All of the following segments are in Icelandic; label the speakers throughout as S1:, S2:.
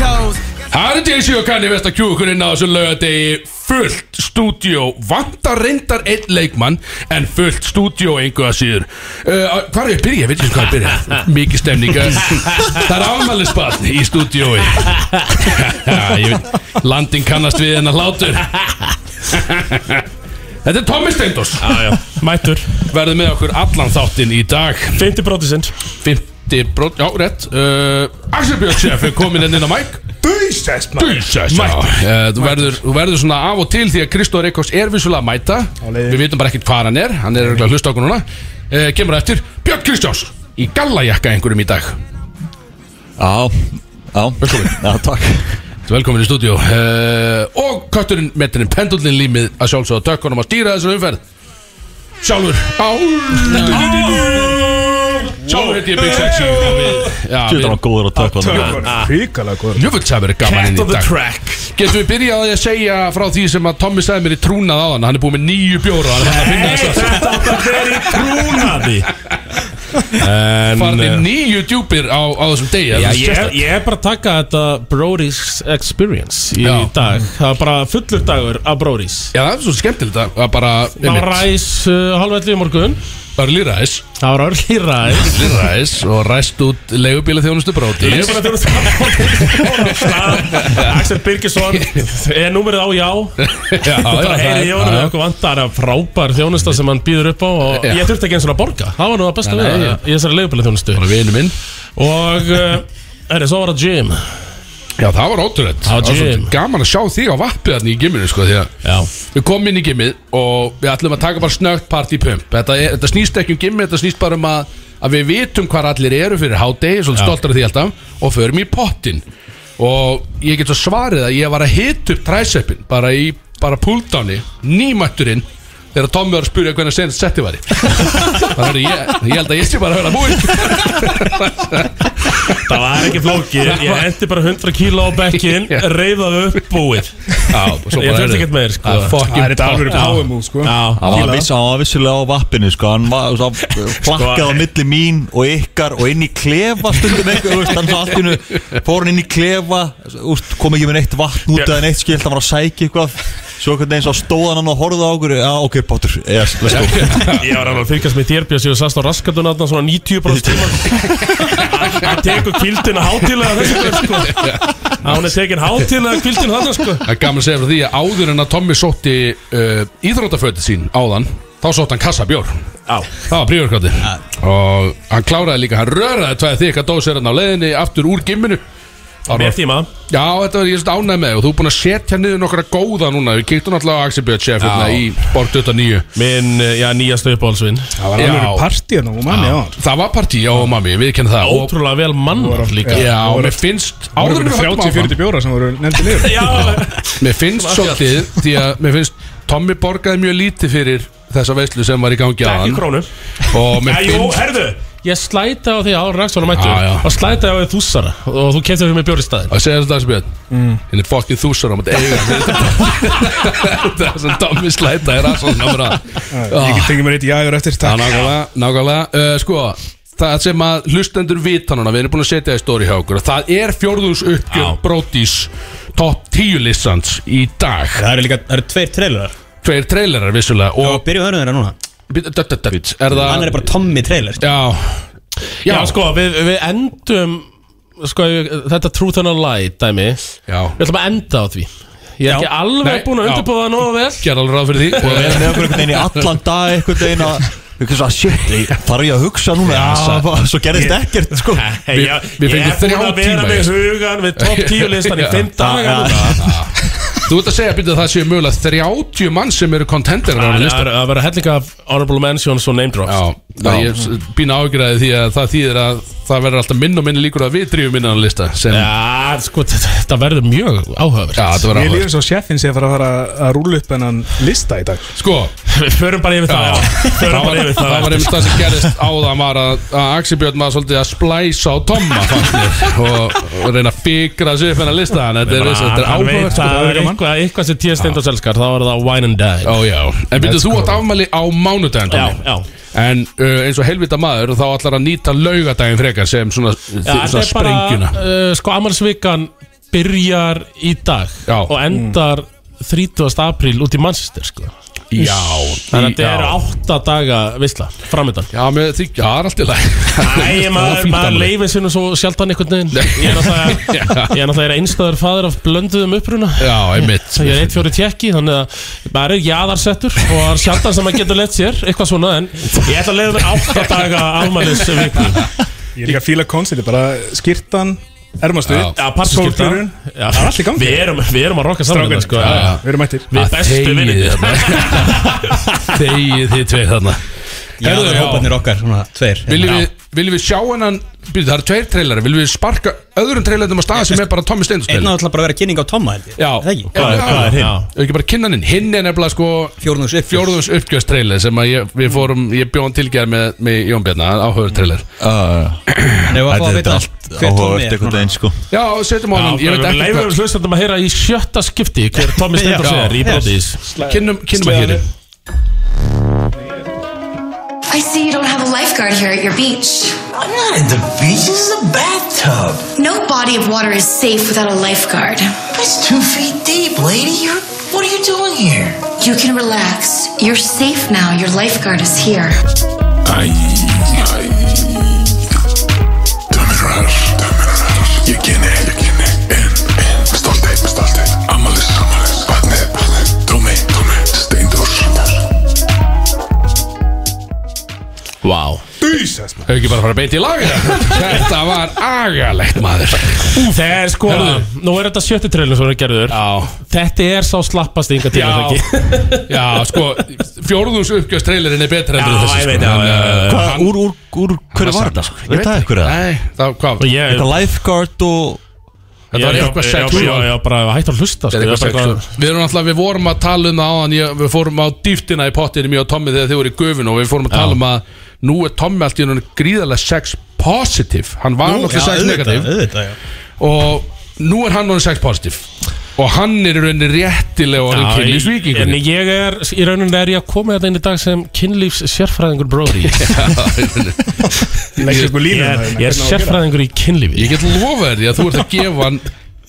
S1: Það er DJ og Kanye West að kjúkurinn á þessu lögadegi fullt stúdíó vantar reyndar einn leikmann en fullt stúdíó einhverja síður uh, Hvar er ég að byrja? Ég veit ekki hvað ég byrja Mikið stemning eh? Það er afmælisbarn í stúdíói Ég veit, Landin kannast við hennar hlátur Þetta er Tommy Steindos
S2: Mættur
S1: Verður með okkur allan þáttinn í dag
S2: 50 brotisinn
S1: 50 brot, já, rétt uh, Axel Björnsef er komin inn inn á mæk
S2: Bísest
S1: Jesus, já. Eh, Þú verður, þú verður svona af og til því að Kristóð Reykjós er vissulega að mæta
S2: leiðinni.
S1: Við vitum bara ekkert hvað hann er Hann er örugglega að hlusta okkur núna uh, Kemur á eftir Björn Kristjáns Í gallajakka einhverjum í dag
S3: Já, já
S1: Velkomin.
S3: Já, takk
S1: Velkomin í stúdíu uh, Og kötturinn, meturinn, pendullin límið Að sjálfsögða tökkunum að stýra þessu umferð Sjálfur Á Sjálfur heiti ég Big Sexy og við- Já,
S3: Þetta var
S1: við
S3: góður að taka honum
S2: Ríkala góður
S1: Jöfull sem verið gaman inn í dag
S2: track
S1: Getum við byrjað á því að segja frá því sem að Tommy sagði mér í trúnað á hann Hann er búið með nýju bjóra Hann er hann að finna þess að
S2: Þetta átt að vera í trúnaði
S1: farið
S2: En
S1: nýju djúpir á, á þessum degi
S2: Já,
S1: Það er
S2: ég, er-
S1: sérstakt.
S2: ég er bara að taka þetta Brody's Experience í
S1: Já.
S2: dag Það var bara fullur dagur af Brody's
S1: Já, það er svo skemmtilegt að að bara
S2: Það var
S1: einmitt,
S2: ræs uh, halvveldi í morgun
S1: Örli ræs
S2: Það var orðið ræs
S1: Örli ræs og ræst út leigubíla þjónustu bróti
S2: Ég er bara að þurfa að fóra af stað Axel Birgisson er númerið á já
S1: Já, já,
S2: bara
S1: það
S2: heyrið
S1: er-
S2: í
S1: já.
S2: honum og okkur vantar að frábær þjónusta sem hann býður upp á og
S1: Já.
S2: ég þurfti ekki eins og að borga það var nú það besta
S1: Nei,
S2: við
S1: nei,
S2: það,
S1: já.
S2: í þessari leigubíla þjónustu
S1: Bara vinu minn
S2: og erri, svo var það gym
S1: Já, það var ótrúlegt
S2: Það var
S1: svo
S2: gym.
S1: Gaman að sjá þig á vappið þarna í gimminu sko, því að
S2: já,
S1: Við komum inn í gimmið og við ætlum að taka bara snögt party pump Þetta, er, þetta snýst ekki um gimmið, þetta snýst bara um að, að við vitum hvar allir eru fyrir hádegi Svolítið stoltar af því alltaf Og förum í pottin Og ég get svo svarið að ég var að hita upp træseppin Bara í, bara púldáni, nýmætturinn Þegar Tommi var að spyrja hvernig senast setti var í Þannig að ég, ég held að ég sé bara að höra búinn
S2: það var ekki flókið ég endi bara 100 kíló á bekkin
S1: Já.
S2: reyðað upp búið
S1: Já, og svo bara,
S2: Ég þurfti
S1: heyrðu,
S2: ekkert meir, sko.
S1: að fucking
S4: Það er þetta
S1: pop-
S4: alveg
S1: Já.
S4: power move sko
S2: já,
S3: Hann var, viss, hann var vissilega á vappinu sko. Hann var svo, flakkað á milli mín og ykkar og inn í klefa stundum eitthvað þú veist, Hann svo allt í hennu fór hann inn í klefa úst, kom ekki með neitt vatn út eða neitt skilt Hann var að sækja eitthvað Svo hvernig eins og stóðan hann og horfði á okkur Já ok Potter, yes, let's go
S2: ég var alveg að fylgjast með þér Björns ég sast á raskatun aðna svona 90 bróðs tíma hann tekur kildina hátilega þessu gaur, sko. hann er tekin hátilega kildina þarna sko
S1: Það er gaman að segja frá því að áður en að Tommi sótti uh, íþróttafötið sín áðan þá sótti hann kassabjór
S2: Já.
S1: Það var príorkvæði og hann kláraði líka, hann röraði tvæði þykka dósir hann hérna á leiðinni aftur úr gimminu Það
S2: með
S1: var-
S2: tíma
S1: Já, þetta var ég svolítið ánægð með þig og þú er búin að setja niður nokkra góða núna Við kýttum náttúrulega á Axel Björn Sjef hérna í Borg 29
S2: minn, eh, já, nýjasta uppáhaldsvinn
S4: Það var
S1: Já.
S4: alveg partí hérna og manni á hann
S1: Það var partí, já mami, við kennum það og,
S2: ótrúlega vel mann líka
S1: Já,
S4: Það voru-
S1: mér finnst
S4: Það
S1: áður
S4: voru
S1: en við höldum áfram-
S4: 30-40 bjóra sem voru nefndi niður
S2: Já,
S1: Mér finnst svolítið því að mér finnst Tommi borgaði mjög lítið fyrir þessa veislu sem var í gangi að
S2: ekki
S1: hann
S2: krónu
S1: og mér
S2: Æjú,
S1: finnst
S2: herðu Ég slæta á því að Ára Ragsson mættu
S1: Já, já.
S2: og slæta á því þúsara og þú keftir fyrir mig bjóri staðin
S1: að segja þetta þessu björn henni er fokkin þúsar á maður eiga fyrir þetta það sem Tommi slæta er aðsóðan á bara
S2: Ah.
S4: Ég get tengið mér eitt jágur eftir takk
S1: Ah, nákvæmlega, nákvæmlega uh, sko Það sem að hlustendur vita núna, við erum búin að setja það í stóri hjá okkur og Það er fjórðungs uppgjör
S2: Já.
S1: Brodís top 10 listans í dag
S5: Það eru líka, það eru tveir trailerar
S1: Tveir trailerar vissulega
S5: Og
S1: og,
S5: byrjum hörðum þeirra núna
S1: Bíddu, dött, dött, dött, er það
S5: Hann er bara Tommy trailer
S1: Já,
S2: Já, sko, við, við endum sko, þetta Truth and a Lie dæmi Við
S1: Já,
S2: ætlum að enda á því Ég er
S5: Já.
S2: ekki alveg
S1: Nei,
S2: búin að
S1: já.
S2: undirbúða það nógu vel
S1: gerði alveg ráð fyrir því
S3: og vera með okkur einhvern veginn í allan dag einhvern veginn að eitthvað svona, shit, ég þarf ég að hugsa núna já, svo gerðist ekkert sko.
S2: Hey,
S1: Við-
S2: ég-
S1: við fengum
S2: Ég er
S1: þrjá
S2: búin að vera
S1: tíma í
S2: með
S1: þessu.
S2: hugan við top 10 listan í
S1: Já.
S2: 5 daga núna.
S1: Þú ert að segja byrja að það séu mögulega 30 mann sem eru kontenderar á
S2: Það
S1: þennan
S2: er-
S1: lista
S2: það er að vera hellinga af honorable mentions og name drops
S1: Já, það ég býna ágræði því að það þýðir að það verður alltaf minn og minn líkur að við drýjum innan á lista sem, Já,
S2: Já, sko, þetta þetta verður mjög áhugavert
S1: þetta var
S4: Ég
S1: áhuga
S4: lífum svo sjeffin sem fara að fara að rúla upp hennan lista í dag
S1: Sko,
S2: Við förum bara yfir það já.
S1: það var
S2: Förum bara yfir það
S1: það var einmitt það sem gerist áðan var að, að Axi Björn var svolítið að splæsa á Tomma fannst mér og, og reyna að fikra sig upp hennar lista en þetta er,
S2: Bara,
S1: þetta er
S2: Ah, hann veit
S1: áhuga
S2: að það er eitthvað, eitthvað sem tíða stend og selskar þá er það wine and dine
S1: Ó já, en byrjuð þú átt afmæli á mánudaginn
S2: já,
S1: Tommi.
S2: já
S1: En uh, eins og helvita maður þá ætlar að nýta laugadaginn frekar sem svona,
S2: Já,
S1: svona
S2: þetta er bara,
S1: sprengjuna
S2: uh, sko, Amarsvikan byrjar í dag
S1: Já.
S2: og endar 30. apríl út í Manchester sko.
S1: Já,
S2: þannig að þetta eru
S1: já.
S2: 8 daga visla framöndan
S1: Já, með því, já, það er allt í lagi
S2: Æ, maður, maður leifir sinni svo sjaldan einhvern veginn Ég er náttúrulega, ég er náttúrulega einstæður fadur af blönduðum uppruna
S1: Já, einmitt
S2: Ég er eitt fjóri tjekki, þannig að maður er jaðarsettur og það er sjaldan sem maður getur lett sér, eitthvað svona en ég ætla að leiða mér átta daga afmælis vikni.
S4: Ég er líka að fíla koncepti, bara skýrtan, ermastuð,
S1: Já.
S2: Já, partískipta.
S4: Sólgleraugun.
S2: Já,
S4: Það er allt í gangi.
S2: Við erum, við erum að rokka saman
S4: Strákurinn.
S2: þetta, sko.
S1: Já, já.
S4: við erum mættir.
S2: Við
S1: Að
S2: bestu
S1: þegið
S2: vinninni.
S1: þarna. Þegið þið tveir þarna
S6: Já, það er
S1: já.
S6: hópanir okkar, svona tveir
S1: Viljum við, viljum við sjá hennan Býðu, það eru tveir trailari, viljum við sparka öðrum trailarnum á staða sem er bara Tommy Steindus
S6: Einn
S1: trailer
S6: áttúrulega bara að vera kynning á Tomma, held ég
S1: Já,
S6: Er það ekki?
S1: Já,
S6: Hvað er- hvað er
S1: já.
S6: hinn?
S1: Ef ekki bara kynna hann inn, hinn er nefnilega sko
S6: Fjórðungs upp
S1: fjórðungs uppgjöfstrailer sem að ég, við fórum, ég bjóðan tilgjær með, með Jón Bjarna, áhugur trailer
S6: Nei, var að fá að
S3: Þetta er
S6: vita
S3: allt
S6: hver Tommi er
S3: áhugavert einhvern veginn sko
S1: Já, setjum á hann, ég veit ekki
S2: Leifum við hlustandum að heyra í sjötta skipti hver Tommy Steindors
S1: Já.
S2: er í Brodís.
S1: hvað Kynnum, kynnum að hérin
S7: I see you don't have a lifeguard here at your beach.
S8: I'm not at the beach. This is a bathtub.
S7: No body of water is safe without a lifeguard.
S8: It's two feet deep, lady. You're. What are you doing here?
S7: You can relax. You're safe now. Your lifeguard is here.
S9: Æ, æ Dömurrar, dömurrar Ég kynni, ég kynni En, en Stoltið, stoltið Amalis, amalis Vatnið, vatnið Tómi, tómi Steindór
S1: Vá Hefur ekki bara fara beint í laga Þetta var agalegt maður
S2: Það er sko, nú er þetta sjötti trillin sem við gerður.
S1: Já,
S2: Þetta er sá slappast yngar til þetta ekki.
S1: já sko Fjórðungs uppgjöfstrailerin er betra en
S2: Já,
S1: þessi,
S2: ég
S1: sko.
S2: veit, já,
S1: Hann,
S2: já, já, já.
S1: eh,
S3: Hvað,
S1: hann-
S3: úr, úr, úr, hverju var þetta? Veit það ykkur eða?
S1: Nei, það, hvað
S2: Og ég-
S3: Þetta lifeguard og
S1: Þetta var
S2: Ég-
S1: eitthvað
S2: ég-
S1: sex
S2: ég- ég- ég- bara hættu að hlusta sko,
S1: Þetta er
S2: ég-
S1: eitthvað
S2: bara-
S1: sex Við erum alltaf, við vorum að tala um það áðan ég- Við fórum á dýftina í pottinu mjög og Tommi þegar þið voru í gufinu og við fórum að tala um að nú er Tommi allt í hennu gríðarlega sex positive Hann var
S6: Nú, já,
S1: náttúrulega sex
S6: auðvitað,
S1: negative
S6: auðvitað, já
S1: og nú er hann orðin sex positive og hann er í rauninni réttilega orðin
S2: Já,
S1: kynlýs
S2: ég- En
S1: vikingunni
S2: ég er, í rauninni er ég að koma þetta inn í dag sem kynlífs sérfræðingur bróði Ég
S4: Leggjum
S1: sko
S4: ykkur línum.
S2: er, ég er sérfræðingur í kynlífi
S1: Ég get lofa þér því að þú ert að gefa hann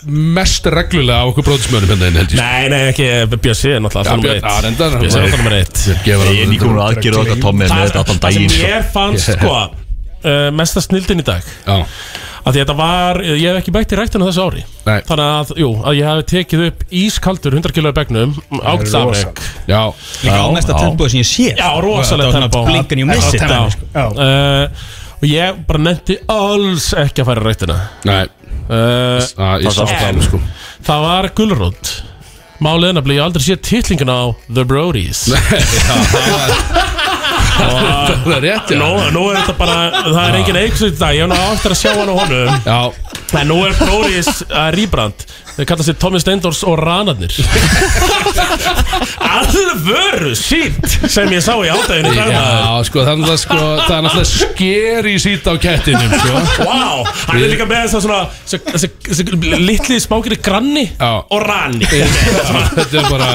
S1: mest reglulega á okkur bróðismjörnum hérna inn held ég
S2: Nei, nei, ekki, eh, Bjössi er náttúrulega
S1: Já,
S2: alltaf
S1: Björn, já, reyndar,
S2: nummer 1 Bjössi er alltaf nummer
S1: Gefa
S2: 1
S3: Ég er
S1: hann
S3: nýkomur aðgerð og þetta Tommi er með þetta allan
S2: Það
S3: daginn
S2: sem
S3: sko
S2: ég fannst, sko uh, mesta snildin í dag
S1: Já,
S2: að því þetta var, eh, ég hef ekki bætt í ræktinu þessu ári
S1: Nei.
S2: þannig að, jú, að ég hef tekið upp ískaldur 100 kilo í begnum ágætt afreg
S1: já
S6: Líka á mesta tempói sem ég sé
S2: Já, rosalegt
S6: Þetta var
S2: tempó.
S6: svona blinkan you miss it
S2: Já.
S6: dæmi, sko.
S2: uh, og ég bara nefndi alls ekki að fara í ræktina
S1: Nei,
S2: uh,
S1: að, ég
S3: Það
S1: sá
S3: sást
S1: það
S2: en-
S1: alveg, sko
S2: það var gulrót málið en að bli ég hef aldrei séð titlingin á The Brodies
S1: Það er rétt, já
S2: nú, nú er þetta bara, það er engin eikslut í dag ég hef náttúrulega áttur að sjá hann á honum
S1: Já,
S2: en nú er Brodies að rýbrand þau kalla sér Tommy Steindors og Ranarnir alvöru sínt sem ég sá í ádæðinu
S1: já, sko, það er náttúrulega sko, það er náttúrulega sker í sít á kettinum, sko
S2: Wow, hann er líka með þess að svona þessi- þessi þessi litli smákiri granni
S1: Já.
S2: og ranni
S1: Þetta er bara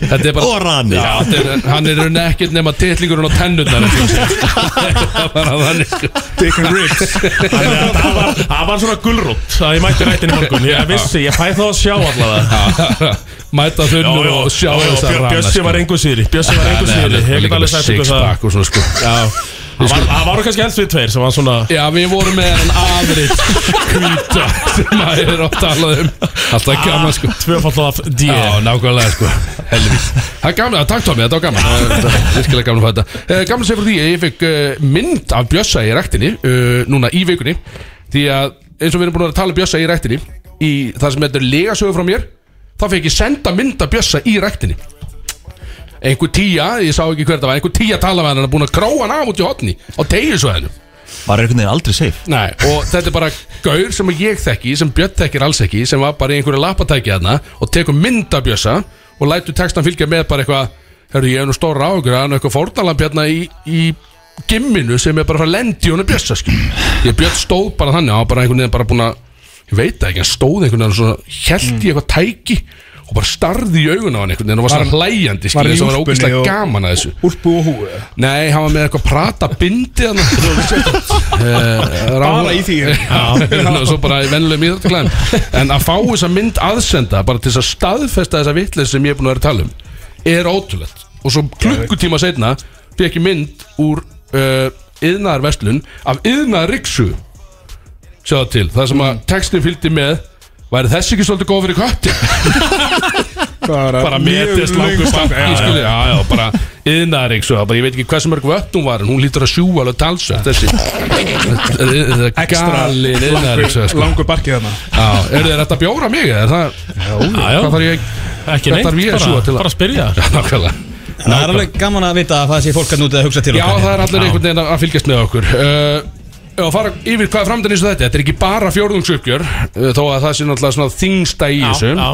S1: Þetta er bara
S3: Og rani
S1: Já, þetta er, hann er raun ekkert nema titlingurinn og tennurnar eins og sé. Það er bara þannig sko.
S4: Dick and Riggs.
S2: Þannig að það var, það var svona gulrútt að ég mætti rættin í morgun ég vissi, ég fæ þá að sjá allavega
S1: Mæta þunnur og sjá sko. þessar
S2: Björ-
S1: rannar
S2: Bjössi var engu síðri Bjössi var engu síðri, ég get alveg sagt ykkur það
S1: Sixpack og svona sko
S2: Já, það var- það voru kannski helst við tveir sem var svona
S1: Já, við vorum með hann afrið Hvíta sem maður er að tala um Alltaf gaman sko
S2: tvöfall af D
S1: Já, nákvæmlega sko Helvís Það er gaman, takk Tómi, þetta var gaman Það er Virkilega gaman að fá þetta Eh, Gaman sem fyrir því að ég fekk eh, mynd af Bjössa í rektinni eh, Núna í vikunni Því að eins og við erum búin að vera að tala um Bjössa í rektinni Í það sem þetta er legasögu frá mér Þá fekk ég senda mynd af Bjössa í rektinni Einhver tíja, ég sá ekki hver það var Einhver tíja tala með hann, hann er búin að gróa hann af út í hotni Á tegju svo hennu
S3: Var einhvern veginn aldrei safe
S1: Nei, og þetta er bara gaur sem ég þekki, sem Björn þekkir alls ekki, sem var bara í einhverju lapatæki þarna og tekur myndabjösa og lætur textan fylgja með bara eitthvað, herru ég er nú stóra áhugur, hann er eitthvað fórnalamb hérna í, í gimminu sem er bara að fara að lendi hún að bjösa, skil. Ég Björn stóð bara þannig, hann var bara einhvern veginn bara búin að, ég veit það ekki, hann stóð einhvern veginn svona, held í eitthvað tæki og bara starði í augun á hann einhvern veginn og var svona hlæjandi
S4: Mm.
S1: skilja
S4: var hann í
S1: þess að var
S4: úlpunni
S1: ógeðslega
S4: og-
S1: gaman að þessu
S4: Úlpu og húu
S1: Nei, hann var með eitthvað prata bindi hann
S4: Bara í því
S1: og svo bara í venlega mýðartklæðum en að fá þessa mynd aðsenda bara til þess að staðfesta þessa vitleis sem ég er búin að vera að tala um er ótrúlegt og svo klukkutíma setna fekk ég mynd úr uh, yðnaðar vestlun af yðnaðar riksu sjá það til, það sem að textin fylgdi með væri þessi ekki svolítið góð fyrir köttin bara metist langur bakki skilja, já, já, bara yðnar eins og það, bara ég veit ekki hversu mörg vött hún var en hún lítur að sjúa alveg talsvert þessi þetta er galin yðnar eins og það, sko
S4: Langur barkið þarna
S1: Já, eru þeir þetta að bjóra mig, er það
S2: Já, já.
S1: hvað þarf ég
S2: Ekki
S1: Hvað
S2: neitt,
S1: þarf ég að sjúga
S2: bara,
S1: til að-
S2: bara að spyrja
S1: Já, nákvæmlega
S6: Það er alveg gaman að vita að það sé fólk að nútið að hugsa til
S1: Já,
S6: okkar
S1: það er allir einhvern veginn að fylgjast með okkur uh, og fara yfir hvað er framdæni eins og þetta, þetta er ekki bara fjórðungsuppgjör uh, þó að það sé náttúrulega svona þingsta í þessu
S2: Já, já.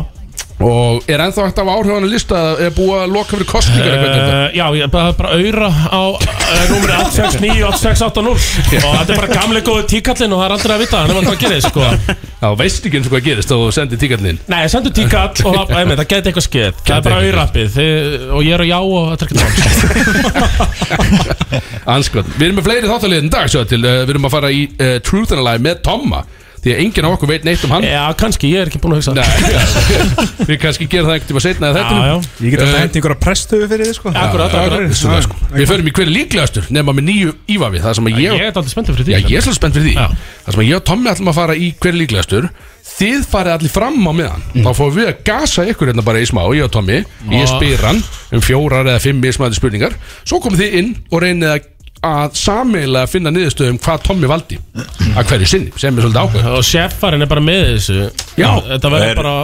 S1: og er ennþá hægt af áhrifan að lista er búið að loka fyrir kostningar eða hvernig er þetta?
S2: Uh, já, ég bara, bara auðra á uh, Númeri 869 8680 Og þetta er bara gamlega góði tíkallin Og það er aldrei að vita Þannig að hvað gerir sko
S1: Já, veist ekki eins og hvað gerist og sendir tíkarnin
S2: Nei, sendu tíkall Og það, einmitt, það geti eitthvað skeið Það er bara auðrappið Og ég er á já og þetta er ekki um tón
S1: Anskot. Við erum með fleiri þáttaliðin dag svo til uh, Við erum að fara í uh, Truth and a Lie með Tomma Því að enginn á okkur veit neitt um hann
S2: Já, kannski, ég er ekki búin að hugsa
S1: Nei, Við kannski gerum það einhvern tíma setna eða
S2: Já, já
S1: þetta
S4: Ég get alltaf hendt einhverja prestuðu fyrir þið sko
S2: Eh. Akkurat, sko. akkurat.
S4: Já, já.
S1: eh, Við förum í hverju líklegastur Nefna með nýju ífa við Það sem að
S2: Ég
S1: ég
S2: er alltaf spenntið fyrir
S1: Já,
S2: því
S1: ég er svolítið spennt fyrir því
S2: Já.
S1: Það sem að ég og Tommi ætlum að fara í hverju líklegastur Þið farið allir fram á meðan
S2: Mm.
S1: Þá fáum við að gasa ykkur hérna bara í smá Ég og Tommi, ég spyr hann Um fjórar eða fimm mismæði spurningar Svo komið þið inn og reynið að- að sameiginlega finna niðurstöðum hvað Tommi valdi að hverju sinni, sem er svolítið ákveð
S2: Og sérfarinn er bara með þessu
S1: Já.
S2: Þetta verður
S3: Er-
S2: bara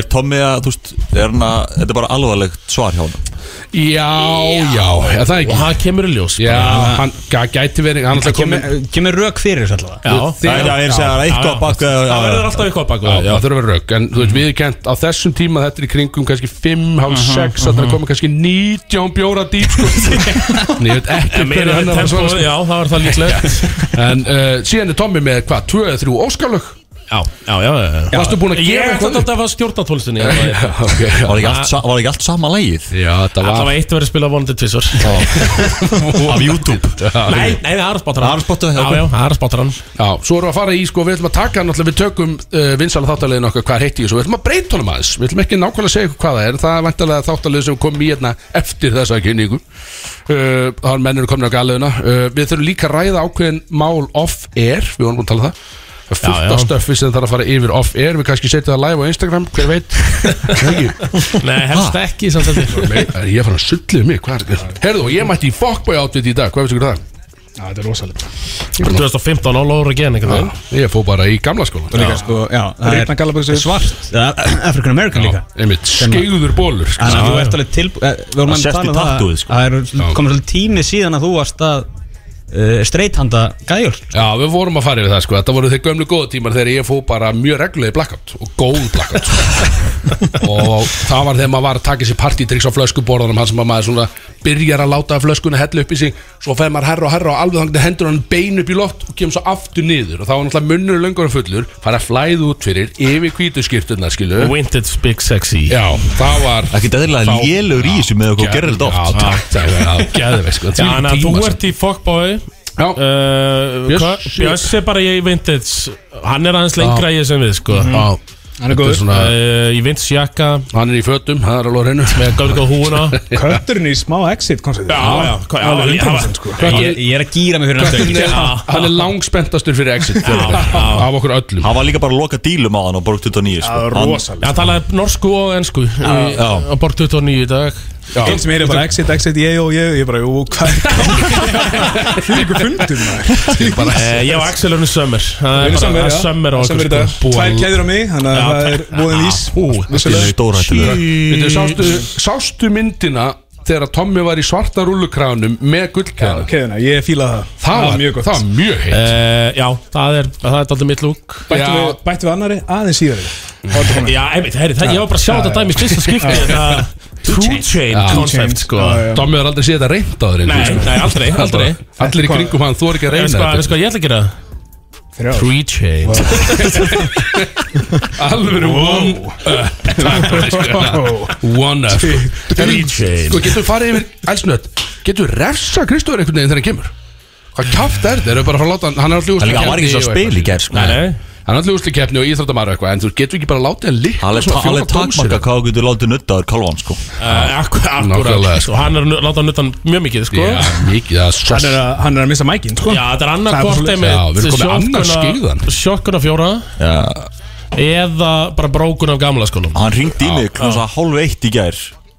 S3: Er Tommy að, þú veist, er hann að Þetta er bara alvarlegt svar hjá hann
S1: Já, já, já það er
S2: Og
S1: ekki
S2: það kemur í ljós
S1: Já, hann ga- gæti verið Hann alltaf komið
S6: Kemur, kemur rök fyrir þessu allavega
S2: Já.
S3: Það er- það er að segja að það er eitthvað bak við
S2: Það
S3: já,
S2: verður
S3: já.
S2: alltaf eitthvað bak
S1: Já,
S2: við
S1: það þurfa að vera rauk En þú
S2: Mhm.
S1: veist, við erum kent á þessum tíma Þetta er í kringum kannski 5, halv 6
S2: mhm.
S1: Þetta er að koma kannski 19 bjóra dýp sko. En ég veit ekki
S2: En meira en
S1: hann var
S2: tempo,
S1: svona
S2: já, það var það líklegt
S1: sko. En uh, síðan er Tommy með hvað, 2 eða 3 óskalög
S2: Já, já, já, já, já.
S1: Varstu búin að
S2: Ég
S1: gefa
S2: ætla
S1: eitthvað
S2: þetta að fara stjórnatólistinni
S1: Já,
S2: Það
S1: ok, já.
S3: Var ekki allt, sa- var ekki allt sama lægið?
S1: Já, þetta
S2: var
S1: var
S2: eitt verið að spila vonandi tvisvar
S3: Af YouTube
S2: Nei, nei, það er að spátra
S3: Það er að spotta, já,
S2: Já,
S3: ok.
S2: já, það er að spátra hann
S1: Já, svo erum við að fara í, sko, við ætlum að taka náttúrulega Við tökum uh, vinsala þáttalegin okkar, hvað heiti ég svo Við ætlum að breyta honum aðeins, við ætlum ekki nákvæmlega að segja ykkur hvað það er Það er vantarlega þáttalegin sem kom í hérna eftir þessa kynningu uh, þá er mennur komin á galðuna uh, Við þurfum líka að ræða ákveðin mál off-air Við vorum búin að tala um það Það er
S2: Já,
S1: fullt
S2: já.
S1: af stöffi sem þarf að fara yfir off-air Við kannski setjum það live á Instagram, hver veit Ekki
S2: Nei, helst ekki samt þetta
S1: Nei, er Ég fann að sullið mig, hvað er þetta? Herðu, og ég mætti í Fokkbæ átviti í dag, hvað veist ykkur um það?
S4: Já, Þetta er rosalega
S2: 2015 all over again, einhvern veginn
S1: Ég fó bara í gamla skólan
S6: Og líka, sko, já, það
S4: Rýtna gallabuxur.
S6: er svart eða African American líka
S1: Einmitt, skeigður bólur sko.
S6: Þannig að þú ert alveg tilbúið Við vorum
S3: Það
S6: að
S3: sést
S6: tala
S3: í
S6: um það
S3: tattooið, sko.
S6: Það er komið svolítið tími síðan að þú varst að
S9: eh,
S6: uh, streithanda gæjur
S1: Já, við vorum að fara yfir það sko Þetta voru þeir gömlu góðu tímar þegar ég fó bara mjög reglulegi blackout og góð blackout sko. og það var þegar maður var að taka sér partydrykks á flöskuborðanum hann sem að maður svona byrjar að láta flöskuna hella upp í sig svo fer maður herra og herra og alveg þangt hendur hann bein upp í loft og kemur svo aftur niður og þá var náttúrulega munnur löngur og fullur fara að flæða út fyrir yfir hvítu skýrtunar skilu
S2: Vintage Big Sexy
S1: Já, það var
S3: Ekki eðlilega lélur í þessu með okkur gerðilegt
S1: Já,
S3: oft
S1: takk, það var geðveik sko
S2: Já,
S1: Þvílík
S2: þannig að
S1: tímar,
S2: þú
S1: sko.
S2: ert í Fuckboy
S1: Já,
S2: uh,
S1: Bjössi.
S2: hvað- Bjössi er bara í Vintage Hann er aðeins lengra í þessum við, sko
S1: já
S4: Hann er
S1: Mhm. Þetta er
S4: góður
S1: svona,
S2: Uh, Í Vintage jakka
S1: hann er í fötum, það er alveg á hreinu
S2: Með gafur góð húuna
S4: Kötturinn í smá exit konserti
S2: hvað- já,
S4: Alveg
S2: já,
S4: 100% sko
S6: ég, ég er að gýra mig fyrir næstu
S1: Kötturinn er,
S6: helgi.
S1: hann er langspenntastur fyrir exit af okkur öllum
S3: Hann var líka bara að loka dílum á hann og bara 29 sko.
S4: Það er
S3: Hann-
S4: rosalega
S2: Já, talaði norsku og ennsku
S3: já.
S2: Á borg 29 í dag
S4: Einn sem er bara exit, exit, ég og ég Ég er bara, jú, hvað Fyrir ykkur fundur maður
S2: Eh, Ég og Axel erum sömmer Það
S4: Við
S2: er
S4: erum
S2: bara- það
S4: samverið, já.
S2: er sömmer á
S4: Samverið í
S2: okkur,
S4: dag.
S2: sko. Búa-
S4: Tvær keður á mig, þannig
S2: Já,
S4: að það er
S2: tvær-
S4: voðin ís
S2: Ú,
S3: Þetta er stórhættilega
S1: Veitu, sástu, sástu myndina þegar Tommy var í svarta rúllukránum með gullkæðan
S4: Keðuna, ég fílaði það
S1: það, var mjög gott það var mjög heitt
S2: Eh, Já, það er Það er daldið mitt lúk
S4: Bættu
S1: Já.
S4: við, bættu við annari, aðeins síðari Þá ertu komin.
S2: Já, einmitt, herri, það, ég var bara að sjá þetta dæmi í fyrsta skipti þetta Two chain concept, sko
S4: Já, já.
S1: Tommy var aldrei séð þetta reynd á þeir
S2: Nei, nei, aldrei, aldrei
S1: sko. allir í kringum Sko- Eh, hann þú er ekki að
S2: Ég veist
S1: reyna
S2: hvað, veist
S1: þetta
S2: hvað, ég ætla að gera það
S4: Þrjár.
S1: Three chains Alvöru one up Takk fyrir, sko. One up Three chains Sko getur farið yfir elsnött Getur refsa Kristóður einhvern veginn þegar hann kemur Hvað kæft er þetta? Erum við bara að fara að láta hann Hann er allir
S3: Það er
S1: úrslit
S3: líka, hann var ekki svo spil í gær, sko.
S1: Nei,
S2: Nei.
S1: nei Hann er allir úrslit keppni og íþróttamæra eitthvað En þú getur ekki bara að láta hann líka
S3: Það er ta- alveg takmarka hvað þú getur látið nuttaður kalvan sko
S2: Uh,
S1: Nákvæmlega,
S2: akkurat,
S1: sko.
S2: og hann er að nu- láta hann utan mjög mikið sko.
S1: Já, mikið að sess
S4: Hann er að, hann er að missa mækin sko
S2: Já, þetta er
S4: Það
S2: annað
S4: er bara
S2: hvort
S4: svoleiðis.
S2: einmitt
S1: Já, við erum komin annars skeiðan.
S2: Sjokkuna fjóra
S3: Já.
S2: Eða bara brókun af gamla sko.
S1: Ah.
S2: skólanum
S3: Hann ringdi í mig klasa hálf eitt í gær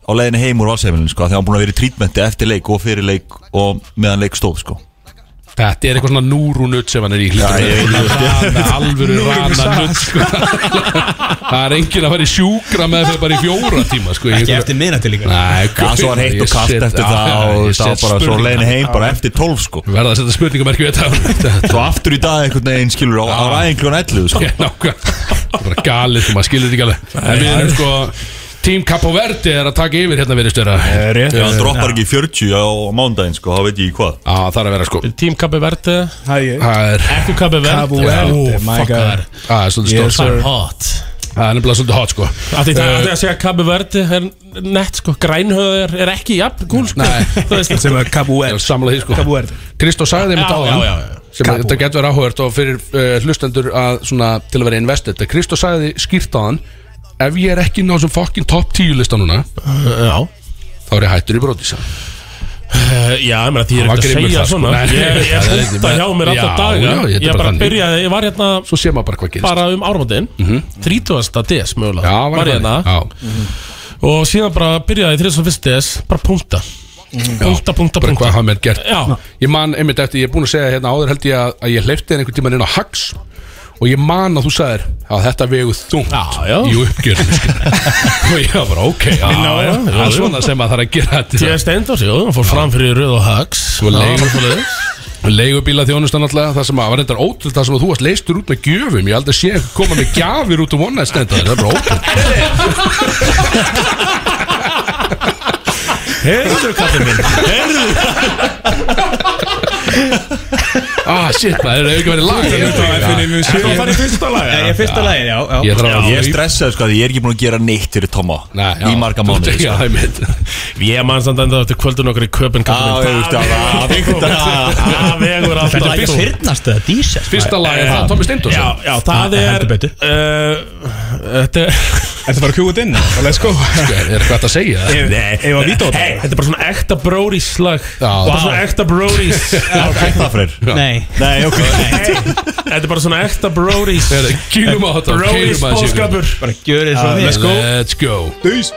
S3: á leiðinni heim úr valsefnilin sko Þegar hann búin að vera í trítmenti eftir leik og fyrir leik og meðan leik stóð sko
S1: Þetta er eitthvað svona núrunutt sem hann er í hlýtur
S3: ég veit
S1: að Rana, alvöru rana nutt sko. Það er enginn að fara í sjúkra með þau bara í fjóra tíma sko. Ég-
S6: Ekki eftir minnati líka
S1: Nei,
S3: Já, svo var heitt
S1: ég
S3: og kast
S1: set-
S3: eftir
S1: já,
S3: það
S1: ég
S3: og það var
S1: set
S3: bara svo
S1: spurningar.
S3: leiðinni heim bara eftir tólf sko
S1: Við verðum að setja spurningamerkju þetta
S3: Svo aftur í dag einhvern veginn skilur á, á ræðin kljóðan 11 sko
S1: Nákvæm Það er bara galið, sko, maður skilur þetta ekki alveg En við erum sko Team Capo Verde er að taka yfir hérna verið störa Já,
S3: Ef hann droppar ekki 40 á, á mándaginn sko, þá veit ég ekki hvað
S1: það er að vera sko
S2: Team Kabe Verde
S4: Hæ,
S1: Það er,
S2: Ekku Kabe Verde
S4: Cabo Verde,
S2: Ó,
S4: my
S2: fuck,
S4: God.
S2: það er-
S1: það er svolítið
S4: Yes,
S1: stórt sko.
S2: Það er hot
S1: Það er nefnilega svolítið hot sko
S2: Af því Það er að segja að Kabe Verde er nett sko Grænhöð er, er ekki jafn gúl sko
S1: Nei.
S2: Þú veist
S4: sem er
S1: Ég
S4: Cabuel
S1: er samlað því sko
S4: Cabuel
S1: Kristó sagði þeim
S2: Já,
S1: þetta á
S2: já, já,
S1: hann
S2: já.
S1: sem
S4: Kabú.
S1: þetta getur verið áhugert og fyrir uh, hlustendur að, svona, til að vera invested að Kristó sagði skýrt á hann ef ég er ekki ná sem fokkin top 10 lista núna
S2: Já
S1: þá er ég hættur í broti sagði hann.
S2: Eh, Já, ég meina því ég
S1: Hann
S2: er
S1: var
S2: ekki að
S1: grimmur
S2: segja
S1: þar, sko.
S2: svona
S1: Nei.
S2: Ég ég
S1: Það er ekki
S2: punkta
S1: með-
S2: hjá mér
S1: Já,
S2: alltaf daga
S1: já, þetta er
S2: Ég
S1: bara
S2: bara
S1: þannig.
S2: byrjaði, ég var hérna
S1: svo sé maður bara hvað gerist
S2: bara um áramótin 30. DS mögulega
S1: já, var
S2: var ég hérna
S1: þannig. já,
S2: og síðan bara byrjaði í 31. DS bara punkta punkta, punkta,
S1: Mhm. bara
S2: punkta
S1: hvað hafa mér gert
S2: Já.
S1: ég man einmitt eftir, ég er búin að segja hérna áður held ég að, að ég hleyfti þér einhvern tímann inn á Hax og ég man að þú sagðir að þetta vegu þungt
S2: Já, já.
S1: í uppgjörnum og ég var bara ok já,
S2: Já, já, já,
S1: það er
S2: já.
S1: svona sem maður þarf að gera þetta
S2: T.S. Steindors, jú, hann fór fram fyrir Röð og Hags
S1: Svo leið-
S2: Já,
S1: Leigubíla þjónustan alltaf, það sem að var reyndar ótrúld það sem að þú varst leistur út með gjöfum ég aldrei sé ykkur koma með gjafir út um one night stand það er bara ótrúld
S2: Heyrðu, kallið minn Heyrðu,
S1: ah shit, það er ekki verið lag
S2: þú fann í fyrsta laga
S6: Ég fyrsta lagið, já, já
S1: ég þarf að
S3: Ég stressaði sko að ég er ekki búin að gera neitt fyrir Tomma
S1: Nei, já.
S3: Í marga mánuði
S1: Já,
S3: sko.
S1: það er mitt
S2: Ég man samt enda eftir kvöldun okkur í köpinn
S3: Já,
S2: kallið
S3: ég
S2: minn
S3: veist, já, það-
S2: vegur- Það vegur alltaf
S6: Þetta er fyrnast eða dísel
S1: Fyrsta lag er það Tommy Steindors
S2: Já, já,
S1: Ah,
S2: það
S6: Það-
S2: er
S6: heldur betur.
S2: uh, Þetta er
S4: Ertu bara kjúið inn? Þá Let's go
S1: Er er hvað það að segja?
S4: Ef- ef að víta á þetta?
S2: Hey, Þetta er bara svona ekta bróris lag
S1: Já.
S2: Bara svona ekta bróris
S3: Já, hvað er það fyrir?
S6: Nei,
S3: Nei, ok
S2: Þetta er bara svona ekta bróris
S1: Er- Kýlum á þetta
S2: Bróris
S1: kýlum á þessu.
S2: bóðskapur
S6: gjör
S4: Ah,
S6: þið svo mér
S1: Let's go
S4: Dís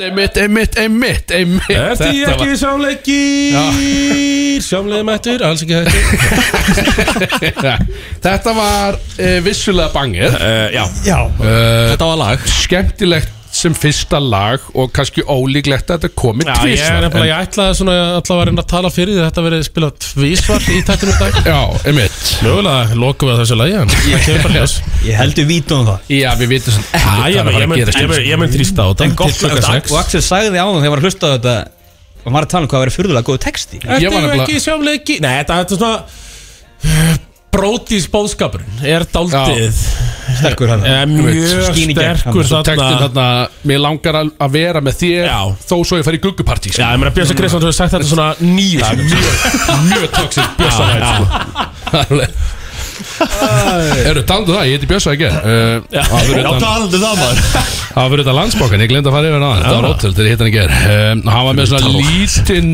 S1: Einmitt, einmitt, einmitt, einmitt
S2: Ertu ég
S1: Þetta var-
S2: ekki sjáleikir Sjámlega mættur, alls ekki hættur
S1: Þetta var eh, vissulega bangið
S2: uh, Já,
S3: Þetta var lag
S1: Skemmtilegt sem fyrsta lag Og kannski ólíklegt að þetta komi
S2: já ég er
S1: tvisvar
S2: nefnilega,
S1: en-
S2: ég ætlaði svona alltaf að reyna að tala fyrir því Þetta verið spilað tvísvar í tættinu í dag
S1: Já, einmitt
S2: Mögulega lokum við að þessu lagi en Það kemur bara ljós
S6: Ég heldur vítum það
S1: Já, við vitum sem
S2: Já, ég
S1: að
S2: mun-
S1: fara
S2: ég
S1: að
S2: mun-
S1: gerast
S2: ég mun- Ég mun þrýsta á þetta
S6: En gott
S2: Til klukkan
S6: lag
S2: sex.
S6: Og Axel sagði á hann þegar var að hlusta á þetta Og hann var að tala um hvað að vera fyrðulega góðu texti
S1: Ég var
S2: Ertu
S1: nefnilega-
S2: ekki sjámleiki Nei, þetta þetta er svona Brótis bóðskapurinn er daldið
S6: Sterkur hann
S2: eh, Mjög
S6: Skín í gegn.
S2: sterkur
S1: Svo tektin
S2: þarna
S1: þarna Mér langar að að vera með þér
S2: Já.
S1: Þó svo ég fari í guggupartí sko.
S2: Já, ég meina Björnsa Kristjáns hefur sagt þetta svona nýja
S1: Mjög tóksins bjössaræð Eru, sko. taldu það, ég heiti Bjössa ekki uh, Það fyrir utan-
S3: talandi það maður
S1: Það var fyrir þetta landsbókan, ég glemdi að fara yfir hann Það var óttil þegar ég hitt hann í ger um, Hann var með svona lítinn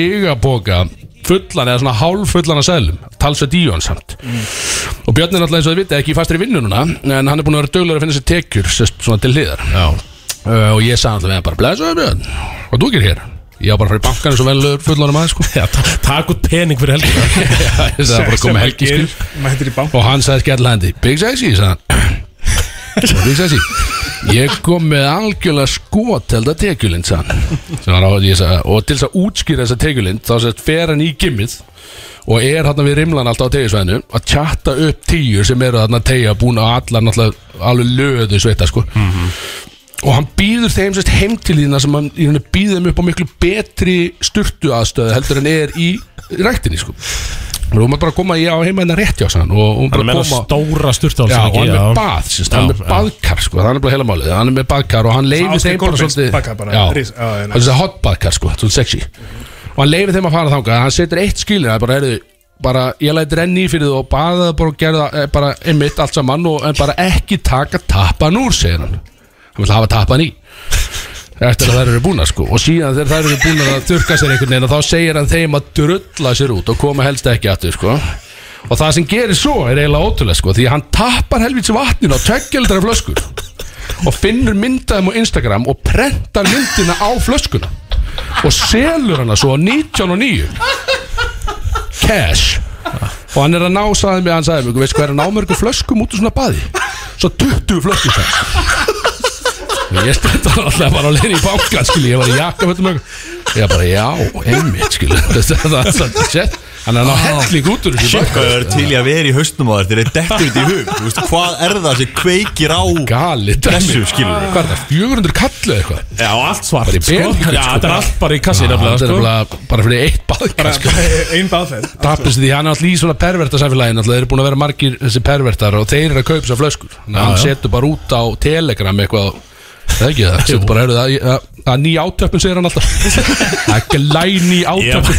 S1: strigabóka Fullan eða svona hálffullan að selum Talsveit í hann samt Og Björn er náttúrulega eins og þið vitið ekki í fastri vinnu núna En hann er búin að vera dögulegur að finna sér tekjur sest, Svona til hliðar uh, Og ég sagði alltaf með hann bara Blesaðu Björn, hvað þú gerir hér? Ég á bara að fara í bankan eins og velur fullanum aðeins sko
S2: Takk út pening fyrir helgina
S1: Það er bara að koma helgi skil
S4: Mættir í bank
S1: Og hann sagði skellandi Big Sexy, sagði hann Big Sexy Ég kom með algjörlega skotelda tekjulind sagði hann Sem var á- ég sagði, Og til þess að útskýra þessa tekjulind Þá sérst fer hann í gimmið Og er hann við rimlan alltaf á tegjusvæðinu Að tjatta upp tíur sem eru þarna tegja Búin að allar náttúrulega alveg löðu sveita sko og hann býður þeim sérst heim til þína sem hann í rauninni býður þeim upp á miklu betri styrtu aðstöðu heldur en er í ræktinni sko og hún var bara að koma í á heima hennar rétt hjá sann og hún
S10: Hann er
S1: bara
S10: með
S1: að
S10: það
S1: koma
S10: stóra sturtál
S1: Já, og hann er með bað, sérst, hann er með baðkar sko, það er bara heila málið, hann er með baðkar og hann leifir
S4: Ásgeir
S1: þeim bara
S4: Kolbeins
S1: svolítið
S4: baðkar bara,
S1: Já,
S4: ris- já, já,
S1: hann er svolítið hot baðkar sko, svolítið sexy og hann leifir þeim að fara þangað, hann setur eitt skilin það er bara, heyrðu, bara, ég læt renni í fyrir þú og baða það bara og gerða eh, bara einmitt allt saman og en bara ekki taka tappan úr, segir hann hann vil hafa tappan í eftir að þær eru búnar sko og síðan þegar þær eru búnar að þurka sér einhvern veginn og þá segir hann þeim að drulla sér út og koma helst ekki aftur sko og það sem gerir svo er eiginlega ótrúlega sko því að hann tappar helvits vatninu á tveggjöldra flöskur og finnur myndaðum á Instagram og prentar myndina á flöskuna og selur hana svo á 19 og 9 cash og hann er að ná sæði mig, hann sæði mig veist hvað er að ná mörgum flöskum út úr svona baði svo 20 flöskum sæði Ég stætti hann alltaf bara á leiðin í banka skilji, ég var í jakkafötum og eitthvað. ég bara já, einmitt skilji það er svolítið sett hann er ná
S3: Ah.
S1: helling út úr þessu
S3: Hvað
S1: banka
S3: er til í að vera í haustum á þér Þeir eru dettur þetta í hug Þú veist, Hvað er það sem kveikir á
S1: gali,
S3: Þessu, skilurðu.
S1: hvað er það, 400 kallu eitthvað
S10: Já, allt svart
S1: Bara í
S10: sko.
S1: Belgíu,
S10: Já,
S1: sko,
S10: þetta er
S1: bara.
S10: allt bara í kassi
S1: Já,
S10: nefnilega
S1: þetta er
S10: sko.
S1: nefnilega bara fyrir eitt baðkar sko.
S4: Einn baðferð
S1: tapist því hann er alltaf í svona perverta samfélagin alltaf þeir eru búin að vera margir þessi pervertar og þeir eru að kaupa þessar flöskur þannig að hann setur bara út á telegram eitthvað og- það er ekki það, setur bara heyrðu, það- það það er ný átöpun segir hann alltaf það er glæni átöpun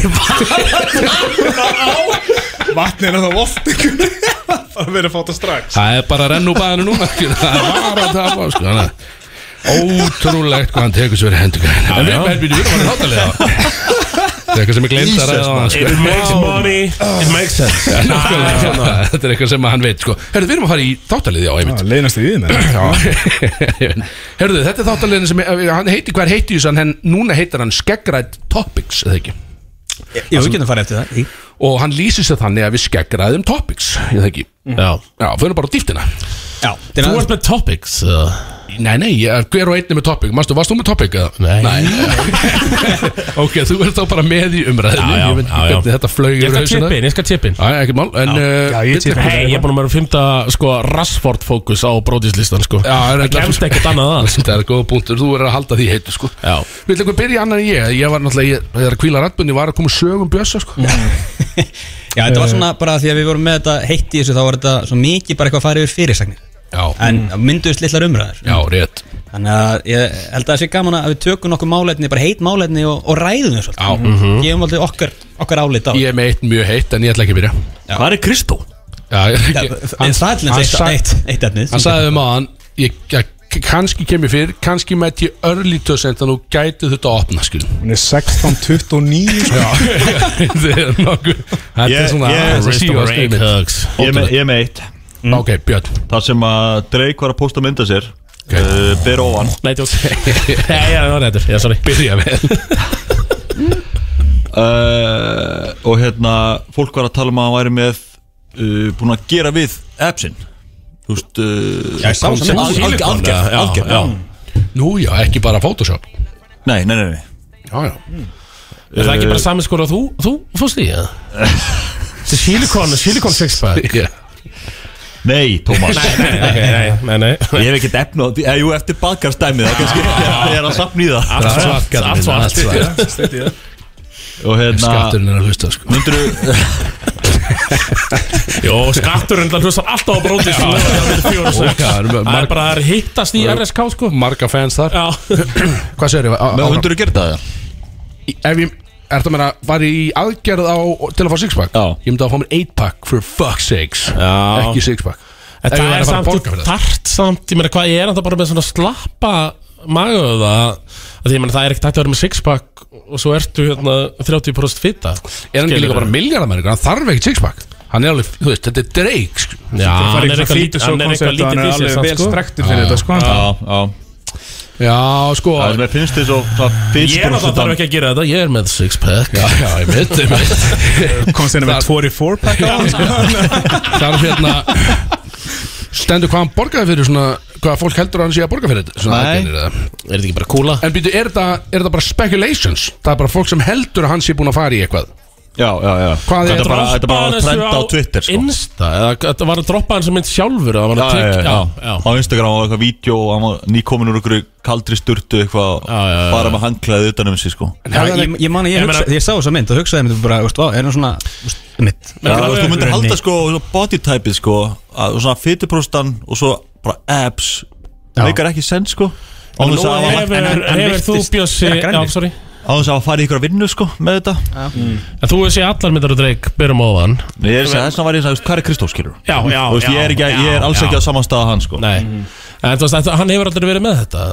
S4: Vatnið er þá oft einhvern veginn. Það verður að fóta strax
S1: það er bara að renna úr baðinu núna skilur. það er bara að tapa sko, þannig að ótrúlegt hvað hann tekur sér í hendur en við erum helbíðið við erum hann hátalega það er eitthvað sem ég glemt að ræða sko. á hann
S10: It makes money It makes sense
S1: En nákvæmlega, Þetta er eitthvað sem hann veit sko. Herðu, við erum að fara í þáttaliði á einmitt
S4: Leinast í því með
S1: Herðu, þetta er þáttaliðin sem eh, hann heiti, hver heiti þessan hann, núna heitir hann Skeggrætt Topics eða ekki
S9: Jú, við getum farið eftir það Í-
S1: og hann lýsir sér þannig að við skeggræðum Topics eða ekki
S2: Já
S1: Já, fyrir bara á dýftina
S9: Já,
S2: Þú
S9: þetta er aðeins
S2: ert með topics uh,
S1: Nei, nei, ég- hver og einn er með topic Mastu, varst þú með topic eða?
S2: Nei.
S1: Ok, þú ert þá bara með í umræðinu
S2: Já, já,
S1: Ég veit ekki
S2: já, já.
S1: hvernig þetta flög
S10: Ég
S1: yfir
S10: skal
S1: hausinn á
S10: tippa
S1: þér.
S10: inn, ég skal tippa inn
S1: Æ, ekkert mál En uh,
S4: ég
S1: Biddi-
S4: tippa inn.
S10: Hei, ég er búin að vera að fymta sko Rassford fókus á bróðislistan sko
S1: Já, það er
S10: Það
S1: enda-
S10: kemst ekkert annað að
S1: Það er góða punktur, þú er að halda því heitu sko
S10: Já.
S1: Vil eitthvað byrja annar en ég Ég var náttúrulega, ég- þegar að kvíla rættbunni var að koma sögum bjösa sko
S9: Mm. Já, þetta var svona bara því að við vorum með þetta heitt í þessu þá var þetta svo mikið bara eitthvað að fara yfir fyrirsagnir
S1: Já,
S9: en mm. mynduðist litlar umræðar
S1: já, rétt
S9: þannig að ég held að það sé gaman að við tökum nokkuð málefni, bara heit málefni og, og ræðum þau
S1: Já.
S9: svolítið, Mhm. gefum alltaf okkar, okkar álít á
S1: Ég er með eitt mjög heitt en ég ætla ekki að byrja
S2: Hvað er Kristó?
S1: já, ég-
S9: Já, en það er til
S1: hann
S9: dæmis eitt-
S1: sa-
S9: eitt eitt efnið
S1: Hann sagði um aðan ég, ég, Kanski kemur fyrir, kannski mætt ég örlítu Sent að nú gæti þetta sko. að opna skil
S4: Hún er 16.29 sko.
S1: Þetta er nokkuð Þetta er
S3: Ég-
S1: svona
S3: ég-
S1: þetta er
S2: Kristó
S1: síðasta
S2: Rake
S1: mynd.
S2: Hugs
S3: Ég er með- ég er með eitt
S1: Ok, Björn
S3: Það sem að Drake var að posta mynda sér uh, Ber ofan
S10: Nei, tjók Nei, já, það var réttur, já, sorry
S1: Byrja með
S3: uh, Og hérna Fólk var að tala um að hann væri með uh, Búin að gera við appsin Þú veist uh,
S9: Já, ég sá
S3: konsept-
S9: sem-
S3: al- al-
S2: Silicon,
S3: Aðgerð
S2: já,
S3: aðgerð,
S2: já.
S1: Nú já, ekki bara Photoshop
S3: Nei, nei, nei, nei.
S1: Já,
S10: Er
S1: já
S10: það ekki bara
S1: Eh.
S10: saman skor að þú, þú fórst í það? Þetta er Silikon, Silikon sexpack
S1: Ég-
S3: nei Tómas
S10: Nei, nei, nei
S3: Ég hef ekkert efni á því eh, Jú, eftir baðkarstæmið Það kannski Ég er að sapna í það
S1: Allt svart,
S10: allt
S1: allt
S10: svart.
S1: svart
S3: Og hérna
S1: Skatturinn er að hlusta sko
S3: Myndur
S10: Jó, skatturinn, það hlustar alltaf á bróðislistan Það er fjóra og sex.
S1: það eru
S10: Það er
S1: marg-
S10: bara að hittast í RSK sko
S1: Marga fans þar
S10: Já,
S1: Hvað segir ég?
S3: þú gert það það?
S1: Ef ég Er það meira að fara í aðgerð á til að fá sixpack?
S3: Já.
S1: Ég myndi að fá mér 8-pack for fuck's sakes
S10: Já.
S1: Ekki sixpack
S10: En
S1: Ef ég
S10: það er
S1: væri að fara að
S10: samt
S1: borga fyrir það.
S10: þart samt, ég meina hvað ég er það bara með svona slappa magaða að því ég meina það er ekkert hægt að vera með sixpack og svo ertu hérna 30% fitta
S1: Er hann ekki líka
S10: Skilurðu?
S1: bara miljardamæringur? Hann þarf ekki sixpack Hann er alveg, þú veist, þetta er Drake sko.
S10: Já, hann
S4: Það
S10: er
S4: er eitthvað
S10: eitthvað lítið
S4: lítið svo
S10: hann er eitthvað
S4: koncept að
S10: lítið
S4: hann er
S10: dísil
S4: alveg vel
S10: sko.
S4: strektur fyrir þetta sko.
S3: Já, já
S1: Já, sko
S3: Það sem ég finnst þess og Það finnst
S10: Ég er það þarf ekki að gera þetta, ég er með sixpack
S1: Já, já, ég veit, ég veit
S4: Komst hérna með 24 pack á hann, sko.
S1: Þarf hérna Stendur hvað hann borgaði fyrir svona Hvað fólk heldur að hann sé að borga fyrir þetta Svona
S3: Nei.
S1: aðgerðir eða
S10: Er þetta ekki bara kúla?
S1: En býtu, er þetta er þetta bara speculations? Það er bara fólk sem heldur að hann sé búin að fara í eitthvað
S3: Já, já, já
S1: Hvað er
S3: Þetta bara, þetta bara var
S2: Droppa
S3: trend á
S2: þessu
S3: Twitter sko
S2: Insta, eða þetta var að droppa hans mynd sjálfur eða var að
S3: Já, já,
S2: tek-
S3: já,
S2: já,
S3: á Instagram var eitthvað vídeo og hann var nýkomin úr einhverju kaldri sturtu eitthvað
S2: já, já, já.
S3: bara með handklæði utan um sig sko
S9: Já, ég, ég man að
S2: Ég
S9: ég, hugsa,
S2: meina-
S9: ég sá þessa mynd og hugsaði mér bara, veist, vá, er hann svona, veist, mitt
S3: Já, þú veist, þú myndir
S9: Runni.
S3: halda sko bodytypið sko að, og svona fytupróstan og svo bara abs meikar ekki sens sko á
S2: Nú
S3: þess að hafa-
S2: hefur,
S9: en- en
S2: hefur þú
S9: virtist
S2: bjössi
S9: vera grænni.
S2: Já, sorry
S3: á þess að hafa farið í ykkur að vinnu sko með þetta
S2: En þú hefur séð allar myndar og dreik Byrjum ofan
S3: Nei, ég er þess að þess að var ég að hvað er Kristóf skilur
S2: Já, já,
S3: Þú veist, ég er, ekki, ég er alls ekki á saman stað að hann sko
S2: Nei En þú veist, þetta- hann hefur aldrei verið með þetta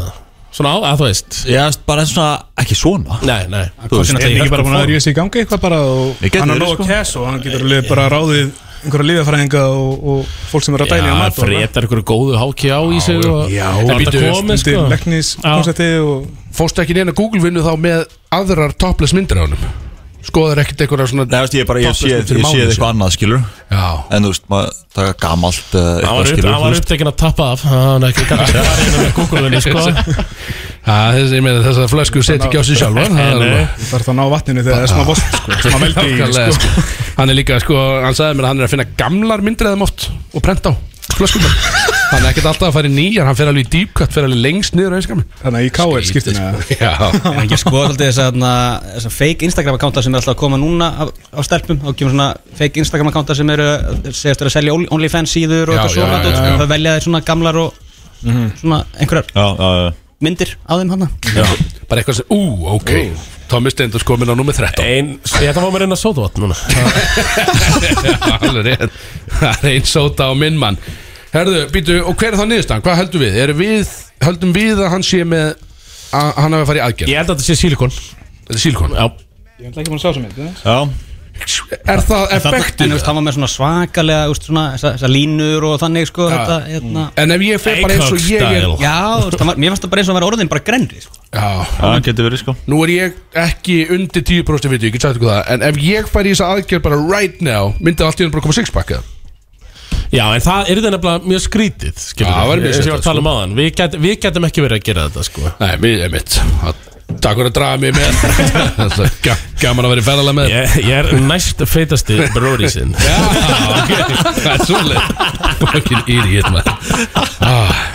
S2: Svona á, að þú veist
S3: Ég er bara svona, ekki svona
S2: Nei, nei
S3: Þú veist,
S4: Er ekki bara búin að ríða sig í gangi eitthvað bara og
S3: Ég geti
S4: hann er
S3: verið,
S4: nóg
S3: sko.
S4: að kæs og hann getur alveg bara ráðið einhverja liðafræðinga og, og fólk sem er að dæla í hann
S2: Já,
S4: mat og-
S2: frétar ykkur góðu háki á í sig og-
S4: Já,
S2: En
S1: býtu,
S2: þetta komið
S4: undir
S2: sko
S4: leknis konsepti og
S1: Fórstu ekki neina Google-vinnu þá með aðrar topless myndir á honum Skoðar ekkert einhverja svona
S3: Nei, þú veist, ég er bara, ég
S1: topless
S3: séð
S1: mynd fyrir
S3: ég
S1: mánuði
S3: séð
S1: síðan.
S3: eitthvað annað skilur
S1: Já
S3: En þú veist, maður, það er gamalt eh,
S2: Hann
S3: eitthvað
S2: var, upp,
S3: skilur
S2: hann
S3: þú
S2: var
S3: veist.
S2: upptekinn að tappa af Hann ekki gæti að fara inn með kúkulunni sko
S1: Já, þess, ég meina þess að flösku setja ekki á sig sjálfa Það er alveg
S4: það þarf það að ná vatninu þegar það er smá vost sko, smá veldi í
S1: Nákvæmlega,
S4: sko.
S1: sko. Hann er líka, sko, hann sagði mér að hann er að finna gamlar myndir eða oft og prenta á flöskunum Hann er ekkert alltaf að fara í nýjar, hann fer alveg í dýpkvætt, fer alveg lengst niður auðskami
S4: Þannig að í KL skiptina
S1: Já,
S9: En ég skoði alltaf þess að þess að fake Instagram akkánta sem er alltaf að koma núna á, á stelpum og kemur svona fake Instagram akkánta sem eru segjast vera að selja Only- OnlyFans síður og
S1: Já,
S9: eitthvað
S1: já,
S9: svona
S1: já,
S9: dót,
S1: já, já.
S9: og það velja þeir svona gamlar og svona einhverjar
S3: Mhm. Já, já, já
S9: myndir á þeim hann
S1: bara eitthvað sem, ú, ok Tommy Stendur sko minn á nummer 13
S2: Ein, þetta var mér einn að sóta vatn núna
S1: Já, alveg rétt. Það er einn sóta á minn mann Herðu, býtu, og hver er þá niðurstaðan? Hvað höldum við? Erum við, höldum við að hann sé með að hann hafi farið í aðgerð?
S2: Ég held að þetta sé sílikon
S1: Þetta er sílkon
S2: Já,
S4: Ég ætla ekki búin að sjá sem eitt
S3: Já,
S1: Er það
S9: En þú
S1: effektin?
S9: veist, hann var með svona svakalega, þú veist, svona þessar þessar línur og þannig, sko, þetta, hérna
S1: En ef ég fer bara eins og ég er
S2: Eikhögg-style.
S9: Já, þú veist, hann var- mér fannst það bara eins og að vera orðin bara grenri, sko
S1: Já,
S3: það getur verið sko
S1: Nú er ég ekki undir 10% viti, ég get sagt ykkur það En ef ég færi í þessa aðgerð bara right now Myndi allt í henni bara koma sixpack eða?
S2: Já, en það er þetta nefnilega mjög skrítið
S1: Já,
S2: skilur
S1: það væri
S2: við,
S1: mjög
S2: eins og ég
S1: sérstakt,
S2: var að tala um aðan Við gæt- Við getum ekki verið að gera þetta sko
S1: Nei, mér er mitt Takk fyrir að draga mig með Þetta er ga- Gaman að vera í ferðalega með
S2: Ég, ég er næst feitasti bróri sinn
S1: Já, ok, það er svolít Fucking idiot, man ah.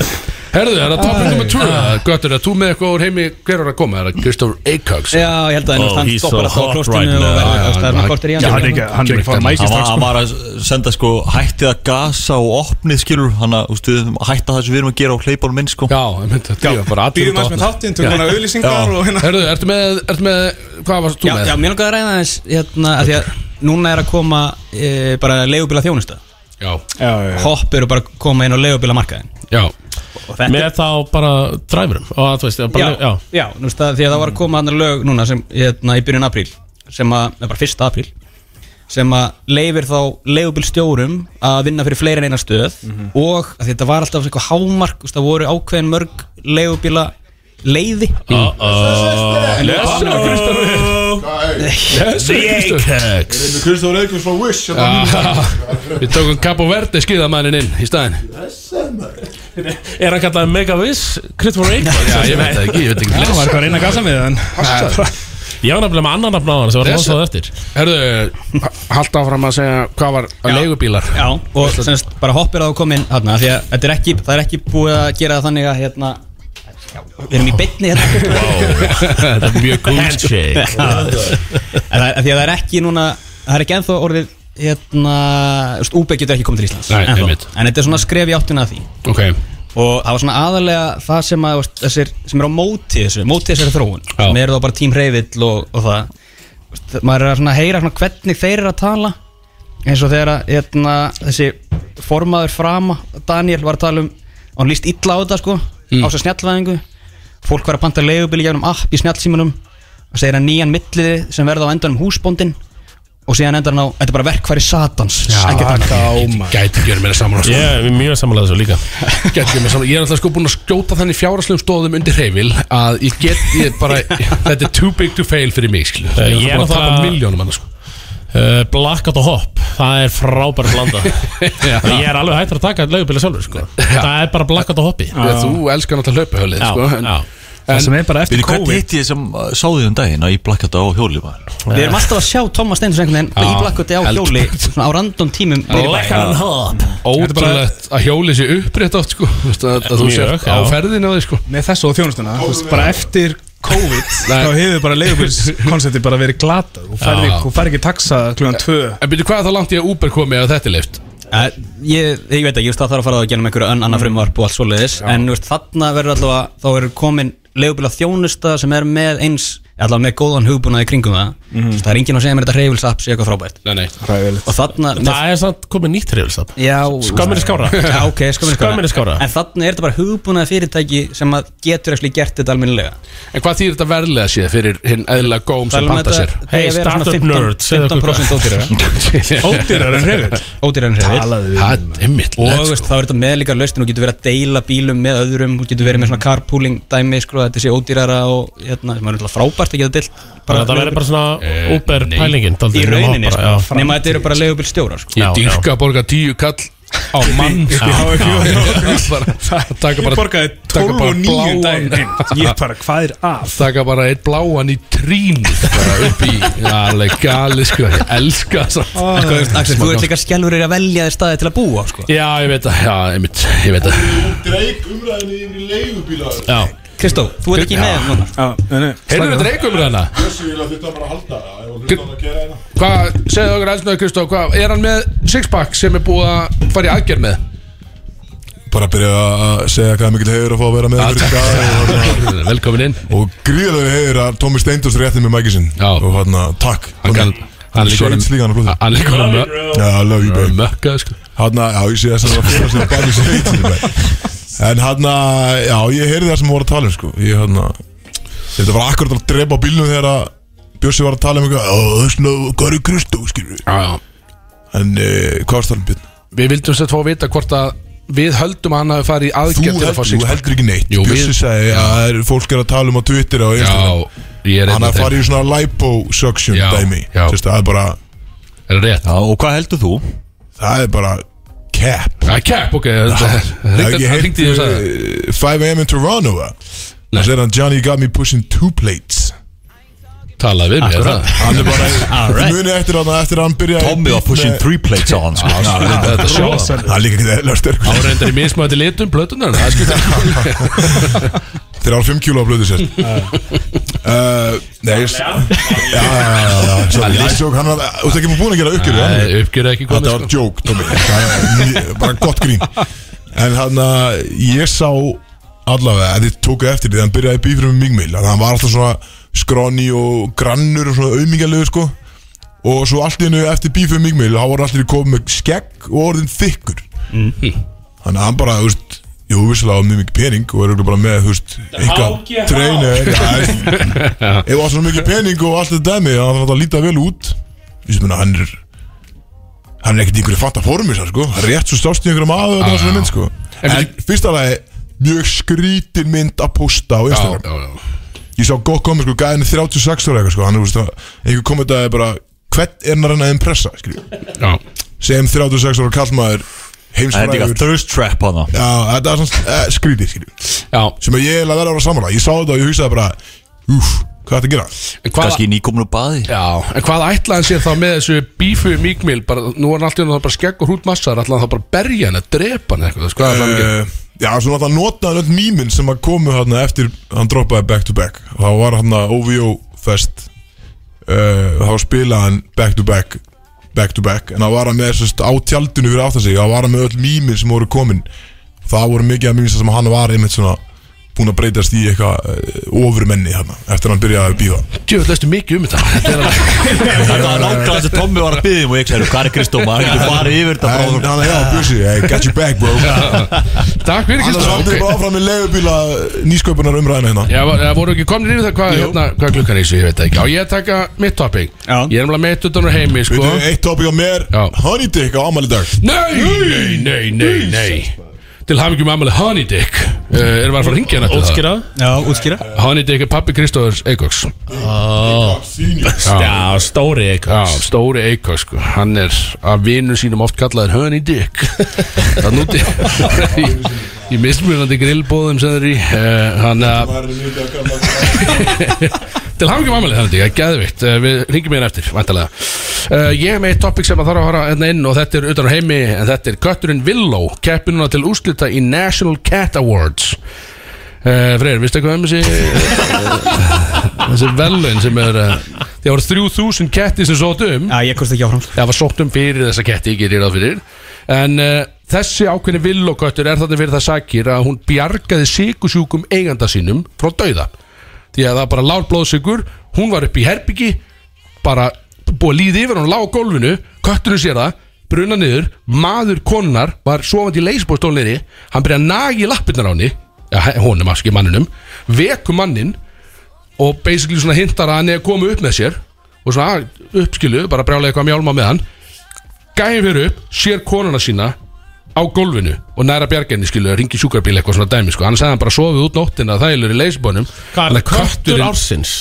S1: Herðu, það er að topic nummer 2
S4: Ah.
S1: Göttur, að þú með eitthvað úr heimi Hver er að koma, það er Kristoffer Ah, Eikhags
S9: Já, ég held að
S2: Oh,
S9: hann- hann
S2: he's so
S9: stoppar alltaf á
S2: hot
S9: klóstinu
S2: right now.
S9: og verður, þú veist, það er
S1: Já,
S9: hann kortir í
S4: Já, hann
S9: hann
S4: er ekki, hann er ekki fara mækist
S3: Hann var,
S4: strax
S3: hann
S4: sko.
S3: var að senda sko hættið að gasa og opnið skilur hann að ústu, hætta það sem við erum að gera og hleypa hún minn sko
S1: Já, ég myndi að drífa bara allir
S4: Býðum
S1: út á
S4: aðeins með
S1: opna.
S4: þáttinn, tökum hann að auðlýsingar og hérna
S1: Herðu, ertu með, ertu með, hvað varst þú
S9: Já,
S1: með?
S9: já, mér langaði að ræða þess hérna, að því að núna er að koma e, bara leigubíla þjónusta
S1: Já,
S4: Já, já, já.
S9: Hopp eru bara að koma inn á leigubíla markaðin
S1: já
S9: og þetta
S2: Með þá bara dræfurum Og þú veist,
S9: já,
S2: bara,
S9: já. já þú veist að, því að það var að koma annar lög núna sem hérna, í byrjun apríl sem að, eða bara fyrsta apríl sem að leifir þá leigubílstjórum að vinna fyrir fleiri en eina stöð og að þetta var alltaf eitthvað hámark þú veist, það voru ákveðin mörg leigubíla leiði
S2: já Lesu Lesu Eikhags
S11: Kristóður Eikvist frá Wish hérna.
S1: Við tókum Capo Verde skýðamænin inn í staðin
S2: Er hann kallaði Megaviss Christopher Eikhags
S1: Já, ég veit það ekki, ég veit ekki
S4: Hann var eitthvað að reyna að gasa með hann
S2: Ég var nefnilega með annan nafn á hann sem var
S1: Bless.
S2: hlásað eftir
S1: Eh, Herðu, halda áfram að segja hvað var að leigubílar
S9: Já, og semst bara hoppir að þú kom inn hérna, því að þetta er ekki, það er ekki búið að gera það þannig að hérna, við erum í beinni hérna
S1: Það er mjög gúl
S2: Handshake
S9: En það er- því að það er ekki núna, það er ekki ennþá orðið hérna, þú veist, Úbeck getur ekki komið til Íslands
S1: Nei,
S9: ennþá.
S1: einmitt.
S9: en þetta er svona skref í áttina að því
S1: Ok,
S9: og það var svona aðalega það sem að þú veist, þessir, sem er á móti þessu, móti þessari þróun
S1: Já.
S9: sem eru þá bara tím hreyfill og, og það Þú veist, maður er að svona heyra svona hvernig þeir eru að tala eins og þegar að, hérna, þessi formaður frama Daniel var að tala um og hann líst illa á þetta sko á þessar snjallvæðingu fólk var að panta leigubili gegnum app í snjallsímanum og segir að nýjan milliði sem verða á endanum húsbóndin og síðan endar hann á, þetta er bara verkfæri satans ekkert annað.
S4: Gáma
S1: gæti ekki verið meira saman á
S2: Ég
S1: sko.
S2: er mjög samanlega þessu líka
S1: Gæti ekki verið meira saman Ég er alltaf sko búin að skjóta þannig fjáraslegum stóðum undir heifil að ég get, ég bara Þetta er too big to fail fyrir mig, skilju
S2: Eh,
S1: Ég
S2: ég
S1: er
S2: er
S1: alltaf búin að
S2: náttúrulega-
S1: tapa miljónum annars sko
S2: uh, Blackout og Hopp Það er frábært blanda
S1: Já.
S2: Ég er alveg hættur að taka leigubíla sjálfur sko. Það er bara Blackout og Hoppi
S1: Þú elskar náttúrulega hlaupahölið,
S2: Já,
S1: sko en-
S2: já.
S4: það sem er bara eftir
S3: Býtu, hvernig
S4: COVID
S3: hitti ég sem uh, sáði um daginn að ég blakkjáta á hjóli var?
S9: Við erum alltaf að sjá Thomas Steindors einhvern veginn í blakkoti á hjóli svona á random tímum niður í bæ.
S2: Lekkan hop
S1: Ótrúlegt að hjóli sé upprétt oft sko Þú veist, að, að þú
S10: Mjög,
S1: sér á
S10: já.
S1: ferðinu á því sko
S4: með þessu og þjónustuna, þú veist, bara eftir COVID, þá hefur bara leigubílskoncepti bara verið glatað og færði,
S1: Já.
S4: og færði ekki taxa kljóðan tvö
S1: En byrju hvað er það langt ég að Uber komi að þetta er leift
S9: Eh, Ég, ég veit ekki, þú veist, það þarf að fara að gera með einhverju önn
S2: Mm.
S9: annað frumvarp og allt svoleiðis En þú veist, þarna verður allavega, þá er komin leigubíla þjónusta sem er með eins allavega með góðan hugbúnaði í kringum það
S2: Mhm.
S9: mm -hmm. Það er enginn að segja mér þetta reyfilsapp sé eitthvað frábært
S1: Nei, nei
S9: Og þarna með,
S2: Það er samt komið nýtt reyðilstab
S9: já,
S2: Skömmin er skára
S9: Já, ok, skömmin er
S2: Skömmin er skára.
S9: En þarna er þetta bara hugbúnaði fyrirtæki sem að getur ekki gert þetta alminnilega
S1: En hvað þýr þetta verðlega séð fyrir hinn eðlilega góm
S9: um
S1: sem panta sér?
S2: Hey, startup nerds, segðu okkur hvað-
S9: 15% ódýrara
S10: Ódýrar en reyður
S9: Ódýrara en reyfil
S1: Það er dimmitt
S9: Og veist, þá er þetta meðlíka laustin og getur verið að deila bílum með öðrum og getur verið með svona carpooling dæmi sko, þetta sé ódýrara og hérna, sem er náttúrulega frábært að geta deilt
S2: Bara það verður bara svona Uber pælingin
S9: í rauninni sko,
S2: sko
S9: nema þetta eru bara leigubílstjórar sko.
S1: Ég dýrka að borga tíu kall á mann sko. Bara- Taka
S4: Ég
S1: bara
S4: borgaði
S1: taka
S4: 12
S1: bara
S4: og 9
S1: bláan-
S4: daginn Ég bara, hvað er af?
S1: taka bara eitt bláan í trín bara upp í Já, alveg gali sko, ég elska það
S4: Ah,
S9: Sko, þú veist, Axel, þú ert líka skelfur að velja þér staði til að búa sko.
S1: Já, ég veit það, já, einmitt, ég veit það
S9: Kristó, þú ert ekki með núna
S4: Já, nei, nei.
S1: Heyrðu þetta
S4: um-
S1: reykum við hana? Hvað, segðu okkur elsnaðu Kristó, hvað, er hann með sixpack sem er búið að fara í aðgerð með?
S8: Bara að byrja að segja hvað er mikill hefur að fá að vera með ykkur í dag og-
S1: Velkomin inn
S8: Og gríðarlega hefur að Tómi Steindors rétti með mækisinn
S1: Já.
S8: Og hérna, takk
S1: Hann kann- hann er líka
S8: líka
S1: orðinn-
S8: líka hann að blóta
S1: Hann líka hann með
S8: Já, love you babe
S1: mökka sko.
S8: Hanna, já, ég sé þess að það var fyrra sem að bæði sér eitt maður. En hanna, já, ég heyrði það sem hún var að tala um, sko Ég hanna, þetta var akkurat að drepa á bílnum þegar að Bjössi var að tala um eitthvað "Ó, Það er svona, hvað er Kristó, skilur
S1: já, já.
S8: En eh, hvað varst það um björn?
S1: Við vildum sér fá að vita hvort að við höldum að hann hafi farið í
S8: Þú
S1: aðgerð til að fá
S8: heldur, þú
S1: sixpack
S8: heldur ekki neitt
S1: Jú, við-
S8: Bjössi sagði að það er- fólk er að tala um á Twitter og Instagram
S1: Já, ég er
S8: Hann
S1: einn af
S8: að
S1: þeim.
S8: fara í svona liposuction
S1: Já,
S8: dæmi
S1: já.
S8: Sérst, það er bara,
S1: Er rétt
S3: Já, og hvað heldur þú?
S8: það er bara cap
S1: Það er kepp, ok
S8: Ég eh,
S1: Það ringdi því og sagði það.
S8: heyrt 5am in Toronto Það segir hann Johnny got me pushing two plates
S1: Talaði við mér það
S8: Hann er bara Þið munið eftir hann eftir að hann byrja
S3: Tommy var pushing three plates á hann sko.
S1: Þetta er sjóðan
S8: Það er líka ekki eðla sterkur
S1: Það reyndar í mismöndi litum, plötunar Það skiptir
S8: Þeir eru 5 kilo á blöðu sér Uh, Nei ég- Já, já, já, já, já Sorry, það er sjók Hann var Þú veist ekki búin að gera uppgjörðu hann
S1: Nei, uppgjörðu ekki komið
S8: Þetta var
S1: sko.
S8: joke, Tommy Það er mjög- Bara gott grín En hann að Ég sá Allavega Þetta tóku eftir því Hann byrjaði bífrið með mingmil Þannig að hann var alltaf svona Skróni og grannur Og svona aumingalegu sko Og svo allt í hennu Eftir bífrið með mingmil Þá var allir komið með skegg Og orðin þykkur Þannig að hann bara Þú veist Jú, vissilega á mjög mikið pening og er auðvitað bara með, þú veist, eitthvað treynir Ef það var svona mikið pening og allt þetta dæmi, þannig að það líta vel út Þú veist, ég meina, hann er hann er ekkert í einhverju fatta formi sér, sko. hann er rétt svo stást í einhverju maður og það
S3: Ah.
S8: svona mynd sko. en, en fyrsta lagi mjög skrítin mynd að posta á Instagram
S1: Já, já, já.
S8: ég sá gott komið sko, gæðin er 36 ára eitthvað sko, hann er, veist, það- einhver komið það er bara hvern er hann að reyna að impressa skilju?
S1: Já.
S8: sem 36 ára kallmaður
S3: Það er líka
S8: heimsfræður
S3: thirst trap á hann
S8: Já, þetta er svona eh, skrítið skilju.
S1: Já,
S8: sem að ég er að vera að vera samanlega ég sá þetta og ég hugsaði bara úf, hvað er þetta að gera?
S1: en hvað
S3: Kanski nýkomin úr baði
S1: Já, en hvað ætlaði hann sér þá með þessu bífu mýkmil, bara, nú var hann alltaf bara skegg og hrút massar, ætlaði hann þá bara að berja hann að drepa hann eitthvað, þú veist, hvað ætlaði hann að gera?
S8: uh, Já, svo náttúrulega notaði hann öll mýminn sem að komu hérna eftir hann droppaði back to back og þá var hann að OVO fest uh, þá spilaði hann back to back back to back en þá var hann með sérst á tjaldinu fyrir aftan sig þá var hann með öll mýminn sem voru komin það voru mikið af mýminn sem hann var einmitt svona búin að breytast í eitthvað uh, ofurmenni hérna eftir hann byrjaði að býða
S1: Djöfull, veistu mikið um þetta. þetta er alveg-
S3: Það var nákvæmlega þess að Tommy var að byggja um og ég sagði, hvað er Kristó, maður getur farið yfir þetta
S8: En
S3: bráðum
S8: hann að já, Bjössi, hey, got you back bro
S1: Takk fyrir
S8: Annars
S1: Kristján
S8: vandir
S1: okay.
S8: bara áfram með leigubíla nýsköpunar umræðina hérna
S1: Já, var- já, voru ekki komin yfir það hvað, hérna, hvað klukkan er í sig, ég veit það ekki Já, ég taka mitt topping
S9: Já.
S1: Ég er náttúrulega meitt utan úr heimi, sko
S8: Við erum eitt tópík á mér
S1: Já.
S8: Honey Dick á ámæli dag
S1: Nei, nei, nei, nei, nei Til hafingjum ammali Honey Dick uh, Erum við að fara að ringja hann eftir
S10: Ótskýra
S9: Já, útskýra
S1: það Honey Dick er pappi Kristóðurs Eikoks Já,
S2: Já, stóri
S1: já,
S2: eitthvað
S1: stóri Eikoks sko. Hann er af vinum sínum oft kallaður Honey Dick Það núti Í mismunandi grillbóðum sem þeir eru í Eh, Þannig að Til hafingjum amalið þannig, það er geðvikt Eh, Við ringjum mér eftir, vantarlega uh, Ég er með eitt topic sem að þarf að fara hérna inn og þetta er utan á heimi, en þetta er kötturinn Willow, keppir núna til úrslita í National Cat Awards Uh, Freyr, veistu eitthvað um þessi þessi velun sem er uh, það voru 3000 ketti sem sóttu um
S9: Já, ég komst ekki áfram sko.
S1: það var sótt um fyrir þessa ketti, ég gerir það fyrir en uh, þessi ákveðni villoköttur er þarna fyrir það sakir að hún bjargaði sykusjúkum eiganda sínum frá dauða, því að það var bara lár blóðsykur, hún var upp í herbyggi bara búið að líði yfir hún lág á gólfinu, kötturinn sér það bruna niður, maður konunar var sofandi í leysbóðstólneri hann byrja að nagi í lappirnar á henni ja, honum, afskil manninum, veku mannin og basically svona hintar að hann er að koma upp með sér og svona að uppskilu, bara brjálega eitthvað mjálma með hann gæði fyrir upp, sér konuna sína á gólfinu og næra bjargenni skilu, ringi sjúkarbíl eitthvað svona dæmi sko. hann sagði hann bara sofið út nóttina, þægilegur í leysbónum
S2: Hvað er köttur ársins?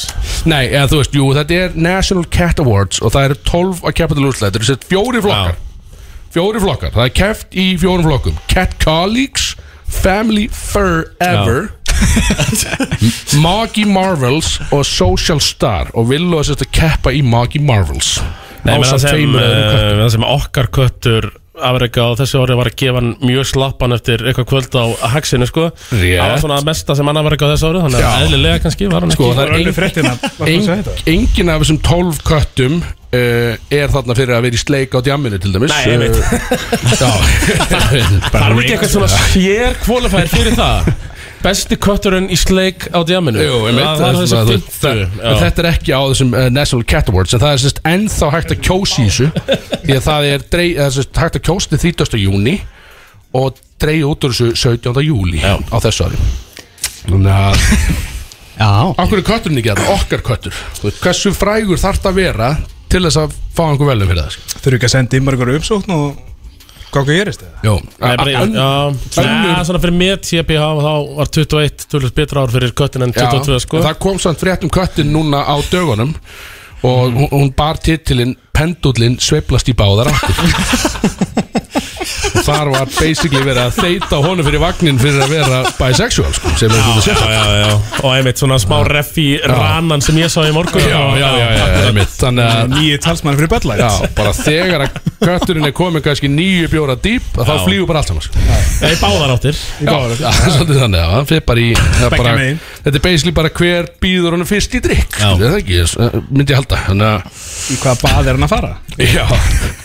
S1: Nei, eða þú veist, jú, þetta er National Cat Awards og það eru 12 að keppa til úrslæð Þetta eru sett fjóri flokkar Fjóri flokkar, það er keft í fjórum flokkum Cat Colleagues, Family Forever Maggie Marvels og Social Star og Willow er sérst að keppa í Maggie Marvels
S2: Nei, menn það
S1: Ásamt
S2: sem,
S1: tveimur öðrum
S2: eh,
S1: köttum.
S2: það sem okkar köttur afrega á þessu orði var að gefa hann mjög slappan eftir eitthvað kvöld á haxinu sko
S1: Rétt.
S2: Það var svona að mesta sem hann afrega á þessu orði þannig að eðlilega kannski var hann
S1: Sko, það
S2: ekki
S1: er ein- Eng, engin af þessum 12 köttum uh, er þarna fyrir að vera í sleik á djamminu til dæmis Eh,
S2: Nei, ég veit.
S1: veit
S2: Það er ekki eitthvað svona sér kvalifær fyrir það Besti kötturinn í sleik á djáminu
S1: Jú, ég
S2: Það var þessi
S1: það, það, en
S2: fintu
S1: þetta er ekki á þessum uh, National Cat Awards en það er sérst ennþá hægt að kjósa í þessu því að það er drey, eða, sérst, hægt að kjósa til 30. júni og dreigja út úr þessu 17. júli
S2: Já.
S1: á þessu ári Þannig að,
S9: Já,
S1: okkur er kötturinn ekki þetta, okkar köttur Þú veist, Hversu frægur þarf það að vera til þess að fá einhver velum fyrir það sko?
S4: Þurfum ekki að senda í margar umsókn og hvað hvað gerist það?
S1: Jó,
S2: Nei, bara,
S1: a- a-
S2: já,
S1: önnur-
S2: já, svona fyrir mér TPH þá var 21 tölvist betra ár fyrir köttin en
S1: Já,
S2: 22 sko
S1: en Það kom samt frétt um köttin núna á dögunum Og hún, hún bar titilinn Pendullin sveiflast í báðar áttir Og Þar var basically verið að þeyta honum fyrir vagnin fyrir að vera bisexual sko, sem er svona
S2: já,
S1: sérstakt.
S2: já, já, já. og einmitt svona smá ref í rannan sem ég sá í morgun
S1: Já, já, já, já, já, einmitt. Þannig að
S4: Nýji talsmann fyrir Bud
S1: Já,
S4: Light
S1: bara þegar að kötturinn er komin kannski nýju bjóra dýp að þá
S2: Já.
S1: flýgur bara allt saman sko.
S2: Ég báðar áttir
S1: Já, já, það er svolítið þannig já, hann fer bara í, það er bara,
S4: megin.
S1: Þetta er basically bara hver býður honum fyrst í drikk
S2: Já.
S1: Það er ekki, ég- eh, myndi ég halda Þannig að
S4: Í hvaða bað er hann að fara?
S1: Já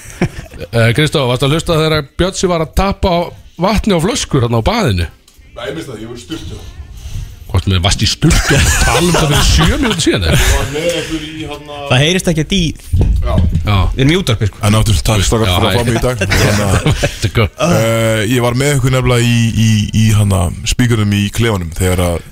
S1: Eh, Kristóf, varstu að hlusta þegar Bjötsi var að tappa á vatni á flöskur hann á baðinu?
S8: Nei, ég misti það, ég voru styrtu Það
S1: Hvort með vast í sturtu og tala um það fyrir sjö mínúti síðan eða?
S8: var með einhver í hann að
S9: það heyrist ekki að dý
S1: Já,
S9: Við erum í útvarpi sko.
S8: En áttur takk stakar
S1: Já,
S8: fyrir að
S1: hæ.
S8: fá mig í dag Þannig að
S1: þetta er góð
S8: uh, Ég var með ykkur nefnilega í, í, í hana, spíkunum í klefanum Þegar að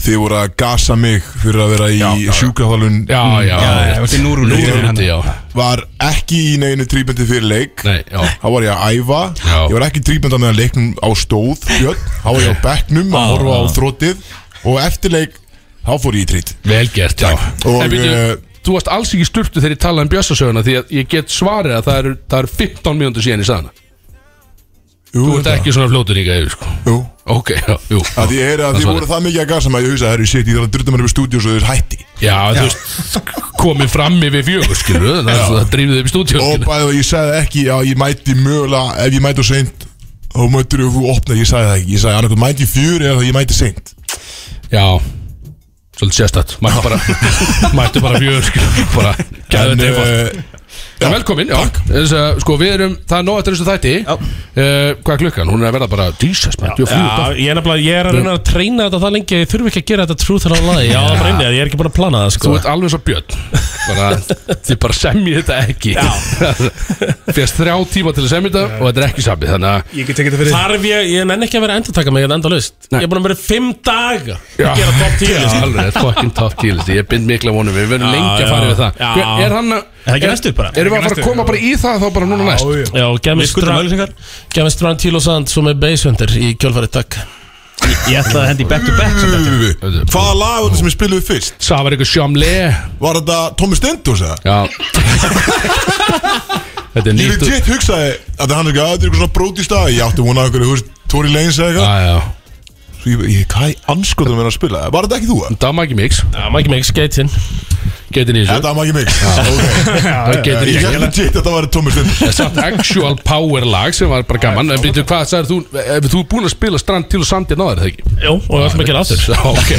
S8: þið voru að gasa mig Fyrir að vera í sjúkraþálun
S1: Já, já,
S9: Það var til núru
S1: Nú er þetta, já
S8: Var ekki í neginu tríbendi fyrir leik
S1: Nei, já
S8: Þá var ég að æfa
S1: Já.
S8: Ég var ekki tríbenda meðan leiknum á stóð Björn, þá var ég á bekknum að horfa á þróttið Og eftir leik, þá fór ég í trít
S1: Vel gert, já
S8: Og,
S1: En
S8: eh,
S1: býttu, þú varst alls ekki í sturtu þegar ég talaði um Bjössasöguna Því að ég get svarið að það eru, það eru 15 mínúti síðan í staðana
S8: Jú,
S1: Þú ert
S8: þetta-
S1: ekki svona fljótur líka yfir, sko
S8: Jú
S1: Ok, já, jú
S8: að því ég heyri að
S1: Það
S8: því
S1: svarar.
S8: voru það mikið að gasa mig að ég hugsa, herru, shit, ég þarf að drutta mér upp í stúdíu svo þeir hætti
S1: Já, þú veist, komið fram yfir fjögur, skilur við, Það er svo- það drífði upp í stúdíu
S8: og bæðið og ég sagði ekki að ég mæti mögulega, ef ég mæti á seint þá mætur þú opna, ég sagði það ekki ég sagði annarkoð mæti fjör eða ég mæti seint
S1: Já Svolítið sérstætt Mættu bara Mættu bara fjögur skil, Bara Gæðu þetta eitthvað Já, velkomin, já Þess að, sko, við erum Það er nóg eftir þessu þætti uh, Hvað er klukkan? Hún er að verða bara Jesus, maður, djú, fjú
S2: Já, ég er nefnilega, ég er að reyna að treyna þetta það lengi að ég þurfi ekki að gera þetta truth or a lie Já, það breynir, ég er ekki búin að plana það sko
S1: Þú ert alveg svo björn bara, Þið bara semjið þetta ekki Fyrst þrjá tíma til að semja þetta Og þetta er ekki samið Þannig að
S4: Ég get tekið þetta fyrir
S2: Þarf ég, ég nenn ekki að vera að endurtaka mig, ég er enda laust Ég er búin að vera fimm daga
S1: Já.
S2: að gera top 10
S1: Já,
S2: list
S1: alveg, þetta er fucking top 10 listi Ég bind mikla vonum Við verðum
S2: Já,
S1: lengi að
S2: já.
S1: fara við það
S2: Já.
S1: Hver- Er hann að
S2: Er það ekki næstu bara?
S1: Erum við að fara að koma bara í það þá bara núna næst
S4: Já, já.
S2: Já,
S9: Við skuldum auðlýsingar
S2: gefum strand til og sand svo með basehundir í kjölfarið takk
S9: Ég ætlaði að hendi back to back samt eftir.
S8: hvaða lag var þetta sem ég spilaði fyrst?
S1: Það var eitthvað sjámle
S8: var þetta Tommy Stendos eða?
S1: Já Þetta er
S8: ég
S1: nýtt
S8: legit hugsaði að það hann er ekki að þetta er eitthvað svona brót í stað ég átti vona einhverju, þú veist, Tory Lanez eða eitthvað
S1: Já, já
S8: Svo ég, ég, hvað í anskotum er að spila? Var þetta ekki þú? eða?
S1: Dama ekki mix
S2: Já, maður ekki með ekki skeitinn
S1: Getin í þessu
S8: Þetta var ekki mig
S1: Það getur í
S8: Ég
S1: þessu
S8: held að þetta var tómur stund
S1: Það er samt actual power lag sem var bara gaman En byrju, hvað sagðir þú Ef þú er búin að spila strand til og sandi náður það ekki
S2: Jú, og við ætlum að gera aftur
S1: Sá, ok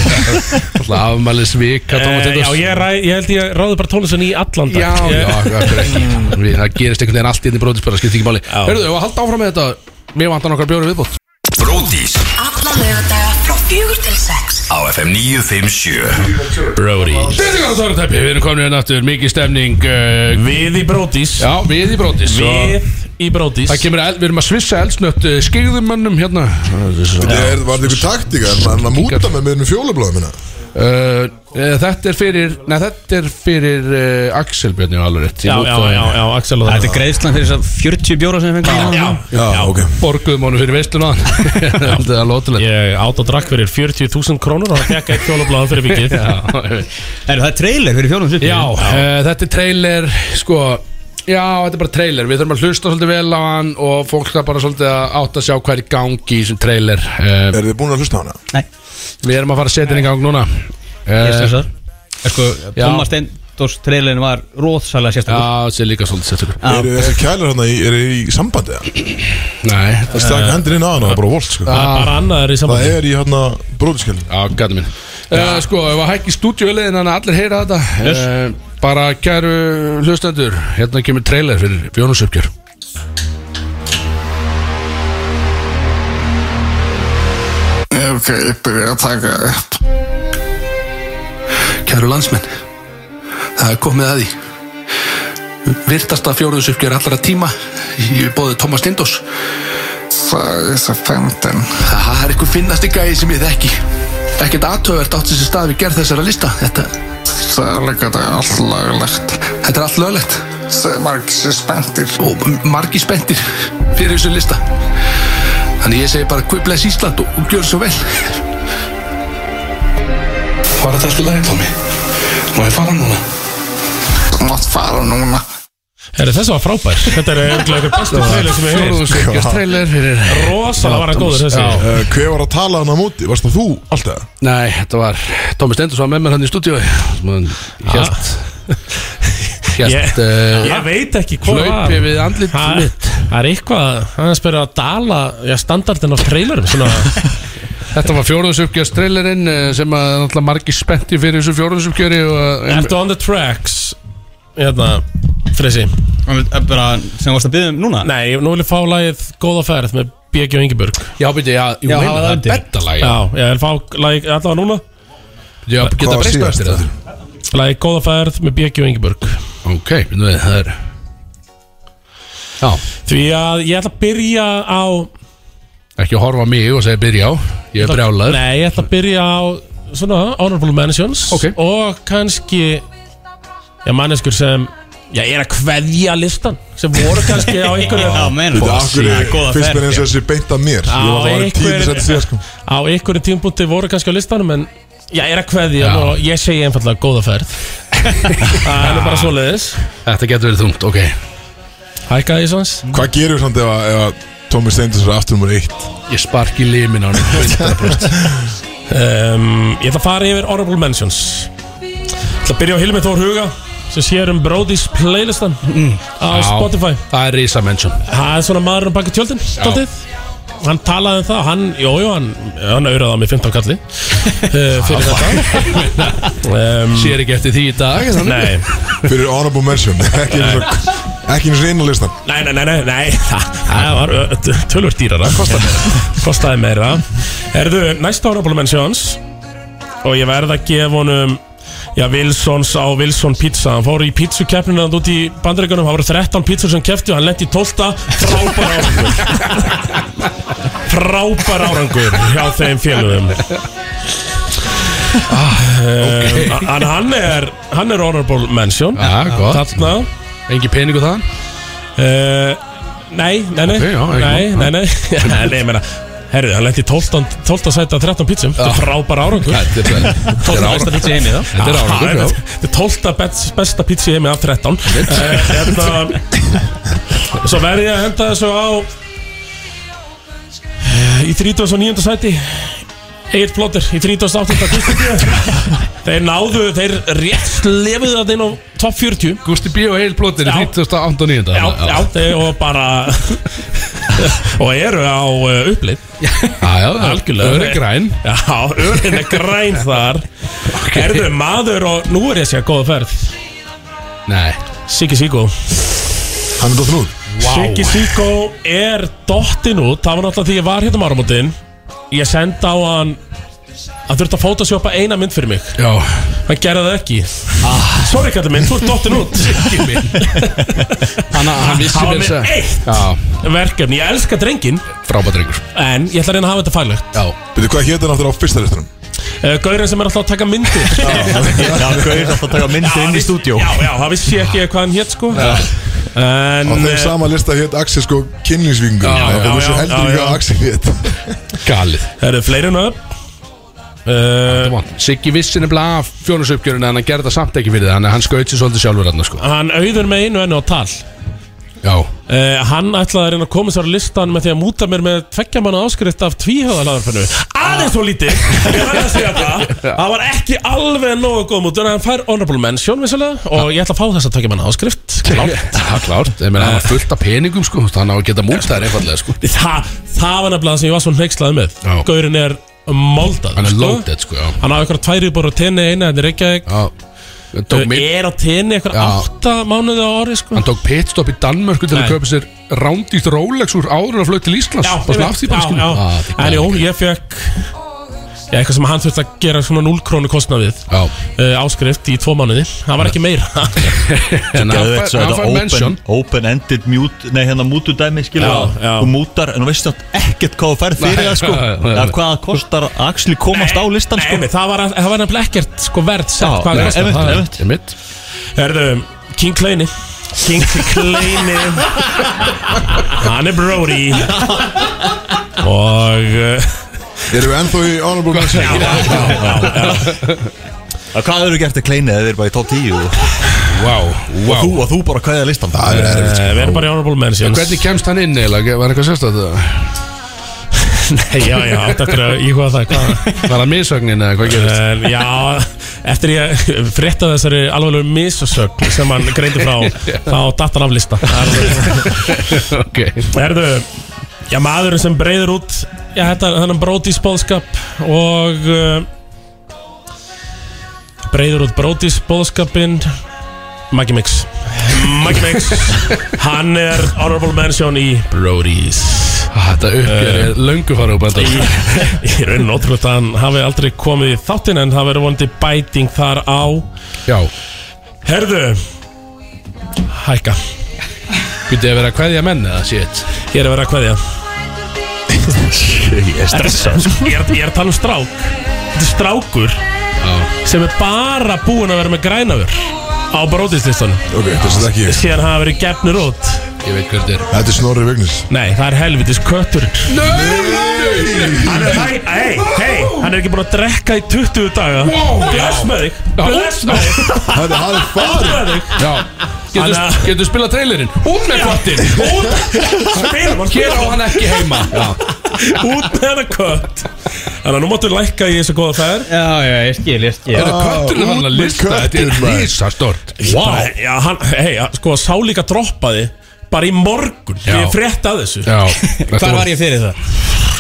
S1: Það er afmæli svika Tómas
S2: Eh, Já,
S1: Tindars.
S2: ég, ræ, ég held ég ráði bara tónlistin í allan dag
S1: Já, já, Mm. akkur ekki Við- Það gerist einhvern veginn allt inn í bróðisbæra Skipt ekki máli Hörðu, og halda áfram með þetta Mér vantar nokkar bjóri viðbót
S6: Bródís
S12: Alla lögadaga frá fjögur til sex
S6: á FM 957
S2: Brodís
S1: Þetta er góðan þorðtæpi Við erum komin hérna aftur Mikið stemning uh,
S2: Við í Brodís
S1: Já, við í bróðis
S2: Við í Brodís
S1: Það kemur, el- við erum að svissa eldsnött uh, Skegðumönnum hérna
S8: Þetta er, var þetta ykkur taktika En hann að múta með með fjólublaðu minna
S1: Uh, eh, þetta er fyrir Nei, þetta er fyrir uh, Axel Björn Já, alveg rétt
S2: Já, já, já, já, Axel og
S9: Þetta er greiðslan fyrir þess að 40 bjóra sem við fengum Já,
S8: Já, ok
S1: Borguðum honum fyrir veisluna Það er lótilegt
S2: Ég át og drakk fyrir 40.000 krónur og það fekk eitt fjólablaðan fyrir vikið
S1: Já, ég veit.
S9: Er það er trailer fyrir fjólum
S1: já uh, þetta er trailer Sko Já, þetta er bara trailer, við þurfum að hlusta svolítið vel á hann og fólk það bara svolítið að átta að sjá hvað er í gangi í þessum trailer uh,
S8: Er þið búin að hlusta á hana?
S9: Nei,
S1: Við erum að fara að setja hann í gang núna
S9: ég
S1: Eh,
S9: sem þessar Sko, Thomas Steindors trailerin var
S1: Já,
S9: róðsælega sérstakur Ah.
S1: það sé líka svolítið settur
S9: Já.
S8: Eru þessar kælar hérna í, er í sambandi? eða?
S1: Nei,
S8: Það stakk hendur inn á hana, það er bara volt sko.
S2: Það er bara annað er í
S8: Það
S2: saman
S8: er í hérna bróðiskjöld
S1: Já, gæti mín uh, Sko, ef að hækki stúdíulegin Þannig að allir heyra þetta yes. Bara kæru hlustendur Hérna kemur trailer fyrir Bjónusuppgjör
S6: Ok, ég byrja að taka upp Kæru landsmenn Það er komið að því Virtasta fjóruðsuppgjör allra tíma Ég bóði Tómas Lindos Það er svo fengtinn Það er einhver finnasti gæði sem ég þekki Ekkert aðtöfvert átti þessi stað við gerð þessara lista Þetta Það er líka þetta allt löglegt Þetta er allt löglegt Það er margir spenntir Og margir spenntir fyrir þessu lista Þannig ég segi bara Guð bless Ísland og, og gjör svo vel Var þetta alltaf lægið á mig? Má ég fara núna? Þú mátt fara núna
S2: Er þessi var frábær Þetta er eiginlega einhver bestu trailer sem ég hefði
S1: Bjónusuppgjör trailer fyrir
S2: Rosalega var hann góður
S1: Já.
S2: þessi
S8: Uh, hver var að tala hann á móti? Varst það þú alltaf?
S1: Nei, þetta var Tómi Stendur var með mér hann í stúdíu Hjælt Hjælt
S2: Ég veit ekki hvað
S1: Hlaupi við andlit
S2: Það
S1: mitt
S2: það er eitthvað, hann er spyrir að dala já, standardin á trailerum svona,
S1: Þetta var fjóruðsuppgjör trailerinn eh, sem að náttúrulega margir spennti fyrir þessu fjóruðsuppgjöri og eh,
S2: Ertu on the tracks Hérna, Freysi
S9: eh, Bara sem varst að byggja um núna
S2: Nei, nú vil ég fá lagið Góða ferð með B.G. og Ingeborg
S1: Já, byrja, já, ég
S9: Já,
S1: meina
S9: hafa
S1: það
S9: það
S1: er
S9: undir.
S1: betta lagi
S2: Já, ég vil fá lagið allavega núna
S1: Já, geta
S8: var
S1: breyst á
S8: síðast
S1: eftir það
S2: Lagið Góða ferð með B.G. og Ingeborg
S1: Ok, nú er það er Já,
S2: Því að ég ætla að byrja á
S1: ekki að horfa á mig og segja byrja á Ég er brjálaður
S2: Nei, ég ætla að byrja á svona honorable mentions
S1: Ok.
S2: Og kannski Já, manneskur sem Já, ég er að kveðja listan Sem voru kannski á einhverju
S9: Já, meina
S8: Þetta akkur
S9: Já, góða
S8: finnst
S9: ferð,
S8: mér eins og þessi beint að mér Ég var það var tími
S2: einhver-
S8: sett sér sko
S2: Á einhverju tímpúti voru kannski á listanum En já, ég er að kveðja
S1: Já.
S2: og ég segi einfallega góða ferð Það er nú bara svoleiðis
S1: Þetta getur verið þungt, ok
S2: Hækkaði ég svans
S8: Hvað gerir samt ef að, ef að Tómi Steindis er aftur nummer eitt?
S1: Ég sparki limin á hann 100%.
S2: um, Ég ætla að fara yfir Honorable Mentions Ég ætla að byrja á Hilmi Þór Huga sem sér um Brody's playlistan á
S1: Já,
S2: Spotify
S1: Það er risa mention
S2: Það er svona maðurinn um baki tjöldin stoltið Hann talaði um það, hann, jújú, jú, hann, hann auðraði á mig 15 kalli uh, fyrir þetta um,
S1: Sér ekki eftir því í dag þannig.
S2: nei,
S8: Fyrir honorable mention Ekki eins og Ekki eins og einu listan
S2: nei, nei, nei, nei, nei það- Það var tölvur dýrara Kostaði meira Kostaði meira Erðu, næsta honorable mentions Og ég verð að gefa honum Já, Wilsons á Wilson Pizza Hann fór í pizzukeppninu hann út í bandaríkunum Það voru 13 pizzur sem kepptu Hann lendi í 12 Frábær árangur Frábær árangur Hjá þeim félögum ah, um, En hann er Hann er honorable mention
S1: Já, gott.
S2: Þarna
S1: Engi peningu það
S2: uh, Nei, nei, nei
S1: Ok, já, ekki
S2: Nei,
S1: mál.
S2: nei, nei Nei, ég meina Herðu, hann lendi í 12. 12 sæti að 13 pizzum Þetta er frábær árangur
S1: Þetta er- þetta er
S9: Besta
S1: ára
S9: pizza í heimi þá
S1: Þetta er árangur, já
S2: Þetta er tólta besta pizza ég hef með af 13 Eh, Hérna Svo verð ég að henda þessu á í 39. sæti Egil Plóter í 38. þeir náðu, þeir rétt slefuðu það inn á top 40
S1: Gusti B og Egil Plóter í 38.
S2: Já, já, þeir og bara og eru á uh, upplið
S1: já,
S2: algjörlega
S1: Örin græn.
S2: Já, örin er græn þar Erðu maður og nú er ég að segja góða ferð
S1: Nei
S2: Siggi Siggo
S8: Hann er dottin út
S2: Siggi Siggo er dottin út Það var náttúrulega því ég var hérna um áramótin Ég sendi á hann Hann þurfti að fótasjópa eina mynd fyrir mig
S1: Já
S2: Hann gerði það ekki Sorry kallið minn, þú ert dottin út Siggi minn
S1: Hann, hann vissi
S2: Hann var
S1: meira
S2: með
S1: að segja-
S2: eitt
S1: Já,
S2: verkefni Ég elska drengin
S1: frábært drengur
S2: En ég ætla að reyna að hafa þetta faglegt
S1: Já
S8: Veitu hvað hétt hann aftur á fyrsta listunum?
S2: Uh, Gaurinn sem er alltaf að taka myndir
S3: Já, Gaur er alltaf að taka myndi inn í
S2: vissi-
S3: stúdíó
S2: Já, já, það vissi ég ekki hvað hann hétt sko En
S8: Á þeim
S2: eh,
S8: sama lista hétt Axel sko kynlýnsvingur
S2: Já, já,
S8: Það
S2: já,
S8: vissi heldur
S2: já,
S8: ekki
S2: já.
S8: að Axel hétt
S1: Galið
S2: það eru fleiri en upp uh,
S1: Come on. Siggi vissi nefnilega af fjónusöpgjörun En hann gerði það samt ekki fyrir það Þannig að hann skaut sér svolítið sjálfur hann sko.
S2: Hann auður með einu enni á tal
S1: Já
S2: uh, Hann ætlaði að reyna að koma sér á listan með því að múta mér með tveggja manna áskrift af tvíhöðalaðarpennu Aðeins svo lítið Ég verð að segja það Það var ekki alveg nógu góð mútur en hann fær honorable mention vissulega og ég ætla að fá þess að tveggja manna áskrift Klárt
S1: Já, klárt Ég meina, hann var fullt af peningum sko Hann á að geta múlt þær einfallega sko
S2: Þa, það var nefnilega það sem ég var svo hneykslaði með
S1: Já.
S2: Gaurin er moldað
S1: Hann er loaded sko, já
S2: Hann á eitthvað tværi bara á tenni eina Þetta er Reykjavík
S1: Já Tók
S2: Þau
S1: mynd
S2: er á tenni eitthvað
S1: Já.
S2: átta mánuði á ári sko.
S1: Hann tók pitstop í Danmörku til
S2: Nei.
S1: að kaupa sér rándýrt Rolex úr áður að flögt til Íslands
S2: Já,
S1: Bara
S2: ég
S1: svona
S2: veit.
S1: af því bara
S2: Já,
S1: skilur
S2: já.
S1: Ah, þetta er
S2: En jú,
S1: galið.
S2: ég fekk Já, eitthvað sem hann þurfti að gera svona 0 krónu kostnaðið
S1: Já.
S2: uh, áskrift í tvo mánuði Það var ekki meira
S1: En hann
S3: Geðveikt,
S1: fær-
S3: svo
S1: hann fær
S3: þetta
S1: mention
S3: open- Open-ended mute Nei, hérna mútu dæmi skilur
S2: Já,
S3: já,
S2: já.
S3: Þú mútar en þú veist nátt ekkert hvað þú færð fyrir
S1: Nei,
S3: það sko
S1: nei, nei.
S3: Eða hvað það kostar að axli komast á listan
S2: Nei,
S3: sko
S2: nei, það var, það var nefnilega ekkert sko, verð sett
S3: Já,
S2: hvað
S3: nei,
S2: kostar.
S3: einmitt,
S2: Það er-
S3: einmitt.
S1: Ég mitt
S2: Herðu, King Kleini King Kleini Hann er Brody Og uh,
S8: Erum við ennþá í honorable mention?
S3: Að Hvað hefur gert að kleina eða þeir bara í top 10 og,
S1: Wow, wow
S3: þú, og þú bara kvæða listan Það er erfitt sko.
S2: Við erum bara í Honorable Mentions
S1: Hvernig kemst hann inn eiginlega? Var eitthvað sérstætt?
S2: Nei, Já, já, þetta er að íhuga það hvað.
S1: Var það misögnin eða hvað gerist?
S2: En, Um, Já, eftir ég frétta þessari alveg misasögn sem hann greindi frá þá datt hann af lista Það er alveg-
S1: ok
S2: Herðu, já maðurinn sem breyður út já, þetta, þannig Brody's bóðskap og uh, breyður út Brody's bóðskapinn Maggi Mix Maggi Mix hann er honorable mention í Brody's
S1: Ah, Þetta uppgjör er löngu farið upp
S2: í,
S1: enda
S2: í raunin ótrúlega að hann hafi aldrei komið í þáttin en það verður vonandi bæting þar á
S1: Já,
S2: Herðu Hækka
S1: býtti að vera að kveðja menn eða shit
S2: Ég er að vera að kveðja Ég er stressað sko. ég, er- ég er að tala um strák Þetta er strákur sem er bara búinn að vera með grænafur á bróðislistanum
S8: Ok, þetta er ekki ég
S2: síðan hafa verið gefnir út
S1: Ég veit hvernig þetta
S8: Þetta er Snorri Vignis
S2: Nei, það er helvitis kötturinn Hann er, hei, hei, hei, hann er ekki búinn að drekka í 20 daga Bless með þig, bless með þig,
S8: Þetta hann er farið
S2: bless með þig
S1: er Já, getur,
S2: Hann, eh,
S1: getur spilað trailerinn Út með kottin
S2: Út,
S1: Hér
S2: spilum hann,
S1: á
S2: spilum hann
S1: hann ekki heima Já,
S2: Út með hann kött Þannig að nú máttu lækka í þessu góða fær
S9: Já, já, ég skil, ég skil
S1: þetta kötturinn
S8: út
S1: hann að
S8: með
S1: lista Þetta
S8: köttinn,
S1: er
S8: maður.
S1: risastort
S2: Vá Já, hann, hei, sko, sá líka droppaði Bara í morgun
S1: Já.
S2: Ég frétt að þessu
S1: Já,
S9: Hvar var ég fyrir það?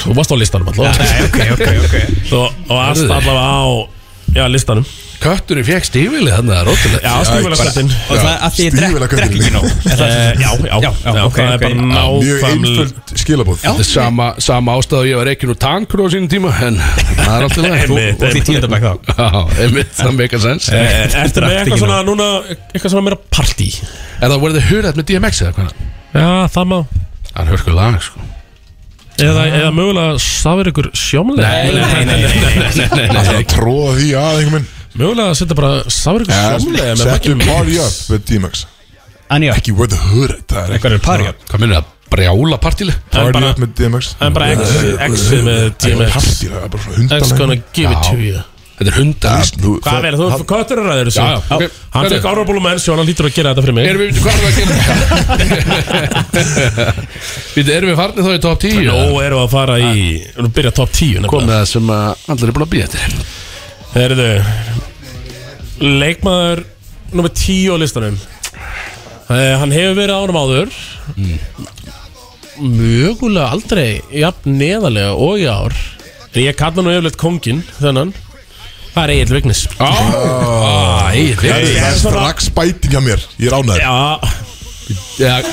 S2: Þú varst á listanum allavega
S9: Nei, ok, ok, ok
S2: Og, og allt
S1: Hörðu.
S2: allavega á Já, listanum
S1: Kötturinn fekk stífili þannig að rótilegt
S2: Já, stífularsköttin
S9: Og það er að því ég
S8: Stífur að
S9: drekk,
S8: kötturinn.
S9: drekk ekki nóg Er það sem-
S2: Eh, Já, já, já,
S9: já, ok,
S2: það er
S9: ok.
S2: bara
S8: Mjög
S2: nákvæmlega
S8: einföld skilabóð
S1: Þetta er sama, sama ástæðu ég var ekki nú tankur á sínum tíma En það er alltaf
S2: Einmitt,
S1: leið
S9: Og því tíundabæk þá
S1: Já, einmitt, það meikar sens
S2: Eh,
S1: Er
S2: Ertu með
S9: Drekkt
S2: eitthvað
S9: ekki
S2: svona núna Eitthvað svona meira partí
S1: það voruð þið hurðað með DMX eða hvernig?
S2: Já, það má
S1: Það er hörkuð lag sko
S2: Eða, eða mögulega stafir ykkur sjómlega
S9: Nei, nei, nei, nei
S8: Það er að tróða því að einhver minn
S2: Mögulega að setja bara stafir ykkur sjómlega með
S8: Settu
S2: Maggi Mix.
S8: party up með D-Max
S9: Anja,
S8: Ekki where the hood Það er ekki
S9: hvað er parja?
S1: Hvað minnur það? Brjála partíli?
S2: En
S8: party
S2: bara-
S8: up með D-Max
S2: en bara X- X-ið með DMX.
S8: Party, það er bara svona hundan
S2: That's gonna give it to you
S1: Þetta er hundarlist
S2: Hvað verður þú? Hvað þetta er ræður þessu?
S1: Já, já, ok.
S2: Hann fekk árabólu menn sjón, hann lítur að gera þetta fyrir mig
S1: Erum við, hvað er það að gera? Við erum við farnir þá í top 10
S2: Nú erum við að fara í Við erum að byrja top 10 nefnilega.
S1: Komið það sem að allir er búin að býja eftir
S2: Herðu Leikmaður Númer 10 á listanum eh, Hann hefur verið ánum áður Mm. Mögulega aldrei Jafn neðarlega og í ár En Ég kalla nú yfirleitt kongin Þennan Það er Egil Vignis
S1: Á, á, Egill
S8: Það
S1: Vignis.
S8: er strax bæting hjá mér Ég er ánæður
S2: Já
S1: Já,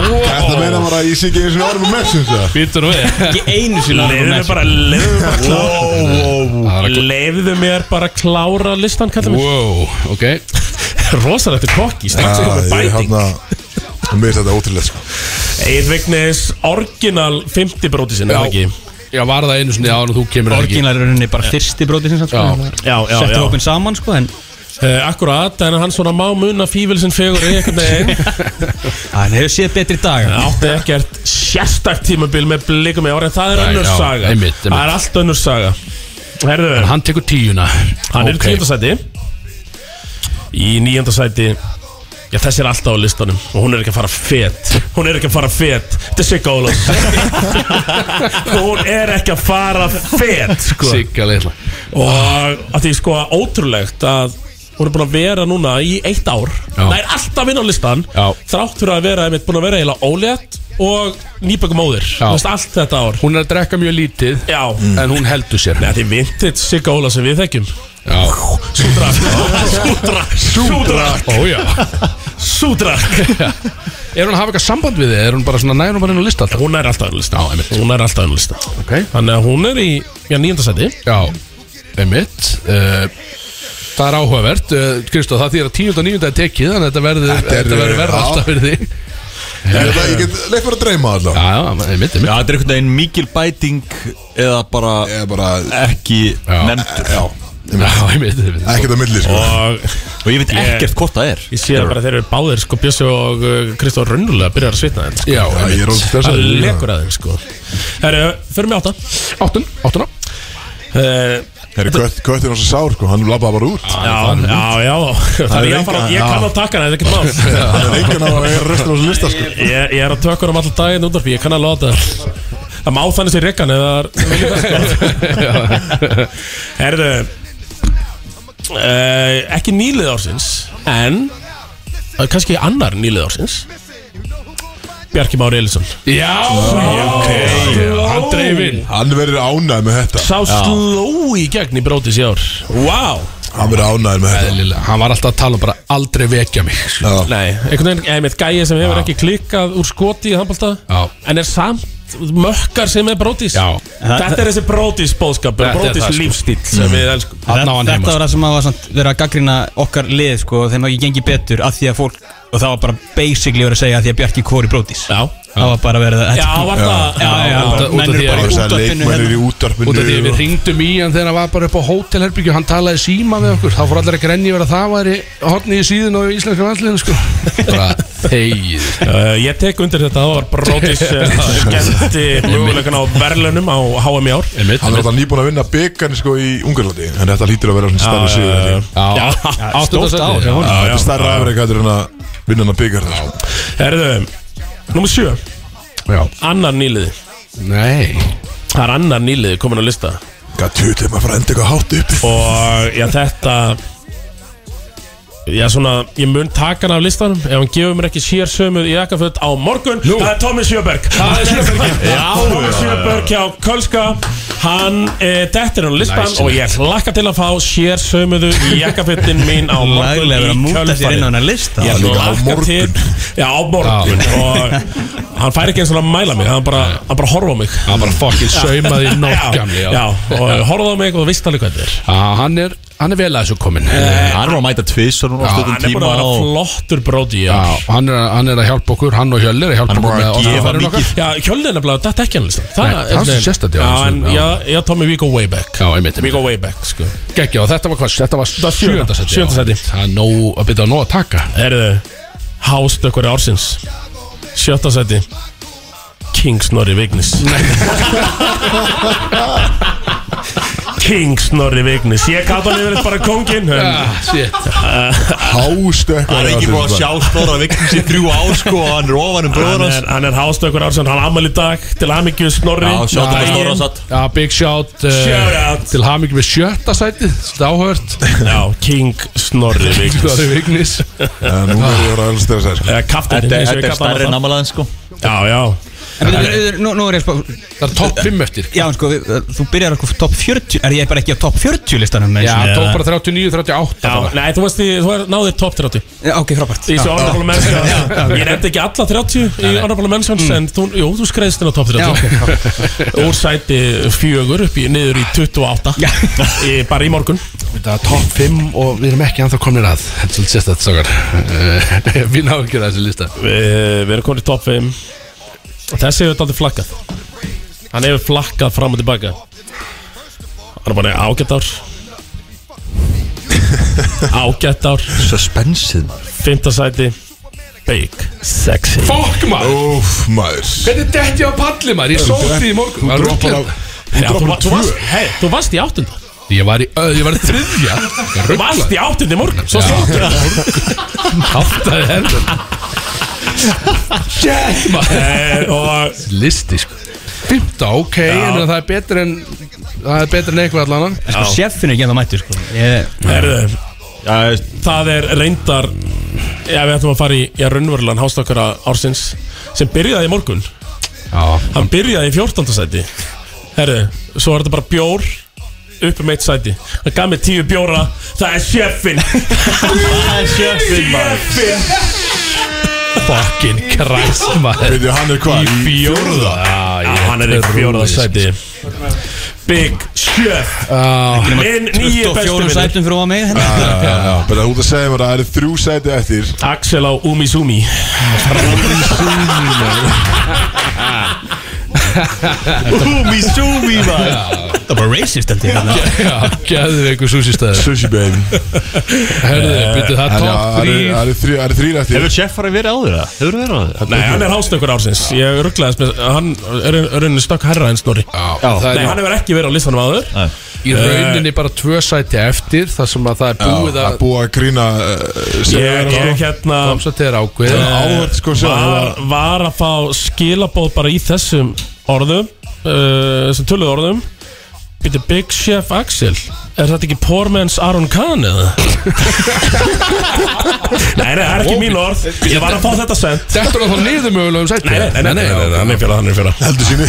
S8: Þetta meina bara að ég sé ekki eins og orðum og messum það
S1: býttu nú við
S9: Ekki einu sinni
S2: Leifðu
S9: alveg
S2: mér
S9: með
S2: bara Leifðu mér bara klára
S1: Það er að-
S2: Leifðu mér bara klára listan Kallar mér
S1: Wow, ok
S2: Rosalegt er kokki Strax ekki með
S8: Ég er
S2: bæting
S8: hérna Mér finnst þetta ótrúlega sko
S2: Egil Vignis Orginal 50 bróti sinni
S1: Já.
S2: Já ekki
S1: Já, var það einu sinni án og þú kemur ekki
S9: Orginal er rauninni bara fyrsti bróti sinns sko,
S1: Já.
S9: en það er-
S2: Já, já,
S9: Settu
S2: já.
S9: hópin saman sko en
S2: Uh, akkurat, en hann svona má munna fífilsinn fegur í einhvern veginn
S9: hann hefur séð betri daga
S2: átti ekkert sérstakt tímabil með blikum í ári en það er
S1: Nei,
S2: önnur
S1: já,
S2: saga
S1: einmitt, einmitt.
S2: það er allt önnur saga Herðu, hann,
S1: Hann tekur tíuna
S2: hann er í
S1: Ok.
S2: tíundasæti í níundasæti já, þessi er alltaf á listanum og hún er ekki að fara fet hún er ekki að fara fet þetta er Sigga Ólafs hún er ekki að fara fet sko.
S1: Sigga litla
S2: og að því sko ótrúlegt að hún er búin að vera núna í eitt ár
S1: Já.
S2: það er alltaf inn á listan
S1: Já.
S2: þrátt fyrir að vera, einmitt búin að vera eiginlega ólétt og nýbökum móðir
S1: Já.
S2: Þú veist, allt þetta ár
S1: Hún er að drekka mjög lítið
S2: Já,
S1: En hún heldur sér
S2: Nei, þetta er vintage Sigga Óla sem við þekkjum
S1: Já
S2: Súdra Súdra Súdra
S1: Ó já
S2: Súdra
S1: Er hún að hafa eitthvað samband við þið? Er hún bara svona nær hún bara inn á lista alltaf?
S2: Hún er alltaf inn á lista
S1: Já, einmitt.
S2: Hún er alltaf inn á lista
S1: Ok
S2: Þannig að hún er í, já, nýjöndasæti
S1: Já Einmitt uh, Það er áhugavert uh, Kristof, það þýr að tíund og níund er tekið Þannig að þetta verður
S8: Þetta er,
S1: Þetta verður verða
S8: já.
S1: alltaf fyrir því
S8: Ég veit það, Ég get leif bara að dreyma allavega
S1: Já, já, einmitt, einmitt
S3: Já, þetta er einhvern veginn mikil bæting eða bara
S8: Ég er bara
S3: ekki
S1: Já.
S3: nefndur
S8: Já
S1: Já, einmitt, einmitt.
S8: Ekkert að milli sko
S2: Og
S3: og ég veit ekkert hvort það er
S2: ég sé það bara þeir eru báðir, sko, Bjössi og uh, Kristóf Rönnulega byrjar að svitna þeim sko.
S1: Já,
S8: Já, Ég
S1: einmitt
S8: er ótrúlega
S2: Það
S8: stressað
S2: lekur að þeim, sko Herru, förum við átta
S1: Áttun, áttun á
S2: Uh,
S8: Herri, kött- Köttin var svo sár sko Hann labbaði bara út
S2: já, já, já Það er ég að fara, ég kann á takkan Það er ekkert mál
S8: Það er enginn á að eiga restur á þessu lista sko
S2: Ég, ég er að tökka um alltaf daginn út af því Ég kann að láta það Það má þannig sér rekkan eða það er vilja það, sko. Herðu uh, Ekki nýlið ársins En uh, Kannski annar nýlið ársins Bjarki Már Elísson
S1: Já, ok Hann dreif inn
S8: Hann verður ánægð með þetta
S2: Sá sló í gegn í brótis í ár Wow
S8: Hann verður ánægð með þetta
S1: Eðlilega, hann var alltaf að tala um bara aldrei vekja mig sko. Já,
S2: Nei, einhvern veginn, eða með gæja sem hefur ekki klikkað úr skoti í handbólta
S1: Já.
S2: En er samt mökkar sem er brótis
S1: já
S2: Þetta er þessi brótis bóðskapur,
S1: Þetta er
S2: brótis
S1: það, sko.
S2: lífstíl sem við elskum
S1: Þarna á hann
S9: þetta
S1: heima, sko.
S9: var það sem að var samt verið að gaggrina okkar lið sko þeim að ekki gengi betur að því að fólk og það var bara basically verið að segja að því að Bjarki kori brótis
S2: Já,
S9: það var bara verið að
S2: já, var það
S9: já, já,
S1: Út af- út af
S9: menn
S1: því að-
S9: eru bara í
S8: Það er
S9: útvarpinu
S8: leikmennir í
S9: hérna.
S8: útarpinu
S1: Út af því að við ringdum í hann þegar hann var bara upp á hótelherbyggju Hann talaði síma við okkur Þá fór allir að grenja verið að það væri Horni í síðun og í íslenska landsliðinu sko Bara þegið
S2: Uh, ég tek undir þetta, það var brótis eh, skemmti möguleikan á verðlunum á HM í ár
S1: Einmitt,
S8: Hann er
S1: einmitt.
S8: alltaf nýbúin að vinna byggarni sko í Ungarlandi En þetta hlýtur að vera svona stærri sigur held
S1: Já,
S8: ég.
S2: Eh, Já,
S1: áttunda
S9: stórt ár
S1: sæti.
S9: hjá honum.
S8: Já, Þetta er stærra afreik hættur en að vinna hann að byggar það sko.
S2: Herðu, númer 7
S1: Já,
S2: Annar nýliði,
S1: nei
S2: það er annar nýliði komin á lista
S8: Hvað tjótið maður að enda eitthvað hátt upp
S2: Og já, þetta Já, svona, ég mun taka hann af listanum Ef hann gefur mér ekki sér sömu í jakkaföld á morgun Það er Tommy Sjöberg Það er Sjöberg Já, Tommy Sjöberg hjá Kölska Hann eh, dettir hann á listan
S1: Nice.
S2: og ég hlakka til að fá sér sömuðu í jakkaföldin mín á morgun
S9: laglega verið að
S2: í
S9: múta sér inn á
S2: kjölfarið
S9: hennar lista
S2: Ég
S8: líka á
S2: hlakka
S8: morgun.
S2: til Já, á morgun Og hann fær ekki eins og að mæla mig Hann bara, hann bara horfa á mig
S1: Hann bara fucking saumaði í nótt gamli
S2: Já, og horfa á mig og veist alveg hvað þetta er
S1: Já, hann er, hann er vel að þessu Eh. komin Já,
S3: hann er nú að mæta tvis og núna á stöðum
S2: hann er búin
S3: tíma
S2: að vera
S3: og
S2: flottur bróti já.
S1: hann er, hann er að hjálpa okkur, hann og Hjöll er að hjálpa
S3: Hann er
S1: okkur
S3: bara að
S1: með
S3: gefa
S1: orðafarin
S3: mikið.
S1: okkar.
S2: já kjölnin er bara datt ekki hann listan
S1: Nei, það er sérstakt, já,
S2: já,
S1: eins og-
S2: en,
S1: já.
S2: já, já Tommy, we go way back
S1: Já, einmitt,
S2: we
S1: einmitt.
S2: go way back sko.
S1: Gekkja, og þetta var hvað, þetta var
S2: var sjöunda-
S1: sjöndasæti
S2: sjöunda sæti.
S1: Það er nóg, að byrja á nóg að taka
S2: erðu hástökkur ársins sjötta seti King Snorri Vignis King Snorri Vignis Ég kalla hann yfir bara kongin
S8: Hástökkur
S3: Það er ekki búið að sjá Snorra Vignis í þrjú ár sko og hann er ofan um bróður
S2: Hann
S3: hans
S2: er, hann er hástökkur ársinn, hann amal í dag til hamingju Snorri
S3: Já, sjátt að
S2: Daginn.
S3: Snorra satt
S1: Já, big shout
S2: Shout
S1: uh,
S2: out
S1: Til hamingi með sjötta sætið Þetta áhört
S2: Já, King Snorri Vignis
S1: Snorri Vignis
S8: Nú er ég að ræða stressa sko.
S2: Eða kaftin
S3: Þetta þetta er stærri en amalaðin sko
S2: Já, já
S9: En við- við- við- Nú nú er ég að spá
S1: Það er topp 5 eftir
S9: Já, en sko, við- þú byrjar okkur top 40 Er ég bara ekki á top 40 listanum? með
S1: Já,
S9: þessu?
S1: tók bara 39, 38
S2: Já,
S1: bara.
S2: nei, þú veist, því- þú náðið top 30
S9: Já, ok, frábært
S2: Í
S9: Já.
S2: þessu honorable mentions Ég nefndi ekki alla 30 í honorable mentions En þú, jú, þú skreiðst inn á top 30
S9: Já, ok,
S2: Úr sæti fjögur upp í niður í 28
S9: Já.
S2: í, Bara í morgun
S1: Þetta er topp 5 og við erum ekki anþá komin að Þetta er svolítið sérstætt stakar Eh, Við náum ekki að þessu lista
S2: Eh, Við við erum komin í top 5 Og þessi hefur daldið flakkað Hann hefur flakkað fram og tilbaka Hann er bara ágætt ár Ágætt ár
S3: Suspensið maður
S2: Fymta sæti Big Sexy
S1: Fokk maður
S8: Úf maður
S1: Hvernig detti ég á palli maður? Ég sótt því í morgun
S8: Þú
S1: Var
S8: droppar
S1: ruglað.
S8: af
S2: Já, þú, va- þú, varst, hey, þú varst í áttunda
S1: Ég var í öð, ég var í þriðja
S2: Þú varst í áttunda í morgun Svo slóttur
S1: Háttaði herðum Shit maður
S2: það Og
S1: Listi sko 15, ok, en það er betur en Það er betur en eitthvað allan annan.
S9: Sko, Sjeffin er ekki að það mættur, sko Ég-
S2: herðu
S3: Já, ég veist,
S2: Það er reyndar Já, við ætlum að fara í, í raunverulegan hástakara ársins sem byrjaði í morgun
S1: Já,
S2: Hann byrjaði í 14. sæti Herru, svo er þetta bara bjór upp um eitt sæti Hann gaf mér tíu bjóra Það er sjeffin
S3: Það er sjöfinn maður
S2: Sjeffin
S1: fucking Christ maður
S8: Veitu hann er hvað? Í fjórða
S1: Já,
S2: Hann er í fjóra sæti Big Sjöf
S1: Já,
S2: Minn nýju bestu
S9: 24
S2: vinnur
S9: sætum fyrir að mig hérna.
S8: Já, já, já Bara þú ert að segja mér að það eru þrjú sæti eftir
S2: Axel á Umisumi
S3: Úmi, súmi maður
S9: Það er bara racist, held ég hérna.
S1: já, gæðu við einhver súsistæður
S8: Sushi baby
S1: Herðu,
S2: Eh,
S1: byrju það er
S8: Það
S1: topp
S8: eru-
S1: þrýr
S8: það eru þrjú- það eru þrjú eftir
S3: Hefur chef farið verið áður það? Hefur verið áður það?
S2: Nei, hann er hástökkur ársins Ég rugglaðist með Hann er er rauninni stökk herra en snorri
S1: Já,
S3: Já.
S1: það
S2: Nei, hann Eh.
S1: er
S2: hefur ekki verið á listanum áður
S3: Nei.
S1: í rauninni bara tvö sæti eftir þar sem að það er
S8: Já,
S1: búið
S8: Það
S1: að
S8: er búið að grína
S2: Ég er hérna
S1: konstatera ákveð
S8: Áhört sko sjá
S2: var, var að fá skilabóð bara í þessum orðum uh, þessum töluðu orðum Býtu Big Chef Axel Er þetta ekki poor man's Aaron Kahn eða? nei, nei, það er ekki mín orð Ég var að fá þetta sent
S1: Þetta er þá niður mögulega um sæti
S2: Nei, nei, nei, nei, nei, hann er fjöla, hann er fjöla
S8: Heldur sínu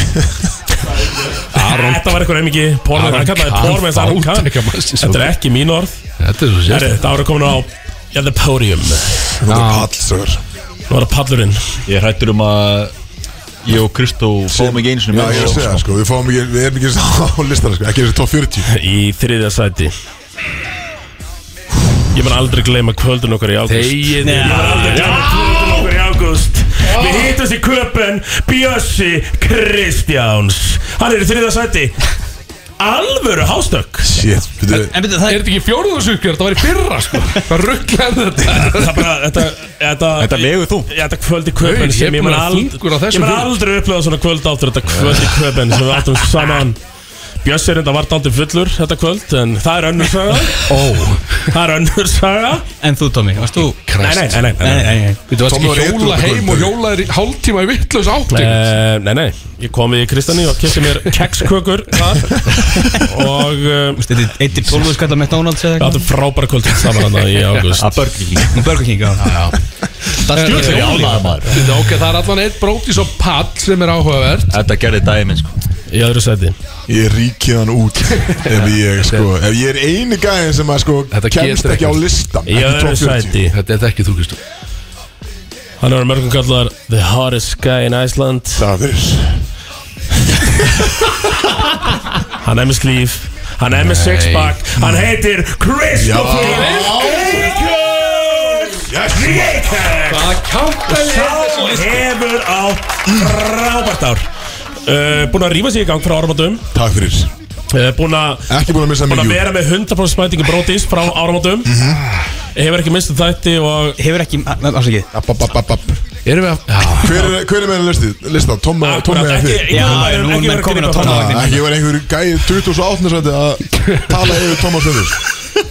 S2: Þetta var eitthvað reymingi Poor man's,
S1: Aaron
S2: hann kallaði
S1: Kahn,
S2: poor man's Aaron Kahn
S1: fátæka mannsins.
S2: Þetta er ekki mín orð
S1: Þetta er svo
S2: Herri,
S1: sérst
S2: Þetta var að komin á Já, the podium Nú
S8: Það er pallsögur
S2: var það pallurinn
S3: Ég hrættur um að Ég og Kristó fáum ekki einu sinni
S8: Já ég er að segja sko Við fáum ekki Við erum ekki á listan sko Ekki þessi top 40
S2: Í þriðja sæti Ég mun aldrei gleyma kvöldun okkar í ágúst
S1: Þegið
S2: Ég mun aldrei gleyma kvöldun okkar í ágúst Við hýttumst í köpen Bjössi Kristjáns Hann er í þriðja sæti Alvöru hástökk
S8: Shit Þú
S9: En byrju, það
S1: Er
S9: er
S1: þetta ekki fjóruðarsuggjör? Þetta var í fyrra sko Hvað rugglaði þetta?
S2: Það bara, þetta Þetta,
S3: Þetta vegur þú
S2: Þetta kvöld í köpen
S1: Auður,
S2: sem
S1: ég
S2: ég
S1: er
S2: mun
S1: búin að þungur
S2: aldrei
S1: á þessu
S2: Ég mun
S1: fyrir.
S2: aldrei upplega svona kvöld áttur Þetta kvöld í köpen sem við áttum saman Bjössi er enda vart aldrei fullur þetta kvöld En það er önnur saga
S1: Ó,
S2: Það er önnur saga
S9: En þú, Tómi, varst þú
S2: Nei, nei,
S1: kræst
S2: nei, nei, nei, nei.
S9: nei, nei
S1: Þú varst
S8: Tommi var
S1: ekki
S8: edrú
S1: hjóla
S8: þetta
S1: heim
S8: kvöld.
S1: og hjólaðir í hálftíma í vittlaus
S3: Eh,
S1: átting
S2: Uh, nei, nei, ég kom við í Kristjáni og kefti mér kekskökur þar og uh,
S9: Þetta er 1-12 skallar með Donalds
S2: við
S9: eða
S2: áttum frábæra kvöld saman hann í águst
S3: Að börgi ekki
S9: eitthvað Burger King, já
S3: Það
S1: er
S3: skjóður
S1: jólin.
S3: álæða maður
S1: Þetta, ok, það er allan eitt brótis og pall sem er áhugavert
S3: Þetta gerði daginn minn sko
S2: í öðru seti
S8: Ég ríki hann út ef ég sko Ef ég er eini gæðin sem að sko
S1: Þetta
S8: kemst
S1: getur
S8: ekki
S1: ekki.
S8: á listan
S2: í
S8: ekki
S2: öðru
S8: top 40.
S2: seti
S1: Þetta er ekki þú, Kristú
S2: hann er mörgum kallar The Hottest Guy in Iceland
S8: Það er
S2: hann er með slíf hann er með sixpack hann heitir Kristoffer Ríkjöks
S1: Að kanta
S2: sá hefur á frábært ár uh, búin að rífa sig í gang frá áramöndum
S8: Takk fyrir
S2: uh, búin að
S8: Ekki búin að missa
S2: Búin að
S8: mig jú Mhm.
S2: vera með 100% smætingu brótis frá áramótum Hefur ekki mistið þætti og
S9: Hefur ekki, afsakið
S8: App, app, app, app, app
S1: Erum við að já.
S9: Hver, er- hver er meðan listið? Lista, Tommi Tommi eða
S2: ekki,
S9: þig?
S2: ekki,
S13: Já, nú er
S2: ekki
S13: menn
S2: verið að
S13: komin á
S2: grípa fram.
S13: tónavagninn.
S9: Ah, Ekki verið einhver gæið 2008 sæti að tala yfir Thomas Öndurs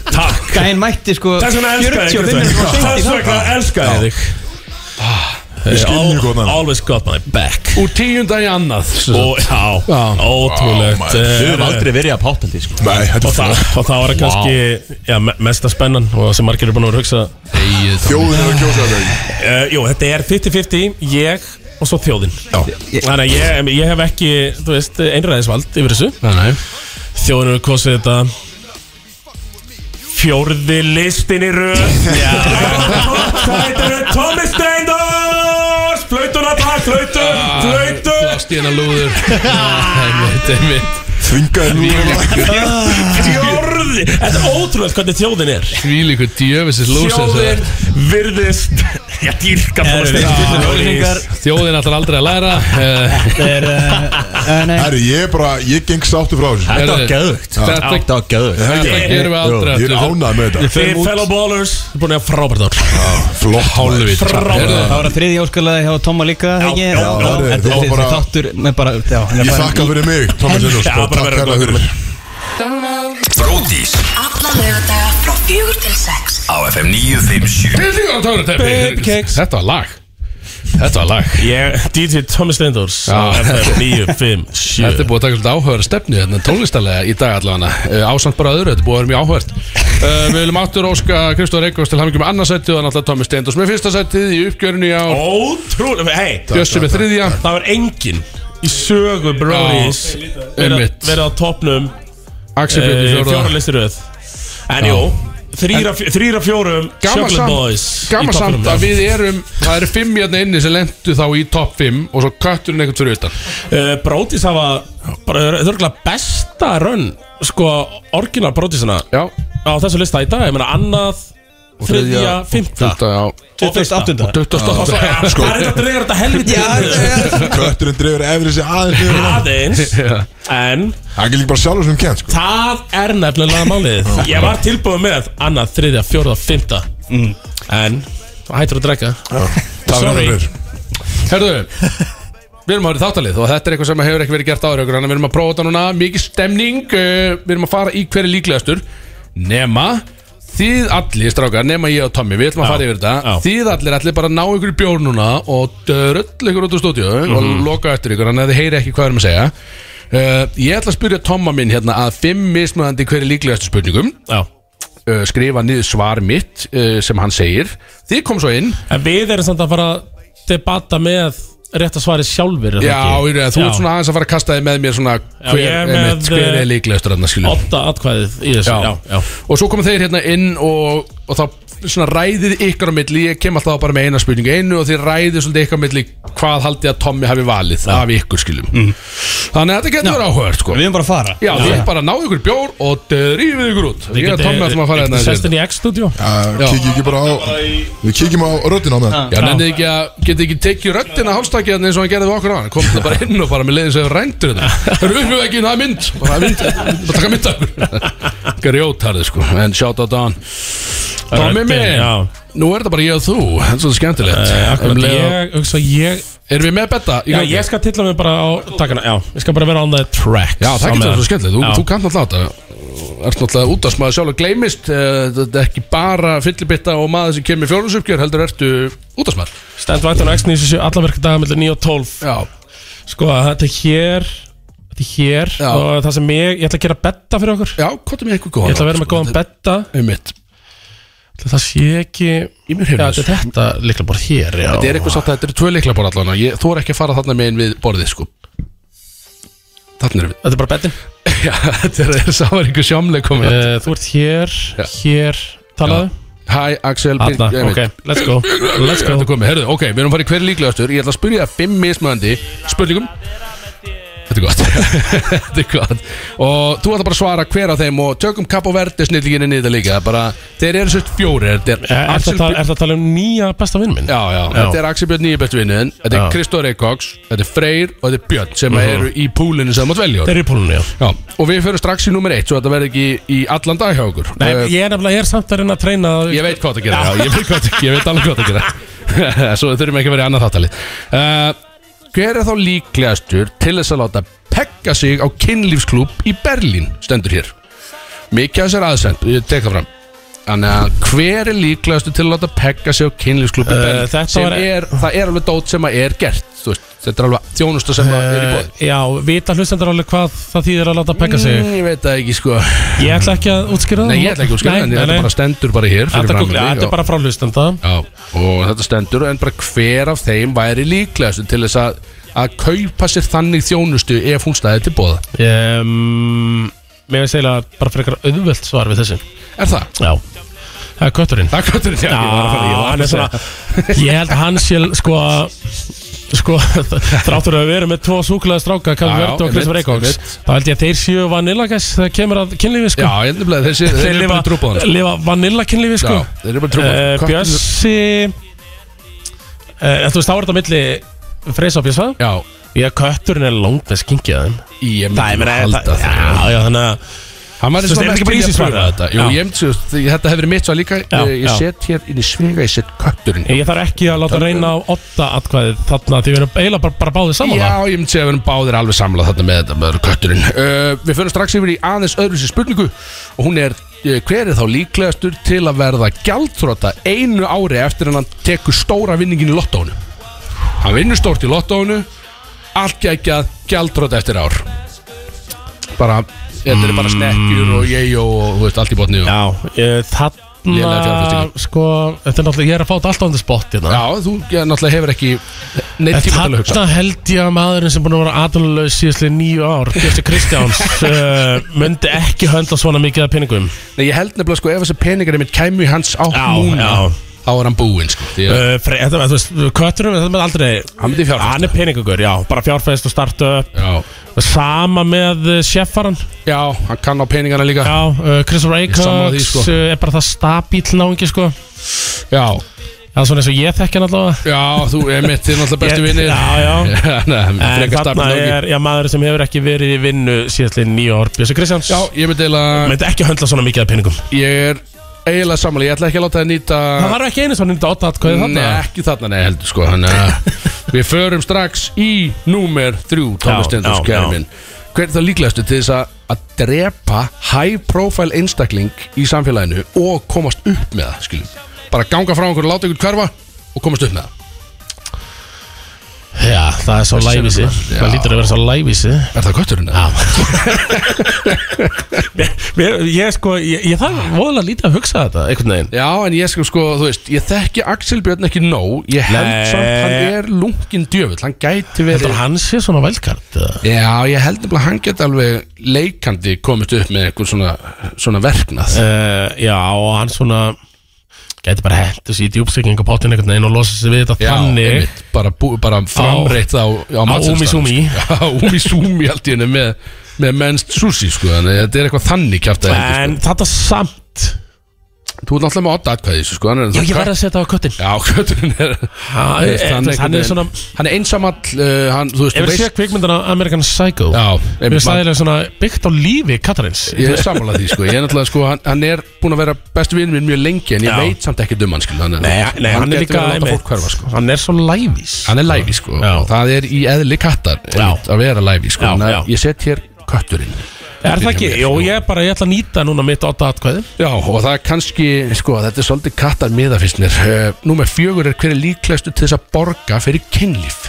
S2: Takk
S14: Gæinn mætti sko
S2: Þess vegna elskar
S14: 45
S2: ég þig
S14: minnum
S2: Guðsteinn. Þess vegna elskar ég þig
S9: Ég skil mjög gott hann.
S2: Always got my back
S1: Úr tíunda í annað
S2: Og já,
S1: Já.
S2: ótrúlegt
S9: Vá,
S3: Við
S2: Eh,
S3: höfum aldrei verið að páthaldi sko.
S9: Nei, þetta
S2: Og
S9: er
S2: það,
S9: fyrir
S2: og það var kannski já, me- mesta spennan og það sem margir er búin að vera að hugsa
S9: Þjóðin er að kjósa þetta ekki
S2: uh, Jú, þetta er 50-50, ég og svo þjóðin Þannig að ég, ég hef ekki, þú veist, einræðisvald yfir þessu
S1: Nei, nei
S2: Þjóðin hefur kosið þetta Fjórði listin í röð Já Þetta eru Tommy Steindors Flautuna takk, flautu, flautu
S1: Plastíðan að lúður Ah, Einmitt, einmitt
S9: Þvingaði nú
S2: Fjórði Þetta er ótrúlega hvernig þjóðin er
S1: Svílíkur djöfisins lúsið
S2: Þjóðin virðist Já, dýrka Tommy Steindors
S1: Þjóðin ætlar aldrei að læra eh,
S9: Herri, ég er bara, ég geng sáttu frá þessu
S3: Þetta var
S1: Heyrðu,
S3: geðvögt
S1: þetta-
S3: Þetta var geðvögt
S1: Þetta gerum við aldrei
S9: Ég er
S1: aftur.
S9: ánað með þetta
S2: Þið fellow ballers Þið búin að hafa frábært ár
S9: Flott
S1: Hálfvít
S2: Frábært
S14: Það var að þriðja óskalega hjá Tomma líka ekki?
S2: já, já,
S9: herri,
S14: Þetta
S9: þú var
S14: er
S9: bara-
S14: þáttur með bara já, hann er
S9: Ég
S14: bara-
S9: þakka fyrir mig, Thomas Öndurs
S2: Já, bara
S9: Takk
S2: verið
S9: hérna
S2: gott
S9: fyrir
S6: Bródís
S8: Alla laugardaga frá fjögur til sex
S6: á FM 957
S2: Baby cakes.
S1: Þetta var lag Þetta var lag
S2: Ég, DJ Tommy Steindors
S1: Já.
S2: FM 9, 5, 7
S1: Þetta er búið að taka svolítið áhugaður stefnu hérna tónlistalega í dag allavega uh, ásamt bara öðru, þetta er búið að vera mjög áhugavert uh, Við viljum aftur óska Kristóð Reykjavs til hamingjum með annarsættið og náttúrulega Tómi Steindors með fyrsta sættið í uppgjörinu á
S2: Ótrúlega, hei
S1: Bjössi með þriðja
S2: Það var enginn í sögu Brodies
S1: einmitt.
S2: verið á topnum
S1: Axel Björn í
S2: fjóra
S1: fjóraða
S2: listir röð En jú, þrýra þrýra fjórum
S1: Gaman
S2: Chocolate Boys
S1: samt, gaman samt að við erum það eru fimm hérna inni sem lendu þá í topp 5 og svo kötturinn eitthvað fyrir utan
S2: uh, Brodís hafa bara þörgulega besta run sko, orginal Brodísina
S1: Já,
S2: á þessu lista í dag, ég meina annað þriðja,
S1: þriðja,
S2: fimmta
S1: þetta já
S2: og fyrsta
S1: 28.
S2: Það er þetta dregur þetta helviti niður.
S9: Kötturinn drefur efrið sig aðeins niður.
S2: aðeins En
S9: Hann er líka bara sjálfur sem kent sko
S2: það er nefnilega málið Ég var tilbúið með annað, þriðja, fjórða, fymta
S1: Mm.
S2: En hættur að drekka
S9: Takk hérna
S2: Sorry.
S9: fyrir
S1: Herðu, við erum að vera í þáttalið og þetta er eitthvað sem hefur ekki verið gert áður ykkur, þannig að við erum að prófa þetta núna, mikið stemning eh, við erum að fara í hverju líklegastur nema þið allir strákar, nema ég og Tommy, við ætlum að fara yfir þetta
S2: já.
S1: þið allir allir bara að ná ykkur í bjór núna og döröll ykkur út úr stúdíu
S2: Mhm.
S1: og loka eftir ykkur, þannig að þið heyri ekki hvað við erum að segja uh, ég ætla að spyrja Tomma minn hérna að fimm mismunandi hverju líklegastu spurningum
S2: Já.
S1: uh, skrifa niður svar mitt uh, sem hann segir, þið kom svo inn
S2: En við erum samt að fara að debata með rétt að svari sjálfur er það
S1: Já,
S2: ekki?
S1: ég veit, þú
S2: Já.
S1: ert svona aðeins að fara að kasta þig með mér svona hver,
S2: ég er
S1: er,
S2: með,
S1: einmitt, hver
S2: eh,
S1: er líklegastur þarna skilur
S2: Otta atkvæðið í þessu
S1: Já.
S2: Já, já,
S1: Og svo koma þeir hérna inn og, og þá svona ræðið ykkar á milli ég kem alltaf bara með eina spurningu einu og þeir ræðið svolítið ykkar á milli hvað haldið að Tommy hafi valið af ykkur skilum
S2: Mhm.
S1: Þannig að þetta getur verið áhugað sko
S14: Við erum bara að fara
S1: Já, þið bara náðu ykkur bjór og drýfið ykkur út Ég er Tommy alltaf að fara hérna
S2: Sestin í X-studio
S9: Uh, Kikið ekki bara á Við kikjum á röddina á meðan
S1: Já, nefndið ekki að, getið ekki tekið röddina hálfstakjaðan eins og hann gerði við okkur á hann Komið það bara inn og bara með leiðin sem við rændur þetta Það eru uppið ekki, það er mynd Bara það er mynd, bara taka mynd af ykkur Grjótarði sko, en shout out á hann Tommy
S2: Röddin,
S1: minn,
S2: já. Eh,
S1: nú er þetta bara ég og þú Það er svolítið skemmtilegt
S2: Akkurat,
S1: Um leið og-
S2: ég, hugsa, ég,
S1: Erum við með betta? í
S2: já,
S1: gangi?
S2: ég skal tilla mig bara á takkana Já, ég skal bara vera on the track
S1: Já, það getur það svo skemmtilegt, þú,
S2: Já.
S1: þú kannt alltaf þetta Þú ert náttúrulega út að smaður sjálf að gleymist eh, Þetta er ekki bara fyllibitta og maður sem kemur fjórnusupgjör heldur ertu út að smaður
S2: Stend væntan á X-97 allan verka daga mellir 9 og 12
S1: Já,
S2: Sko, þetta er hér Þetta er hér
S1: Já.
S2: Og það sem ég, ég ætla að gera betta fyrir okkur
S1: já, hvað er með eitthvað góðan?
S2: Ég ætla að vera með góðan betta
S1: Um mitt
S2: Ætli Það sé ekki
S1: Í mér
S2: Já,
S1: hefur
S2: þetta er þetta líklega bara hér já.
S1: Þetta er eitthvað satt að þetta eru tvö leiklabor allan og ég þóra ekki að fara þarna megin við borðið sko Þarna erum
S2: Þetta er bara bettin
S1: við Já, þetta er sávar ykkur sjámleg komið
S2: uh, Þú ert hér,
S1: Já.
S2: hér Talaðu?
S1: Hæ, Axel Birgir-
S2: Alla,
S1: ég veit.
S2: ok, let's go Let's go
S1: Þetta er komið, herðu, ok, við erum farið hver líklegastur Ég ætla að spyrja fimm mismöðandi spurningum Þetta er gott Þetta er gott Og þú ætla bara að svara hver af þeim og tökum kapp og verði snillíkinni niður líka Það er bara, þeir eru svolítið fjóri Er
S2: Er það Eh, að tala um nýja besta vinn minn?
S1: Já, já, þetta er Axel Björn nýja bestu vinnuðin Þetta er
S2: Já. Mhm.
S1: Kristóð Reykjavíks, þetta er Freyr og þetta er Björn sem eru í púlinu sem þú mátt velja úr.
S2: Þeir eru í pólunni, já
S1: Já, og við förum strax í nummer eitt svo þetta verður ekki í allan dag hjá okkur
S2: Nei,
S1: Eh,
S2: ég er nefnilega, ég er samt að reyna að treyna
S1: ég veit hvað það gera já. ég veit hvað það, ég veit alveg hvað það gera Svo við þurfum ekki að vera í annað þáttalið uh, Hver er þá líklegastur til þess að láta pekka sig á kynlífsklúb í Berlín stendur hér Mikið af þess er aðsend, ég tek það fram Þannig að hver er líklegastur til að láta pekka sig á kynlífsklúb í
S2: Eh,
S1: Berlín
S2: þetta
S1: sem
S2: var-
S1: er, það er alveg dót sem að er gert þú veist, Þetta er alveg þjónusta sem að er í bóð
S2: Eh, Já, vita hlustendur alveg hvað það þýðir að láta pekka sig
S1: Ég veit það ekki sko
S2: Ég ætla ekki að útskýra það
S1: Nei, ég ætla ekki að skilja, en þetta bara stendur bara hér fyrir
S2: Þetta
S1: framan
S2: googla-
S1: mig,
S2: þetta
S1: já.
S2: er bara frá hlustenda
S1: Já, og þetta stendur en bara hver af þeim væri líklegast til þess að, að kaupa sér þannig þjónustu ef hún stæði til bóða
S2: um, Mér finnst eiginlega bara frekar auðvöld svar við þessu
S1: Er það?
S2: Já Það er kötturinn
S1: Það er kötturinn, já,
S2: Já,
S1: ég var að fara- ég var að fara
S2: hann er svona
S1: að
S2: Ég held að hann sé sko Sko, þráttur að við erum með tvo súklaða stráka Kalli
S1: Já, já,
S2: Verdi og
S1: ég
S2: Kristofur
S1: veit,
S2: Eikóks
S1: ég veit.
S2: Þá held ég að þeir séu vanillagess Þegar kemur að kynlífi sko
S1: Já, ég heldur bara að þessi, þeir eru bara sko. trúbóðan
S2: Þeir lifa vanillakynlífi sko
S1: Já, þeir eru bara trúbóðan
S2: Eh, Bjössi uh, Þú veist, þá er þetta á milli Freysa og Bjössa
S1: Já,
S2: Já, kötturinn er langt með skinkið þeim
S1: ég
S2: Það
S1: myndi
S2: er mér
S1: að halda
S2: það
S1: það
S2: Já, já, þannig að
S1: Hann var
S2: Þú veist, er þetta ekki bara
S1: til í að
S2: easy svar?
S1: pröfa þetta Jú,
S2: Já.
S1: ég myndi, þú veist, þetta hefur verið mitt svo líka
S2: Já,
S1: Ég, ég
S2: já.
S1: set hér inn í svega, ég set kötturinn
S2: Ég þarf ekki að láta reyna á åtta atkvæðið þarna því við erum eiginlega bara, bara báðið saman
S1: Já, ég myndi segja að við erum báðir alveg samlað þarna með þetta með kötturinn uh, Við förum strax yfir í aðeins öðru sér spurningu og hún er eh, hver er þá líklegastur til að verða gjaldþróta einu ári eftir en hann tekur stóra vinningin í lottónu Hann vinnur stórt í lottónu allt geggjað gjaldþróta eftir ár Bara, þetta er bara snekkjur og jejó og þú veist, allt í botni og,
S2: Mm. Já, eh,
S1: Lélega
S2: þarna
S1: fjárfestingu.
S2: sko, þetta er náttúrulega, ég er að fá þetta alltaf on the spot hérna.
S1: Já, þú ja, náttúrulega hefur ekki neitt tíma til að hugsa
S2: Þarna held ég að maðurinn sem búin að vera aðlulegs síðastlega nýju ár, Björnsi Kristjáns uh, myndi ekki höndla svona mikið af peningum
S1: Nei, ég held nefnilega sko ef þessi peningar einmitt kæmu í hans átt
S2: Já,
S1: núna
S2: já.
S1: þá er hann búinn sko Því að-
S2: uh, fre, þetta, þú veist, Kötturum, þetta með aldrei
S1: Hann myndi fjárfesta.
S2: Hann er peningugur, já, bara fjárfæðist og starta
S1: Já,
S2: Sama með eh, Sjeffaran
S1: já, hann kann á peningana líka Já,
S2: Já, uh, Christopher
S1: sammála því,
S2: Eikóks
S1: sko.
S2: uh, er bara það stabíl náingi sko
S1: já,
S2: Það er svona eins og ég þekki hann allavega
S1: þú er mitt, þið er náttúrulega bestu
S2: Ég-
S1: vinnir
S2: Já, já.
S1: Nei,
S2: En
S1: frekar
S2: þarna
S1: stafn er...
S2: er já, maður sem hefur ekki verið í vinnu síðastlega nýja ár Bjössi Kristjáns
S1: Já, ég myndi eiginlega,
S2: Myndi ekki höndla svona mikið af peningum
S1: ég er eiginlega sammála Ég ætla ekki að láta það nýta
S2: Það var ekki einu svona nýtt átt atkvæði
S1: Nei,
S2: þarna
S1: ekki þarna, nei, heldur sko hann, Við förum strax í númer þrjú,
S2: Já,
S1: Thomas Stendors,
S2: já, já.
S1: kæri minn Hver er það líklegastu til þess að, að drepa high profile einstakling í samfélaginu og komast upp með það, skiljum Bara ganga frá einhverju, láta einhvern hverfa og komast upp með það
S2: Já, það er svo
S1: Þessi
S2: lævísi
S1: sem er svona-
S2: Það
S1: Já.
S2: lítur að vera svo lævísi
S1: Er það kötturinn? Já
S2: Mér- Ég sko, ég, ég þarf voðalega lítið að hugsa þetta einhvern veginn
S1: Já, en ég sko, sko, þú veist, ég þekki Axel Björn ekki nóg Ég held
S2: Nei.
S1: samt, hann er lungin djöfull, hann gæti verið
S2: Heldur hann sé svona velkart
S1: Já, ég held nefnilega að hann geti alveg leikandi komist upp með eitthvað svona, svona verknað
S2: uh, Já, og hann svona Gæti bara hendur sér í djúpsykking og pottin einhvern veginn og losa sér við þetta
S1: Já,
S2: þannig
S1: einmitt, bara, bú, bara framreitt á, á, á
S2: Umisumi.
S1: Já, Umisumi allt í henni með, með mennst sushi, sko Þannig að þetta er eitthvað þannig kjátt að
S2: En þetta samt
S1: sko. Þú ert náttúrulega með odda atkvæði, í þessu, sko hann er-
S2: Já, ég verð að setja á köttin
S1: Já, kötturinn er
S2: Ha,
S1: þú veist,
S2: eh, þú veist, hann er
S1: einhvern veginn-
S2: svona-
S1: Hann er einsamall, uh, hann, þú veist,
S2: Ef
S1: þú
S2: við séu
S1: veist
S2: kvikmyndina American Psycho
S1: Já,
S2: Mér
S1: einmitt,
S2: finnst það
S1: maður-
S2: eiginlega svona byggt á lífi Katarins
S1: Ég er samanlega því sko Ég er náttúrulega sko Hann, hann er búin að vera bestu vinn minn mjög lengi En ég
S2: Já.
S1: veit samt ekki um hann skil Nei,
S2: hann er
S1: gæti verið að
S2: líka
S1: láta
S2: einmitt,
S1: fólk hverfa sko
S2: Hann er svo lævís
S1: Hann er læfi sko
S2: Já.
S1: og Það er í eðli kattar einmitt, Að vera læfi sko
S2: Já,
S1: Þannig
S2: já.
S1: að Ég set hér kötturinn
S2: Er það ekki? Jó, ég er bara, ég ætla að nýta núna mitt 8 atkvæði
S1: Já, og það er kannski Sko, þetta er svolítið kattar miða fyrst mér uh, Númer fjögur er hver er líklegastu til þess að borga fyrir kynlíf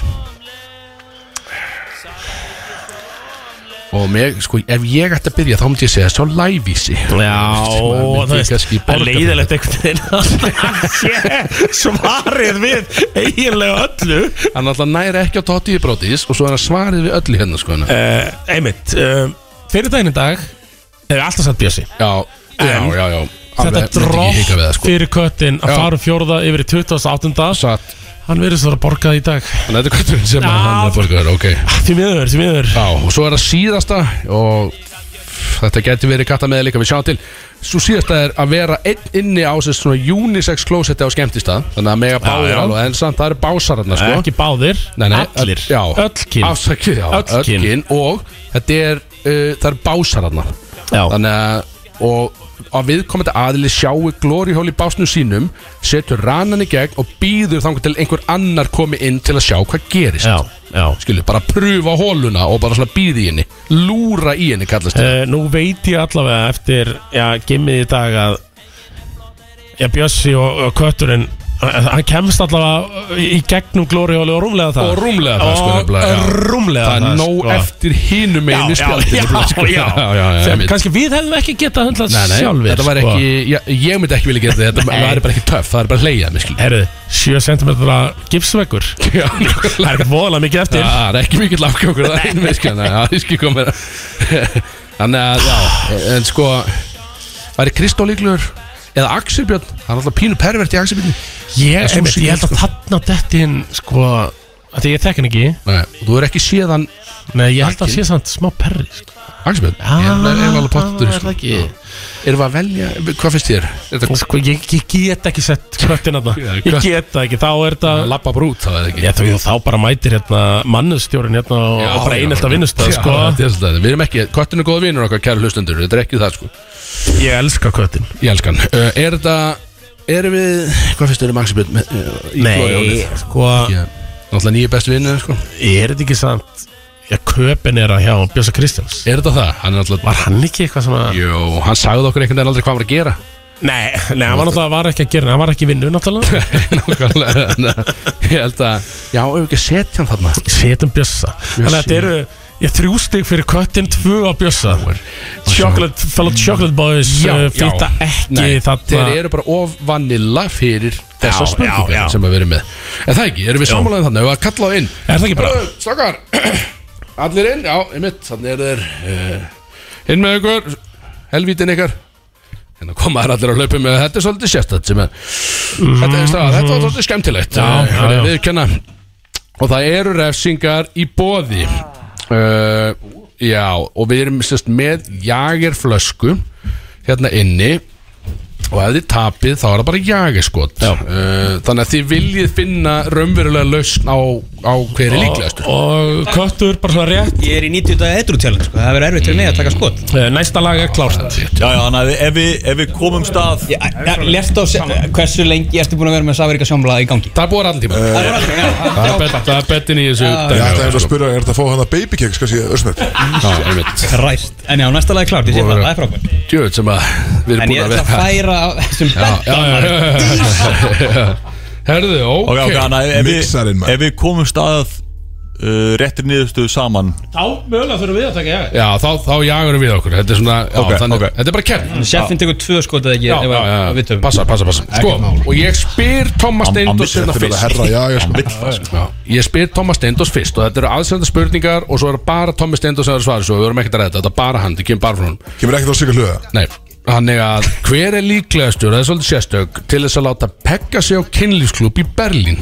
S1: Og mig, sko, ef ég ætti að byrja þá myndi ég segja svo lævísi
S2: Já, það veist, það er leiðilegt einhvern veginn Svarið við eiginlega öllu
S1: Hann alltaf næri ekki á Totti í brótis og svo er hann svarið við öllu hérna sko uh,
S2: Eh, Einmitt, eh, fyrir daginn í dag Hefur alltaf satt bjössi
S1: Já, já,
S2: en
S1: já, já
S2: Þetta drótt
S1: það, sko.
S2: fyrir köttin að
S1: Já.
S2: fara úr fjórða yfir í 28.
S1: Satt,
S2: Hann verðist að vera borgað í dag
S1: þannig að þetta er kvöldurinn sem
S2: Já.
S1: að hann er að borga þér, ok
S2: Því miður, því miður
S1: Já, og svo er það síðasta og þetta getur verið katta með líka við sjáum til Svo síðasta er að vera einn inni á sér svona unisex klósetti á skemmtistað Þannig að mega báðir
S2: já.
S1: alveg, en samt það eru básararna sko
S2: Ekki báðir,
S1: Nei, nei,
S2: allir
S1: öll- já,
S2: Öll kyn
S1: Afsakið, já,
S2: Öll
S1: öll
S2: kyn.
S1: eh, kyn Og þetta er, uh, það eru básararna
S2: Já.
S1: Þannig að, og að viðkomandi aðili sjáu glóriól í básnum sínum setur ranan í gegn og býður þangur til einhver annar komi inn til að sjá hvað gerist
S2: Já, já
S1: Skilu, bara pröfa hóluna og bara svona býði í henni Lúra í henni kallast þetta
S2: Eh, Nú veit ég allavega eftir já, gimmið í dag að já, Bjössi og, og Kötturinn eh, hann kemst allavega eh, í gegnum glórióli og rúmlega það
S1: Og rúmlega það, sko, nefnilega, já.
S2: og rúmlega sko.
S1: Það er nóg eftir hinum
S2: já,
S1: meginn í spjaldinu
S2: já,
S1: blöð, sko. já,
S2: já,
S1: já, já,
S2: sem
S1: einmitt.
S2: kannski við hefðum ekki getað hundlað
S1: Nei, nei,
S2: sjálfir
S1: Þetta var
S2: sko.
S1: ekki, já, ég myndi ekki vilja gera þetta Þetta væri bara ekki töff, það er bara leiðað mér skilur
S2: Herðu, 7 cm gipsveggur
S1: Já,
S2: Það er voðalega mikið eftir
S1: Já, það er ekki mikill afgangur það einu með skilur Já, ég skil komið Þannig að, já, en sko Væri Kristó líklegur Eða Axel Björn, það er alltaf pínu pervert í Axel Björn
S2: Ég,
S1: sú
S2: einmitt, ég
S1: sýn,
S2: held að þarna dettin sko, að því ég þekk hann ekki
S1: Nei, og þú er ekki séðan
S2: Nei, ég held að sé samt smá perri sko.
S1: Axel Björn,
S2: Já,
S1: ég er alveg
S2: er
S1: pottur sko.
S2: það ekki?
S1: Erum við að velja, hvað finnst þér? Er
S2: Og
S1: þetta
S2: sko, ég, ég get ekki sett köttin að
S1: Já,
S2: það Ég
S1: kött.
S2: get það ekki, þá er það
S1: labba brút, það er ekki
S2: Ég þú þá bara mætir hérna mannustjórin hérna og
S1: Já,
S2: og bara
S1: já,
S2: einelt að
S1: já.
S2: vinnust það
S1: Já,
S2: sko
S1: þetta er svolítið. Við erum ekki, köttin er góða vinur okkar kæra hlustendur, þetta er ekki það sko
S2: Ég elska köttin
S1: Ég elskan uh, Er þetta, erum við, hvað finnst þér um Axel Björn? með- Uh, í Glóriálið?
S2: sko,
S1: Já, Náttúrulega nýja bestu vinnur sko
S2: er þetta ekki samt Já, köpin er að hjá Bjösa Kristjáns
S1: Er þetta það? Hann er náttúrulega
S2: Var hann ekki eitthvað svona
S1: Jó, hann sagði okkur einhvern veginn aldrei hvað hann var að gera
S2: Nei, nei, hann var náttúrulega var ekki að gera Hann var ekki í vinnu náttúrulega
S1: Nákvæmlega þannig að Ég held að, já, ef við ekki að setja hann þarna
S2: Setum Bjösa Þannig að þetta eru Ég þrjú stig fyrir köttin, tvö á Bjösa Chocolate, fellow chocolate boys
S1: Já,
S2: uh,
S1: já.
S2: Fýta ekki
S1: Nei,
S2: þarna
S1: þeir eru bara of vanilla fyrir
S2: Já,
S1: þessar
S2: já, já.
S1: spurningar sem við erum með En það ekki, erum við sammálaðið þannig, ef við að kalla á inn
S2: Er það ekki bara?
S1: Stokkar, allir inn, já, einmitt, þannig eru þeir uh, Inn með ykkur, helvítin ykkar En það koma þær allir að hlaupa með þetta er svolítið sérstætt sem er Þetta er stað, þetta var svolítið skemmtilegt
S2: Já,
S1: Eh,
S2: já,
S1: verið
S2: já.
S1: viðurkenna. Og það eru refsingar í bóði uh, Já, og við erum sérst með jagerflösku Hérna inni og ef þið tapið þá er það bara jagerskot uh, þannig að þið viljið finna raunverulega lausn á, á hver er líklegastur
S2: Og köttur bara svona rétt
S9: Ég er í 90 daga edru challenge sko. Það verður erfitt fyrir mig að taka skot
S2: Eh, Næsta lag er klárt
S3: Já, já, þannig að ef við, ef við komum stað
S9: Ég- ég- Lest á se- hversu lengi ertu búin að vera með Saveríka sjómla í gangi
S1: það er búið allan tíma
S9: Það er aldrei, já, það
S1: það
S9: er
S1: er bet- það er bettin í þessu
S8: Ég ætla
S1: dæmi,
S8: eins og að
S1: sko.
S8: spyrja, er þetta að fá hana baby cakes, kannski, össnett?
S1: Já, einmitt.
S9: Ræst En já, næsta lag er klárt, ég sé það, það er frábært
S1: djöfull sem að við erum
S9: En
S1: búin
S9: ég
S1: að
S9: ætla að
S1: vera
S9: færa á þessum
S1: Já, já, já, já, já. herðu,
S3: Ok, ok,
S1: ok
S3: þannig að ef,
S8: Mixarinn,
S3: við-
S8: maður.
S3: ef við komum stað uh, réttir niðurstöðu saman
S2: Þá mögulega þurfum við að taka jaga
S1: já, þá, þá jagurum við okkur þetta er svona, já,
S3: Ok,
S1: þannig,
S3: ok.
S1: þetta er bara kepp
S9: Sjeffin tekur tvö skot eða ekki
S1: já,
S9: ef
S1: já,
S9: að- að
S1: já,
S9: við töfum.
S1: passa, passa, passa sko, og ég spyr Thomas
S3: Hann- hann
S1: Steindors
S3: vissi
S1: hérna
S8: Þetta er
S1: fyrst.
S8: að herra, já, ég sko.
S1: Já, ég spyr Thomas Steindors fyrst og þetta eru aðsenda spurningar og svo eru bara Thomas Steindors sem eru svarið svo við verum ekkert að ræða þetta, þetta er bara hann, þetta kemur bara frá hann
S8: Kemur ekkert á sig að hluga.
S1: Nei, hann er að hver er líklegastur, það er svolítið sérstök til þess að láta pekka sig á kynlífsklub í Berlín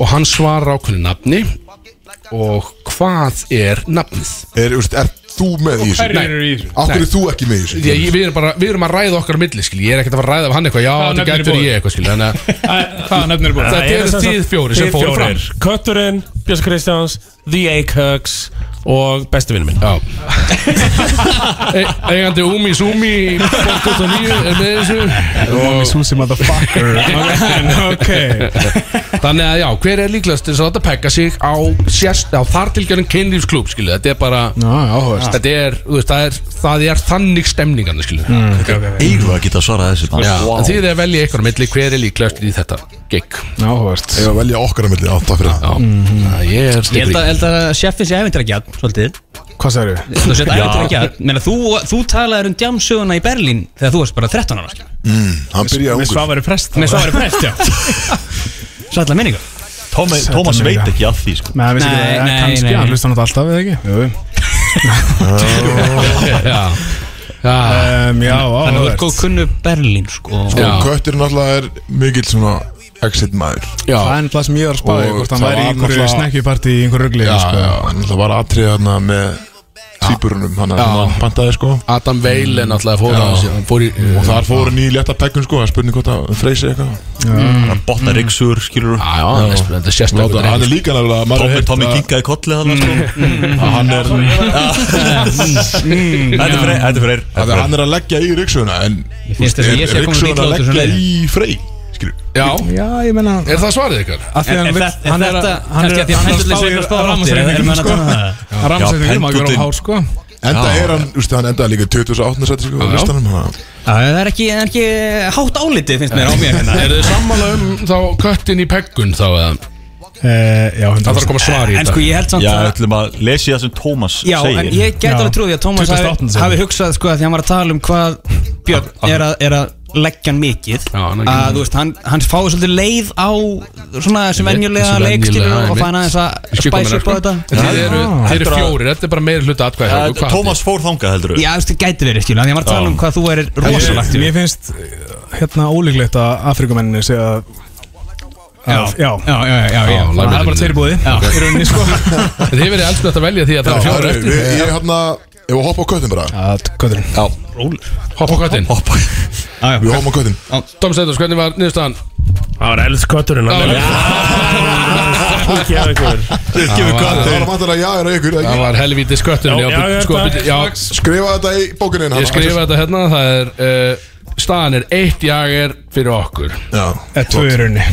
S1: og hann svarar ákveðinu nafni og hvað er nafnið?
S8: Er, úrst, er þú með í þessu?
S1: Nei.
S2: eru í þessu?
S8: Akkur er þú ekki með í þessu?
S1: Því að ég- við erum, bara, við erum að ræða okkar á milli, skil, ég er ekkert að fara að ræða af hann eitthvað, já,
S2: Hvaða
S1: þetta
S2: nöfn eru
S1: gætur
S2: í boði?
S1: ég eitthvað, skil, þannig að
S4: Hvaða nöfnir er búin?
S1: Þetta eru þið fjórir sem fóru fram.
S2: Kötturinn, Björns Kristjáns, The A-Cugs og besti vinnu minn
S1: Já e Eigandi Umi Sumi 29 er með þessu og
S4: Susi motherfucker Ok
S1: Þannig að já, hver er líklegast til þess að þetta pekka sig á, sérst, á þartilgjörn kynlífsklub, skilu, þetta er bara
S4: Já, áhugast
S1: þetta er, þú veist, það er, það er þannig stemningarna, skilu mm.
S3: Eigum við að geta svarað þessu
S1: Já,
S3: Vá.
S1: en þið er að velja eitthvað á milli, hver er líklegast í þetta gig
S4: Áhugast
S8: Ég var að velja okkar að milli, já, takk fyrir það.
S1: Já, mm. ég er
S9: Ég held að-
S1: stikri
S9: held að sjeffin sé æfintarækjað Svolítið
S4: Hvað sagður við?
S9: Þú sé æfintarækjað Meina þú, þú talaðir um djamsöguna í Berlín Þegar þú varst bara 13 ára sko.
S8: Hann byrjaði ungur.
S4: Svafari prest
S9: Með svafari prest, já Sætla minningu
S3: Tómi, Tómas
S4: Sætan
S3: veit
S4: líka.
S3: ekki að því sko.
S4: Nei, nei, nei
S9: Nei, nei,
S4: Eh, Kannski,
S9: nei.
S4: hann hlusta hann alltaf eða ekki Jú
S1: Já, já,
S4: um, Já,
S9: Þannig að þú ert
S4: áhugast
S9: góð kunnu Berlín sko
S1: já,
S8: Og kötturinn alltaf er mikill svona exit maður.
S1: já,
S4: Það er náttúrulega sem ég var að spáði
S8: Og
S4: Hvort hann
S8: það
S4: væri í
S8: var
S4: einhverju
S8: náttúrulega-
S4: snekkjuparti í einhverju rugli
S8: Já,
S4: sko.
S8: já, hann alltaf var atrið þarna með týpurunum hann að
S1: sko- Já.
S8: hann pantaði sko
S1: Adam Veil er náttúrulega fór,
S8: Já.
S1: á þessi, hann fór í,
S8: og þar fór hann í létta peggum sko það er spurning hvort að freysi eitthvað
S3: Hann
S2: Mm.
S3: botnar yksugur, skilur
S1: Já, já, hann er spil- þetta er sérstaklega
S8: Láta- hann er líka nefnilega maður
S3: Tommy,
S8: heyrt
S3: Tommy
S8: að-
S3: kinkaði kolli þannig sko
S8: að hann er
S3: Þetta er freyr, þetta er freyr
S8: að hann er að leggja í ryggsöguna en
S9: finnst þess að ég sé að koma
S8: ryggsöguna að
S9: illa út úr þessu
S8: leggja
S9: leiði.
S8: í frey skilur
S1: Já,
S4: Já, ég menna
S1: er það svarið ykkar?
S4: Af því
S9: En-
S4: hann
S9: en
S4: vill-
S9: þetta-
S4: hann
S9: en
S4: er að-
S9: þetta-
S4: hann er
S9: kannski
S4: að-
S9: af því að
S4: hann er að
S9: pendulinn
S4: spá
S9: segir
S4: í
S9: að spá á
S4: rafmagnsreikningum,
S9: rafmagnsreikningum,
S4: sko.
S9: sko.
S4: Hann rafmagnsreikningum, maður verður
S3: pendulinn.
S4: hár sko
S8: enda er hann úst, hann endaði líka 28. sæti sko á
S1: Já.
S8: listanum hann-
S9: Já, Það er ekki, það er ekki hátt álitið finnst mér á mér hérna
S1: Er þið sammála um þá köttin í peggun þá eða?
S9: Eh,
S4: Já,
S1: Það þarf að koma svar í
S9: En sko ég held samt
S3: Já,
S9: að
S3: ætlum að lesi það sem Tómas
S9: Já, en
S3: segir
S9: ég gæti
S4: Já.
S9: alveg trúið að Tómas hafi,
S4: 28. sinn.
S9: hafi hugsað sko að því hann var að tala um hvað Björn er að, er að leggja hann mikið
S1: Já, hann er ekki-
S9: að þú veist, hann, hann fái svolítið leið á svona þessu venjulega
S1: Þessu
S9: leikstilu
S1: venjulega,
S9: og
S1: einmitt.
S9: fæna þess að
S1: Ég skil hvað
S9: spæsa
S1: meinar,
S9: upp á
S1: sko.
S9: þetta
S1: En Þið eru, þið eru
S3: Heldur að-
S1: fjórir, þetta er bara meiri hluta atkvæði
S3: Eh, Tómas fór þangað heldur
S9: Já, þú veist, það gæti verið, skilu, að því hann var að tala um hvað þú er rosalagt
S4: Mér finnst hérna ólíklegt að Afrikumenninni segja að- að- Já,
S9: já, já, já, já,
S1: Já,
S9: já.
S1: læmið
S4: það er bara
S1: þínu.
S4: tveir búið Í rauninni sko
S1: Þið verið elsku að velja því að það
S8: Já,
S1: eru
S8: það
S1: fjórir
S8: er-
S1: eftir
S8: við- ég er hann að ef við hoppa á köttin bara
S4: Það, Kötturinn
S1: Hopp á köttin
S3: Hoppa
S8: við hoppum á köttin
S1: Tómas Eidars, hvernig var niðurstaðan?
S2: Það var eldskötturinn hann er- Hún gefa ykkur.
S3: Gefur
S1: var-
S8: það
S3: köttin
S8: var mættilega já er á ykkur eða
S1: Það
S8: ekki?
S1: var helvítið sköttin
S2: Já, já, já,
S1: sko,
S2: þetta-
S1: byrju- já,
S8: skrifa þetta í bókinin
S1: Ég skrifa þetta hérna Það er uh, Staðan er eitt jager fyrir okkur
S4: Eða tvö í rauninni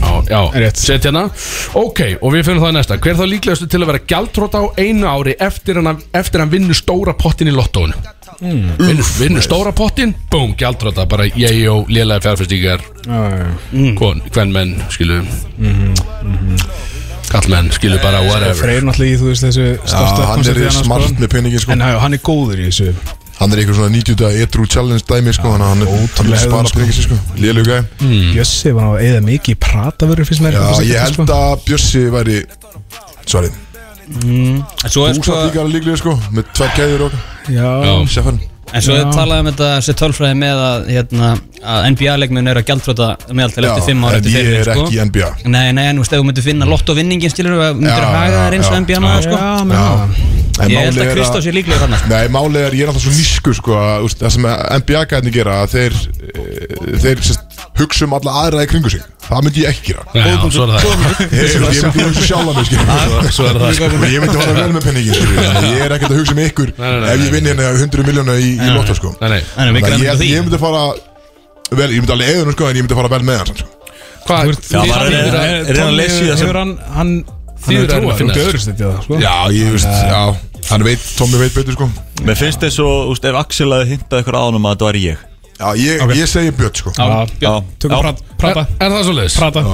S1: Já, já
S4: Rétt.
S1: Sett hérna Ok, og við finnum það næsta Hver er þá líklegastu til að vera gjaldróta á einu ári Eftir hann, eftir hann vinnur stóra pottin í lottónu mm. vinnur, vinnur stóra pottin Búm, gjaldróta Bara ég og lélega fjárfæstíkar Hvern mm. menn, skilu Kallmenn, skilu bara whatever
S4: Freyr náttúrulega í þú veist þessu startup
S8: hann er
S4: koncepti
S8: í
S4: hennar,
S8: smart
S4: sko.
S8: með peningin sko
S4: En já, hann er góður í þessu
S8: hann er í eitthvað svona 90 daga etru challenge dæmi sko þannig að hann er hann er að spara
S4: hefðum, sko.
S8: peningin sin, sko lélega gæm
S4: Jössi var náttúrulega eða mikið í pratavöru finnst mér
S8: já
S4: þessi
S8: ég
S4: þetta, sko.
S8: held að Bjössi væri sorry
S9: Svo er
S8: þú
S9: sko,
S8: satt líka alveg líklega sko með tvær kæður og
S4: Já,
S1: Já.
S8: sefan
S9: en svo
S4: Já.
S9: talaði um þetta sér tölfræði með að, hérna, að NBA-leikmenn eru að gjaldfrota meðaltal
S8: já
S9: eftir 5 ára
S8: en
S9: eftir
S8: ég
S9: feril,
S8: er
S9: sko.
S8: ekki í NBA
S9: Nei, nei, en þú veist, ef þú myndir finna lottovinningin, skilur þú, myndir
S8: Mm. Já,
S9: að haga
S8: já,
S9: þér eins og
S8: já.
S9: NBA maður, sko
S4: já, menn það.
S8: En
S9: Ég held
S8: málið
S9: að
S8: er
S9: Kristós sé líklegur sko. hann
S8: Nei, málið er, ég er alltaf svo nýsku sko, að, úst, það sem NBA-gæðni gera að þeir, e, þeir sest, hugsa um alla aðra í kringu sig það myndi ég ekki gera
S1: Já, svo er það
S8: Ég, ég myndi hugsa sjálf að mig
S1: Svo er það sko.
S8: og ég myndi horfa vel með penningin skilur við. Ég er ekkert að hugsa um ykkur
S1: Nei, nei, nei,
S8: ef ég vinn hérna 100 miljónu í, í lotto sko.
S1: Nei, nei
S9: Þannig að við
S8: Þannig að
S9: græmum
S8: ég,
S9: því
S8: ég myndi fara vel, ég myndi alveg eða sko, en ég myndi fara vel með hann samt, sko.
S1: Hvað?
S3: Já, maður er-
S1: þýðir að-
S3: er- er- er- hann lesið það sem-
S4: Hefur hann, hann
S1: Þýður
S4: Þýður
S1: að
S4: hann
S1: reyna að
S4: að
S1: finna
S4: finna
S1: þessu.
S4: þessu
S8: Já, ég veist, já, hann veit, Tommy veit betur sko.
S3: Mér finnst þess að ef Axel hafði hintað ykkur ánum að þetta var ég
S8: Já, ég, ég segi Björn sko.
S3: Já,
S4: Tökum prat- prata
S1: Er- Er það svo leiðis?
S4: Prata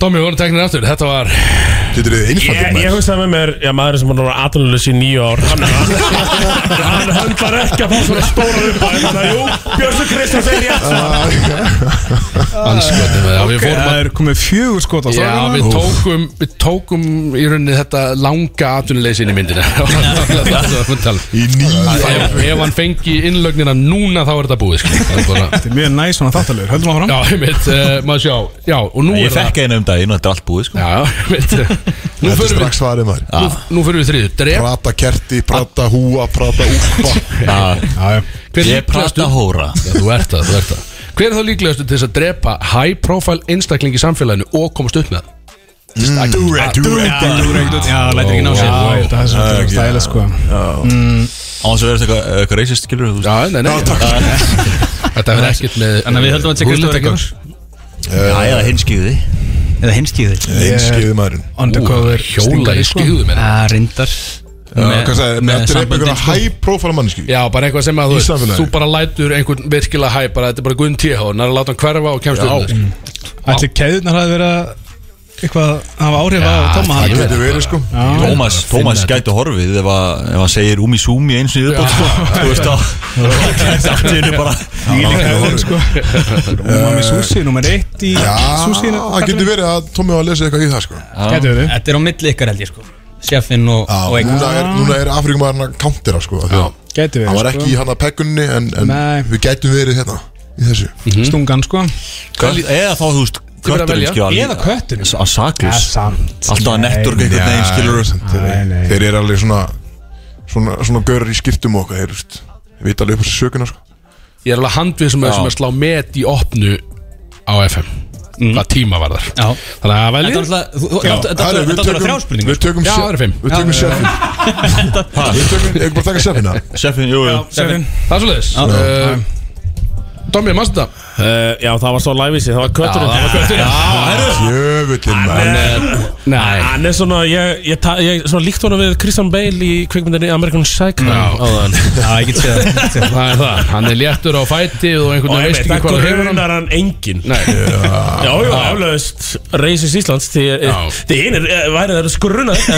S1: Tómi, við vorum teknir aftur Þetta var
S8: Þetta er
S2: Ég,
S8: einfaldir
S2: ég hugsaði með mér, já maður sem er núna aðlulis í nýju ár Hann, hann, hann höndlar ekki að fá svona stóra upp Þannig að jú, Björnsson Kristjáns er rétt svar.
S1: anskotum okay. Við fórum að
S4: Það er komið fjögur skot á
S1: Já,
S4: strákana.
S1: við tókum, við tókum í rauninni þetta langa atvinnuleysin í myndina Það var það sem við tala um.
S8: í nýja
S1: Ef ef hann fengi innlögnina núna þá er þetta búið skilur. Það er bara-
S4: Þetta er mjög næs svona þáttalögur, höldum áfram
S1: Já, einmitt, uh, maður sjá Já, og nú
S3: Ég
S1: er það
S3: fekk einu um daginn og þetta er allt búið sko
S1: Já, einmitt Nú
S8: Þetta er
S1: förum við,
S8: strax svarið maður
S1: nú, nú förum við Ah. þriðu Dref,
S8: Prata kerti, prata húa, prata úlpa
S3: Já,
S1: hver
S3: Ég prata
S1: líklegastu
S3: hóra
S1: Já, þú ert það, þú ert það Hver er þá líklegastu til þess að drepa high profile einstakling í samfélaginu og komast upp með það?
S8: Do it, do it
S4: Já, lætir ekki ná sér Já, þetta er svona stæla sko
S3: Án þess að vera eitthvað eitthvað reisist skilur þú veist.
S1: Já, nei, nei Þetta verður ekkert með
S9: Þannig að við höldum að þetta sé
S1: Þú vilt
S9: Kristofur
S1: ekki
S9: Eggerts.
S1: gögn.
S3: Já, já, hinskiði
S9: Eða hinskýður
S8: Einskiði maðurinn
S4: Undercover
S1: Hjóla í
S9: sko.
S1: skýðu með
S9: Já, rindar
S8: Já, Hvað sagði, með að drepa einhverja
S3: sko.
S8: high profile manneski
S1: Já, bara eitthvað sem að
S8: Í
S1: þú veist
S8: samfélagi.
S1: Þú bara lætur einhvern virkilega hæ bara, Þetta er bara Gunn T.H. Hann er að láta hann hverfa og kemst upp með.
S4: Ætli keðunar hafði verið að eitthvað að hafa áhrif á Tóma
S8: Það
S4: hann
S8: getur verið sko
S3: Tómas, Tómas
S1: finna
S3: gæti horfið ef, að, ef hann segir umi sumi eins og yfirbótt sko Þú veist á Samtíðinu bara
S4: Ílík hefðin sko Umami Susi, nummer eitt í
S8: Já,
S4: Susi
S8: það getur verið að Tómi var að lesa eitthvað í það sko
S4: Gæti verið
S9: Þetta er á milli ykkar held ég sko Sjefinn og,
S8: Já, núna
S9: og Eggerts
S8: er, núna er Afrikumaðurinn að countera sko af því að
S4: Gæti
S8: Hann var
S4: verið sko.
S8: ekki í hana peggunni en, en
S4: Nei.
S8: við gætum verið hérna Í þessu
S1: Mm.
S4: sko Stungan sko
S3: Kött- Eða þá, þú veist,
S1: verður að
S3: kötturinn
S1: velja.
S3: skilur
S4: Eða kötturinn
S3: Að saklus
S4: Samt
S3: Alltaf að nettur einhvern veginn skilur
S8: Þeir,
S4: Nei, nei.
S8: þeir eru alveg svona
S6: svona, svona görur í skiptum og okkar heyrust Við veit alveg upp á þessu sökuna sko
S1: Ég er alveg handvið sem,
S6: Já.
S1: sem að slá met í opnu á FM Hvað tíma var þar Já. Þannig
S15: Þetta
S1: að velja
S15: var alltaf- þú- þú-
S1: Já.
S15: þetta- þetta-
S1: Herri, við
S15: þetta var
S1: tökum-
S15: þrjá spurningar
S1: við tökum
S15: Já,
S1: sjö-
S15: það eru fimm.
S1: við tökum
S15: Já,
S1: sjö-
S15: já,
S6: Ha, við tökum, ekki bara taka sefina
S3: Sefin, jú, jú
S2: Sefin.
S1: Það er svoleiðis
S2: Já.
S1: Eh, Tommy, mannstu það?
S2: Uh, já, það var svo lævísi, það var kötturinn
S1: Já, það var kötturinn.
S6: Jöfullin
S2: maður
S1: Nei
S2: Hann er svona, ég, ég, ta- ég svona líkt honum við Christian Bale í kvikmyndinni American Psycho áðan.
S1: Já, ég get séð það Það er það, hann er léttur á fæti og einhvern
S2: Og
S1: veginn veist
S2: einmitt,
S1: ekki
S2: það
S1: hvað það hefur hann
S2: grunar hann engin
S1: Nei
S2: Já, já, eflaust Reisis Íslands Því því einir eh, væri þeirra skrunað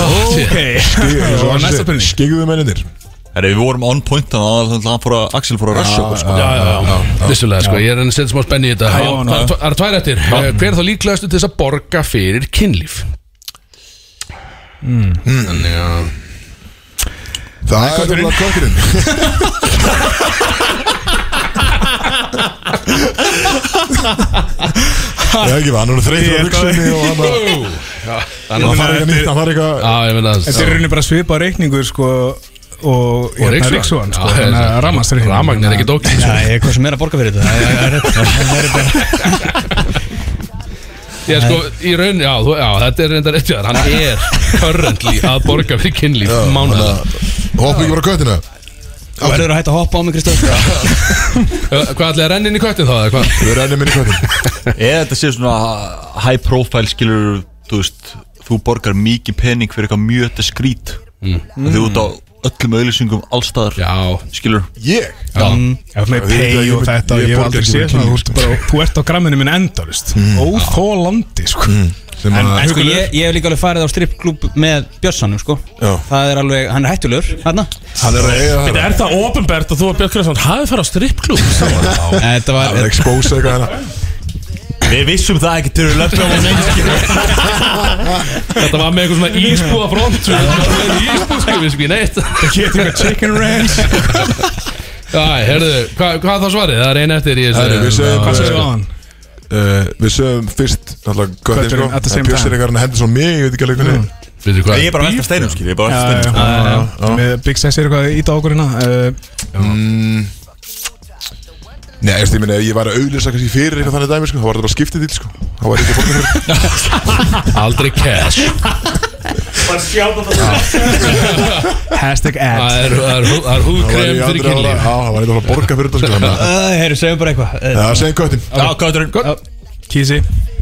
S2: Ok
S6: Svo hann sé- Skyggðu menninir
S3: Herri, við vorum on point Þannig að hann fór að Axel fór að rasja okkur sko.
S1: Já, já, já Vissulega, sko, ég er enn að setja smá spenni í þetta
S3: Já, já.
S1: Það er tv- það eru tvær eftir Eh, Hver er þá líklegastu til þess að borga fyrir kynlíf? Þannig að
S6: Það er nefnilega kötturinn Ég er ekki hann er þreytur á
S3: um
S6: hugsunni og hann að
S1: Þannig
S6: Hann þarf eitthvað nýtt, hann þarf eitthvað
S1: Já, ég meina
S4: Þetta er raunin bara svipa reikningur sko og
S1: Og Ríksugan.
S4: Ríksugan sko,
S1: Já,
S4: þannig að
S1: já.
S4: rammast reikningur
S1: Rafmagn er ekkert ógeð, sko.
S4: ég er hvað sem er að borga fyrir þetta Það er rétt Það er
S1: Ég sko, í raun, já, þú, já þetta er reyndar eftir þar Hann er currently að borga fyrir kynlíf Mánuða
S6: Hoppa ekki bara köttina
S9: Þú verður að hætta að hoppa á mig Kristof
S1: Hvað ætlaði að renna inn í köttin þá? eða hvað?
S6: Við rennum inn í köttin
S3: Eða þetta sé svona high profile skilur Þú veist, þú borgar mikið pening fyrir eitthvað mjög þetta skrít mm. Þú ert á öllum auðlýsingum allstaðar
S1: Já
S3: Skilur
S6: Ég?
S4: Já, með pay og þetta Ég hef aldrei séð svona Þú ert bara, þú ert á gramminu minn endalist Óþólandi
S3: Mm.
S4: sko
S8: Mm.
S6: Sem
S9: En,
S6: að
S9: en sko, ég, ég hef líka alveg farið á strippklúb með Björnssonum sko
S6: Já.
S9: Það er alveg, hann er hættulegur hérna
S6: Hann er að eiga það
S2: Þetta er það ofinbært að þú og Björn Kristján hafið farið á strippklúb
S9: En Þetta var,
S6: Hann er að expose eitthvað hérna
S3: Við vissum það ekki til við löfum á neinskilur
S1: Þetta var með eitthvað svona ísbúa front Þetta var með ísbúa sko, við sko, ég neitt
S4: Getting a chicken ranch
S1: Æ, herðu, hvað, hvað þá svarið? Það er einn eftir í þessu
S6: Herru, við segjum-
S4: Hvað segir þú á hann?
S6: Uh, Við sögum fyrst Náttúrulega köttin sko
S4: Kötturinn at the same
S6: En Bjössi er
S4: time.
S6: eitthvað hann hendur svo mig Ég veit ekki alveg hvernig
S1: Veitu hvað?
S3: Ég er bara að velta steinum skilur Ég er bara að velta steinum
S4: Með Big Sex er eitthvað ít á okkur hérna eh,
S6: Mm. Nei, ég veist, ég minna, ef ég væri að auðlýsa kannski fyrir eitthvað þannig dæmi, sko, þá var þetta bara skiptið til, sko. Þá var ég ekki að borga fyrir.
S1: Aldrei cash
S4: Hashtag ad
S1: Það er, það er, hú- það
S6: Þá
S1: er
S6: var
S1: húðkrem
S6: ég
S1: fyrir
S6: aldrei að,
S1: kynlíf
S6: já, þá var ég aldrei að borga fyrir þetta, sko. þannig að-
S9: uh, heyrðu, segjum bara eitthvað uh,
S6: Já, segjum köttin.
S3: Já, Kauturinn
S4: Kísi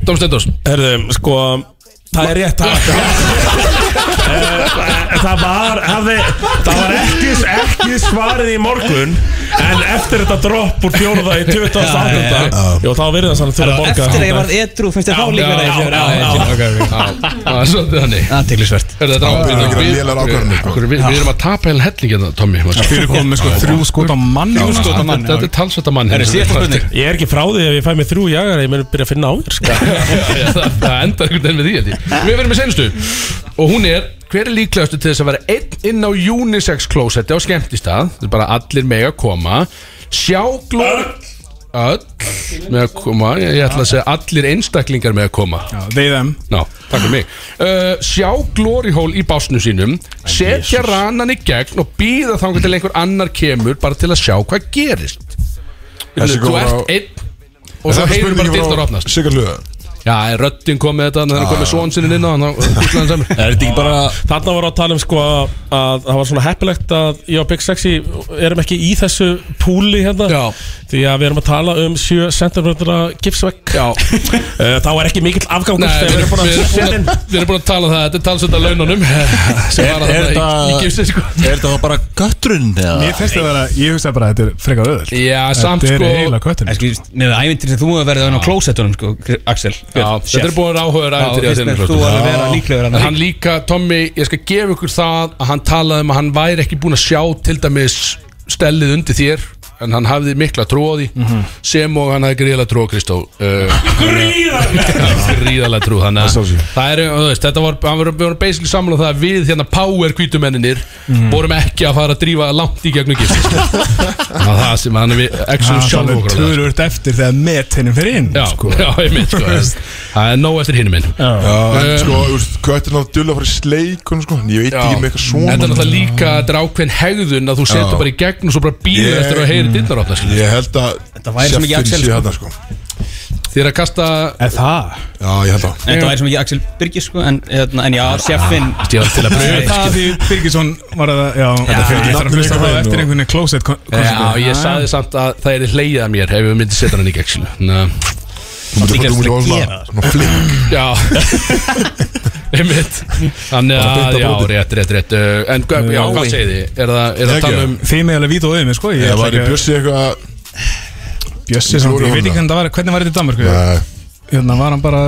S1: Dóm Stendors
S2: Herðu, sko Það er rétt það eh, Það var hafði, Það var ekki, ekki svarið í morgun En eftir þetta dropp úr fjóruða í 28. Jó, þá verið það sann að þú að borga
S9: Eftir að ég varð edru, finnst þér þá
S2: Já,
S9: líka
S2: já,
S9: reyð
S2: já, já, já.
S1: Það er svolítið þannig
S9: Aðteglisvert
S1: Herðu, þetta
S6: Já, það
S1: er
S6: er
S1: ábyrðin
S6: ekki lélegar ákvarðanir, sko.
S1: Við við erum að tapa heil helling hérna, Tommy Fyrir
S4: Komum með sko þrjú skot á mann Þrjú
S1: Þetta þetta er talsvölda mann hérna,
S9: Herru, síðasta spurning
S2: Ég er ekki frá því ef ég fæ mér þrjú jagar Ég meni byrja að finna á þér sko.
S1: Já, já, það, það endar einhvern veginn með því held ég. Við verðum með senstu Og hún er Hver er líklegastu til þess að vera einn inn á unisex klósetti á skemmtistað Það er bara allir mega koma Sjá glóð Öll með að koma Ég, ég ætla að segja allir einstaklingar með að koma
S4: They them
S1: Ná, takk fyrir mig uh, Sjá glórihól í básnu sínum Setja ranan í gegn og býða þangar til einhver annar kemur Bara til að sjá hvað gerist
S6: Þessi
S1: Þú
S6: kom
S1: ert
S6: frá-
S1: einn Og svo heyrur bara dyrtar opnast
S6: Sigur Luða.
S1: Já, en röddinn kom með þetta Þannig að hann kom með svon sinni inn á hann og búið hann saman
S3: Er þetta ekki bara
S2: Þarna voru að tala um sko að, að það var svona heppilegt að ég og Big Sexy erum ekki í þessu púli hérna
S1: Já.
S2: Því að við erum að tala um 7 cm gipsvegg
S1: Já,
S2: Eh, Þá er ekki mikill afgangur
S1: nei,
S2: þegar
S1: við erum búin að
S2: setja inn.
S1: Við erum búin að tala um það, þetta er talsönda laununum sem var að
S3: Er
S1: þetta í
S3: þetta-
S1: gifsið sko
S3: Er þetta þá bara Kauturinn
S4: Mér
S3: eða?
S4: finnst það vera Ég hugsa bara að þetta er frekar öðvöld
S1: Já, samt
S4: Þetta
S1: sko
S4: er eiginlega köttin
S9: En sko, með ævintir sem þú hefur verið á klósettunum sko, Kri- Axel
S1: Já, þetta er búin áhugaður
S9: Já,
S1: ævintýri
S9: finnst
S1: að
S9: mér
S1: þeirra
S9: þú alveg vera líklegur
S1: En
S9: hann
S1: hann líka, Tommy, ég skal gefa ykkur það að hann talaði um að hann væri ekki búin að sjá til dæmis stellið undir þér en hann Mhm. hafði mikla trú á því sem og hann hafði gríðlega trú á Kristó uh,
S2: Gríðarlega
S1: gríðalega trú þannig að það er, þú veist, þetta var, hann var, við vorum basically samlað það að við hérna power kvítumenninir vorum ekki að fara að drífa langt í gegnum gift sko. það var það sem hann við exum sjálf
S4: er
S1: okkur á það, sko.
S4: tölvöld eftir þegar met hennum fyrir inn
S1: já,
S4: sko.
S1: já, ég mynd, sko en það er nóg eftir Eh. hinn minn
S8: Já, en sko, þú veist, köttin á dulla að fara í sleik og sko, en ég veit ekki með eitthvað svona
S1: Þetta er náttúrulega líka, þetta er ákveðin hegðun að þú setur
S8: Já.
S1: bara í gegn og svo bara býður
S8: Ég-
S1: eftir að heyri dillar opna skilur.
S8: Ég held að Þetta
S9: væri svo mikið Axel, sko.
S8: Þetta sko
S1: Þér að kasta
S4: Er það?
S8: Já, ég held að
S9: Þetta væri sem ekki Axel Birgis sko, en, hérna, en já, Sjeffin
S1: Ég var til að pröfa þetta,
S4: Það því Birgisson var að já, þetta
S8: fyrir ekki
S4: Ég þarf að
S8: nafninu
S4: hlusta
S8: eitthvað
S4: það
S8: inn og-
S4: eftir einhvern veginn closet kon-
S1: Já,
S4: konsert.
S1: ég saði samt að það er hleyið að mér ef við myndið setja hann í gegn skilur. Ná,
S8: Þú mútti
S9: líka
S8: þú mútti
S9: eftir að
S8: orða
S9: gera
S8: Svona flink
S1: Já Einmitt Þannig
S8: beint
S1: að,
S8: á
S1: já,
S8: brotið.
S1: rétt, rétt, rétt uh, En hvað- já, hvað segið þið? Er það, er það
S8: Ekki.
S1: tala um
S4: Þið með alveg vít og auðvitað sko
S8: Ég var í
S4: ætla ekki
S8: bjössi eitthvað
S4: að- Bjössi samt, Ég veit ekki hvernig það var Hvernig var þetta í Danmark
S8: Nei,
S4: Hérna var hann bara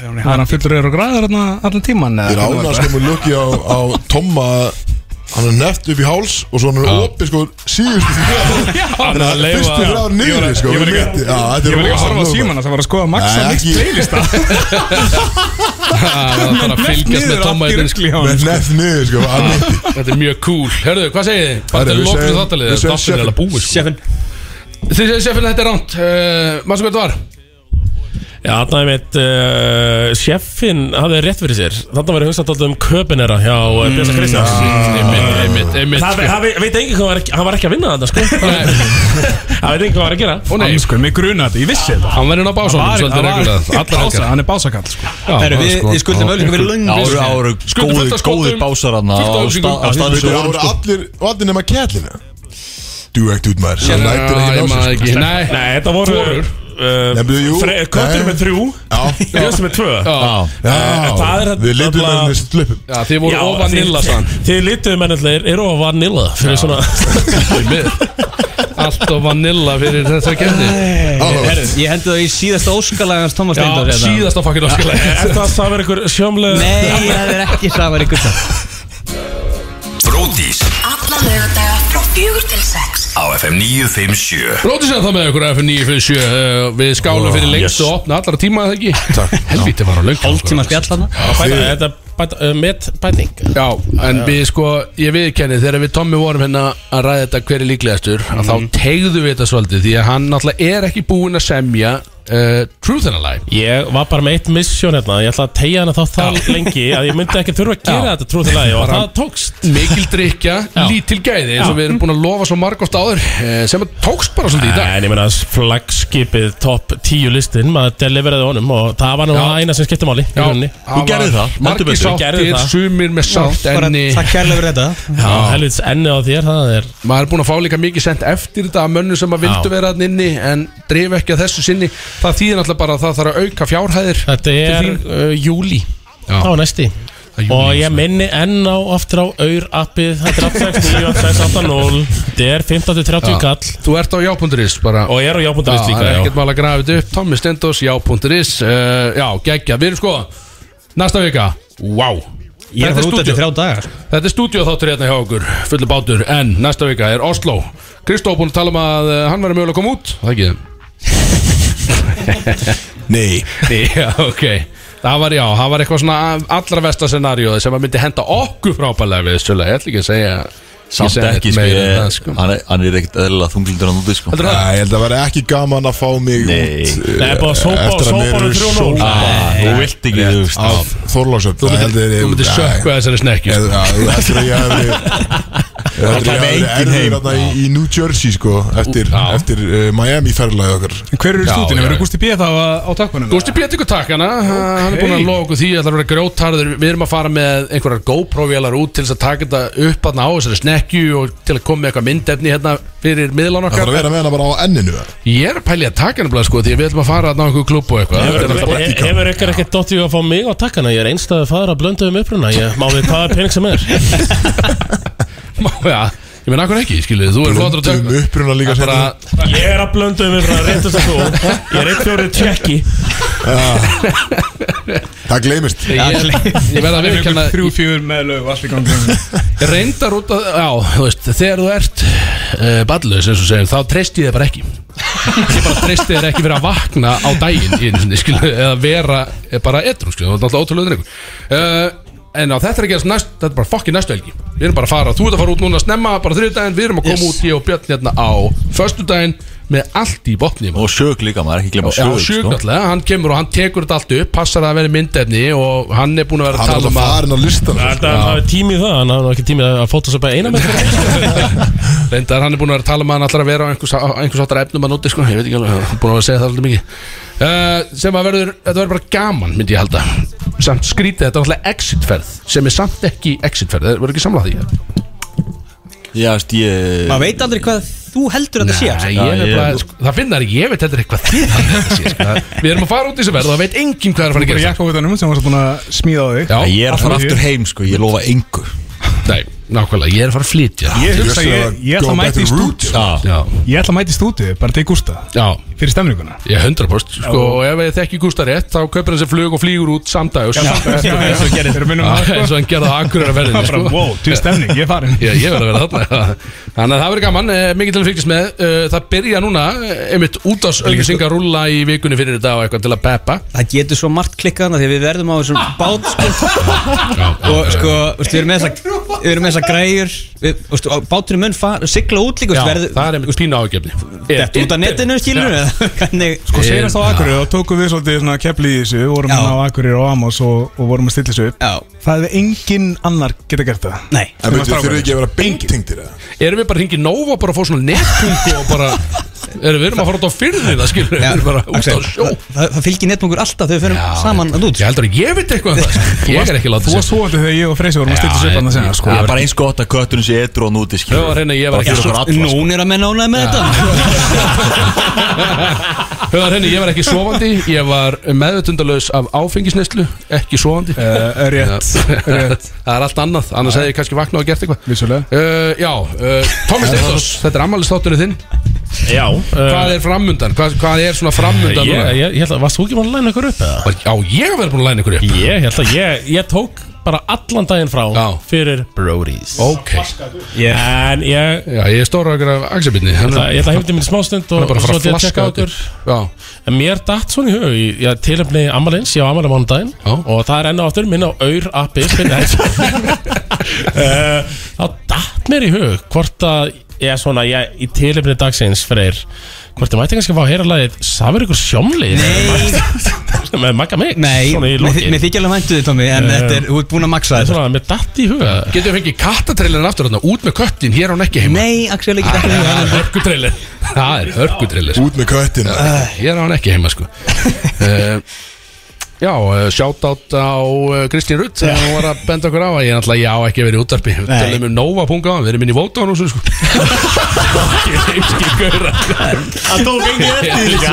S4: Var hann fullur öður og græður hérna allan tíman
S8: Ég er ánað sko með lukki á, á Tomma að Hann er neft upp í háls og svo hann er opið sko síðustu því Þannig að fyrstu
S4: já. Ég
S8: þrjár
S4: var-
S8: niður sko
S4: ég var
S8: við
S4: ekki-
S8: mitti. Já, þetta er
S4: Ég var ekki að
S8: rosa
S4: horfa á
S8: lög,
S4: síman Það var að skoða Max að
S8: Nei,
S4: mix
S8: ekki-
S4: playlista
S1: að það þarf að fylgjast með
S4: Niður
S1: Tomma
S4: allt
S1: í
S4: í ruskli hjá honum,
S8: Með
S4: sko.
S8: neft niður sko að mitti.
S1: Þetta er mjög cool Hörðu, hvað segið þið? Hvað
S8: Herðu,
S1: er
S8: við
S1: loknum
S8: segjum-
S1: þáttalið?
S8: við segjum
S1: Þáttalið er alveg búið sko.
S9: Sjeffin
S1: Þið segið sérfinn að þetta er ránt uh, Mástu hvað þetta var?
S2: Já, þarna er mitt uh, Sjeffin hafði rétt fyrir sér Þarna var ég hugsað alltaf um köpinera hjá uh, Björn
S8: Ah.
S2: Kristjáns
S1: Einmitt, einmitt, einmitt sko.
S2: Það það veit veit enginn hvað var ekki, hann var ekki að vinna þetta sko
S1: Nei,
S2: Það veit enginn hvað var að gera
S1: og nei
S4: Hann sko, mig gruna þetta, ég vissi þetta
S1: Hann verður inn á básunum
S4: Hann
S1: svolítið
S4: var-
S1: reglulega Allar
S4: Bása,
S1: helgar
S4: Hann er básakall sko
S1: Já,
S9: Herru, við,
S1: sko.
S9: við skuldum öllum fyrir löngu
S3: Áru, áru,
S1: Skuldum fullt
S3: góði,
S1: af skotum,
S3: góði básar hann á
S1: fullt af
S3: á
S1: auglýsingum.
S3: sta- á staðnum sem við vorum
S8: Það voru
S3: sko
S8: allir, allir nema kællina Dú ekkert út maður
S1: Já,
S8: Það
S1: ég
S8: lætur
S1: maður
S8: ekki ná sér sko.
S1: ekki Nei,
S2: Nei, þetta voru
S1: Hvorur?
S8: Nefndu, jú.
S2: uh, Köttur
S8: Nei.
S2: með þrjú
S8: Já,
S2: Björn með tvö
S1: já,
S2: það er
S8: Já,
S2: að-
S8: við litum
S2: nefnilega-
S8: þarna þessi slöpum
S1: já, þið voru ofan
S2: þið-
S1: nilla sann
S2: þið- Þið lituðu mennallir eru of vanilla Fyrir svona
S1: Allt og vanilla fyrir þessar kemni
S9: Herru, ég hendi það í síðasta óskalagans Thomas
S1: Já,
S9: Lindor
S1: síðasta fucking
S2: Er
S1: áskilæg
S2: þetta að það vera einhver sjómlega
S9: Nei, það er ekki samar í gutta
S16: Bródís
S12: Alla lögadaga frá fjögur til sex
S16: á FM 957
S1: Bróti sér það með ykkur á FM 957 uh, Við skálum fyrir lengst og opna allara tíma eða ekki Takk Helvíti var á löngu
S9: Hálftíma sko. spjall hann
S2: Bæta, þetta bæta, uh, met bæting
S1: Já, en við sko, ég viðkenni þegar við Tommi vorum hérna að ræða þetta hver er líklegastur að
S2: Mhm.
S1: þá tegðu við þetta svolítið því að hann náttúrulega er ekki búinn að semja uh, Truth and a Lie
S2: Ég var bara með eitt misjón hérna Ég ætla að tegja hana þá það lengi Að ég myndi ekki þurfa að gera þetta trú til lagi Og það tókst
S1: Mikil drikja, lítil gæði eins og við erum búin að lofa svo margóft áður uh, sem að tókst bara svolítið í dag
S2: En ég meina flagskipið top 10 listin Maður deliveraði honum Og það var nú
S1: Já.
S2: það eina sem skipti máli í rauninni.
S1: það var
S3: gerðir það, heldur
S1: Margir
S3: betur.
S2: Gerðir
S1: sáttir,
S2: það.
S1: sumir með sátt enni
S9: Takk kærlega fyrir þetta
S2: Já, Helvits enni á þér Það er
S1: maður er búinn að fá líka mikið sendt eftir þetta að mönnum sem að vildu
S2: Já.
S1: vera hann inni en dreif ekki að þessu sinni það þýðir náttúrulega bara að það þarf að auka fjárhæðir
S2: Þetta er
S1: þín.
S2: uh, júli
S1: Já.
S2: á næsti
S1: er júlí,
S2: og ég minni enn á aftur á auður appið, þetta er app 698680 þetta er 15-30 kall
S1: þú ert á já.is bara
S2: og ég er á jábúndarist
S1: það
S2: líka
S1: er
S2: já.
S1: ekkert mál að grafa þetta upp Tommi Stendos, já.is uh, já, geggja, við erum sko næsta vika, wow
S9: Ég er
S1: þetta er
S9: hrútið
S1: stúdíó
S9: þrjá dagar
S1: Þetta er stúdíóþáttur hérna hjá okkur, fullu bátur En næsta vika er Oslo Kristó búinn að tala um að eh, hann verður mögulega að koma út Það ekki
S8: Nei
S1: Nei, Já, ok Það var já, það var eitthvað svona allra vesta scenarióði sem að myndi henda okkur frábælega við Sjöla, ég ætla ekki að segja ég
S3: Samt
S1: segi
S3: ekki
S1: neitt
S3: sko,
S1: meira en
S3: ég-
S1: það, sko.
S3: hann er- hann er ekkert eðlilega þunglindur hann úti sko
S1: Heldur það?
S8: Nei, ég held að það væri ekki gaman að fá mig
S3: Nei.
S8: út eh,
S2: Nei, bara sópa-
S8: eftir að
S2: sópa
S8: mér
S2: honum
S8: eru
S2: 3-0.
S8: sópa
S3: Ah, Þú vilt ekki, þú veist
S8: af Þorlásöfn
S1: Þú myndir, þú myndir sökka þessari snekki
S8: Ég
S1: sko.
S8: ég heldur að ég hefði Ég heldur að
S3: kæmi
S8: ég
S3: enginn
S8: hefði
S3: heim.
S8: erður þarna í, í New Jersey sko Eftir,
S1: Já.
S8: eftir uh, Miami ferlaði okkar
S4: En Hver eru í
S1: Já,
S4: stúdíunum?
S1: já,
S4: Verður
S1: já.
S4: Gústi B. þá á takkunum?
S1: Gústi Pétur ykkur takkana, hann er búinn að loka okkur því Það er að vera grjótharður, við erum að fara með einhverjar GoPro-vélar út til þess að taka þetta upp þarna á þessari snekju og til að koma með eitthvað myndefni hérna fyrir miðlan
S8: Það þarf
S1: okkar
S8: að vera með hana bara á enninu
S1: Ég er að pælja að taka hann sko, því að við ætlum að fara þarna á einhver klubb og eitthvað
S2: Hefur-
S1: Þetta er bara-
S2: he- Hefur ykkur ekkert dottið að fá mig á takkana Ég er einstæðu fæður að blöndu um uppruna Ég má við hvaða pening sem er
S1: Já, Ég meina, akkur ekki, skilu, þú er flottur að
S8: Blöndum
S1: taka
S8: uppruna líka
S1: Bara,
S8: seinna.
S2: Ég er að blöndu um uppruna Rétt þess að þú Ég er einn fjórið tjekki
S8: Það gleymist
S1: ég, ég verða að viðkjanna
S4: Þrjú, fjör með lög og allt í gangi
S1: reyndar eh, út að, já, þú veist, þegar þú ert uh, ballus, eins og segjum, þá treyst ég þið bara ekki ég bara treysti þér ekki fyrir að vakna á daginn einu sinni, skilu, eða vera eh, bara edru, skilu, það er alltaf ótrúlega drengur uh, en á þetta er að gerast næst þetta er bara fokkin næstu helgi, við erum bara að fara þú ert að fara út núna snemma, bara þriðdægin við erum að koma
S3: Yes.
S1: út ég og Björn hérna á föstudægin með allt í botni
S3: Og sjög líka, maður ekki glemma
S1: Já,
S3: sjög
S8: sko.
S1: sjúk náttúrulega, hann kemur og hann tekur þetta allt upp Passar að það verið myndefni og hann er búin að vera að
S8: Hann er
S1: tala um
S8: alltaf farinn á listan,
S1: Já.
S10: Þetta hann hafi tími í það, hann hafi nú ekki tími að fótosopa eina með
S1: Reyndar, hann er búin að vera að tala um að hann ætlar að vera á einhvers, á einhvers áttar efnum að noti sko. Ég veit ekki alveg, hann er búin að vera að segja það alltaf mikið uh, Sem að verður, þetta verður bara gaman myndi ég halda Samt skrítið, þetta er alltaf exitferð Sem er samt ekki exitferð, það verður ekki samlað því
S3: Já, veist, ég
S9: Maður veit aldrei hvað þú heldur að
S1: Nei,
S9: þetta sé
S1: ég,
S9: sko.
S1: ég, ég, það finnar ekki, ég veit þetta er eitthvað þið haldið að þetta sé, sko. Við erum að fara út í þessu verð og það veit enginn hvað er að fara að
S4: Þú bara
S1: gera
S4: jakka út hennum sem varst búin að smíða á þig
S1: Já.
S3: Ég er að fara aftur heim, sko, ég lofa engu
S1: Nei, nákvæmlega, ég er að fara að flytja
S4: Ég hugsa að ég- ég ætla að mæta í stúdíu.
S1: Já.
S4: Ég ætla að mæti stúdíu, bara til Gústa
S1: Já.
S4: Fyrir stemninguna
S1: Ég 100% sko, og ef ég þekki Gústa rétt þá kaupir hann sér flug og flýgur út samdægus
S4: Já, samdægurs, já, já. Þeir eru minnum á það, sko.
S1: eins og hann gerði á akkurir að verðinni
S4: Það bara, wow, til stemning, ég er farin.
S1: Já, ég verði að vera þarna Þannig að það verður gaman, eh, mikið til að fylgjast með Eh, Það byrja núna, eh, einmitt útásauðlýsingar rúlla í vikunni fyrir þetta og eitthvað til að peppa
S9: Það getur svo margt klikkað þannig að við verðum á þessum bát sko. og sko, veist, við erum með þessa við erum með þessa græjur við, veist, og báturinn mun fara, sigla út líka veist, verður-
S1: það er einmitt pína ágefni
S9: Þetta út af netinu skilur við Hvernig
S4: Sko séðast á Akureyri þá tókum við svolítið svona kepli í þessu vorum
S9: Já.
S4: hann á Akureyri og Amos og, og vorum að stilla þessu upp Já. Það hefði engin annar geta gert það
S9: Nei
S8: En veitu, þurfið ekki að vera beintengdir eða?
S1: Erum við bara hringið Nova bara að fá svona netpungu og bara Erum við erum að fara út á fyrði það skilur við Við erum bara út á sjó
S9: Það, það fylgir netmungur alltaf þegar við förum saman að út
S1: Ég heldur að ég veit eitthvað um það Ég er ekki látið
S4: Þú varst svovandi þegar ég og Freysi vorum að stilla þessu upp hann að segja sko
S3: Það er bara eins gott að köttunum sé edru og núti skilur.
S1: Já, reyna, ég var
S3: Bara
S1: ekki-
S3: fyrir okkur alla, sko.
S9: Nún er að menna ánæði með þetta
S1: Hauðar henni, ég var ekki sofandi Ég var meðvitundalös af áfengisneislu Ekki sofandi
S4: Eh, rétt, rétt.
S1: Það er allt annað, annars hefði ég kannski vaknað og gert eitthvað
S4: Vissulega
S1: uh, Já, uh, Thomas Steindors, þetta er Eh. ammælistátturinn þinn
S10: Já
S2: Eh,
S1: Hvað er framundan? Hvað, hvað er svona framundan?
S10: Ég,
S1: núna?
S10: ég, ég held að, varst þú ekki búin að læna ykkur upp eða?
S1: Já, ég var búin að læna ykkur upp
S10: Ég held að, ég, ég tók bara allan daginn frá fyrir Brody's
S1: Ok
S10: En ég,
S1: Já, ég er stóra ykkur af axabitni
S10: ég ætla ég ætla að hefndi mín smástund
S1: Hann
S10: og
S1: er bara að
S10: svo
S1: fara að
S10: til að
S1: flaska
S10: tjekka
S1: á
S10: á ykkur
S1: Já,
S10: En mér datt svona í hug í, Já, tilöfni Amalins, ég á Amalja mánudaginn Og það er enn og aftur minn á Aur appi spyrir Eh, Þá datt mér í hug Hvort að, ég svona, ég í tilöfni dagsins Freyr Hvort þið mætti kannski að fá að heyra lagið Safir ykkur sjómli Nei Með Magga Mix
S9: Nei,
S10: svona í
S9: mér
S10: lokin.
S9: mér þykir alveg væntu þið Tommy
S10: Eh,
S9: En þetta er, þú ert búin að maksa
S10: Það er
S9: þetta
S10: svona, mér datt í huga
S1: getur við fengið kattatrailerin aftur þarna Út með köttin, hér á hann ekki heima
S9: Nei, Axel, ekki þetta
S1: Það er hörkutrailer Það er hörkutrailer
S8: Út með köttin
S1: Ég er á hann ekki heima sko uh, Já, uh, shoutout á uh, Kristín Rutt sem hún var að benda okkur á að ég er náttúrulega, já, ekki verið í útvarpi Við
S9: Nei.
S1: tölum um Nova.a, við erum inn í Vótán og svo sko Ekki heimski gauðra
S2: Það tók engin eftir líka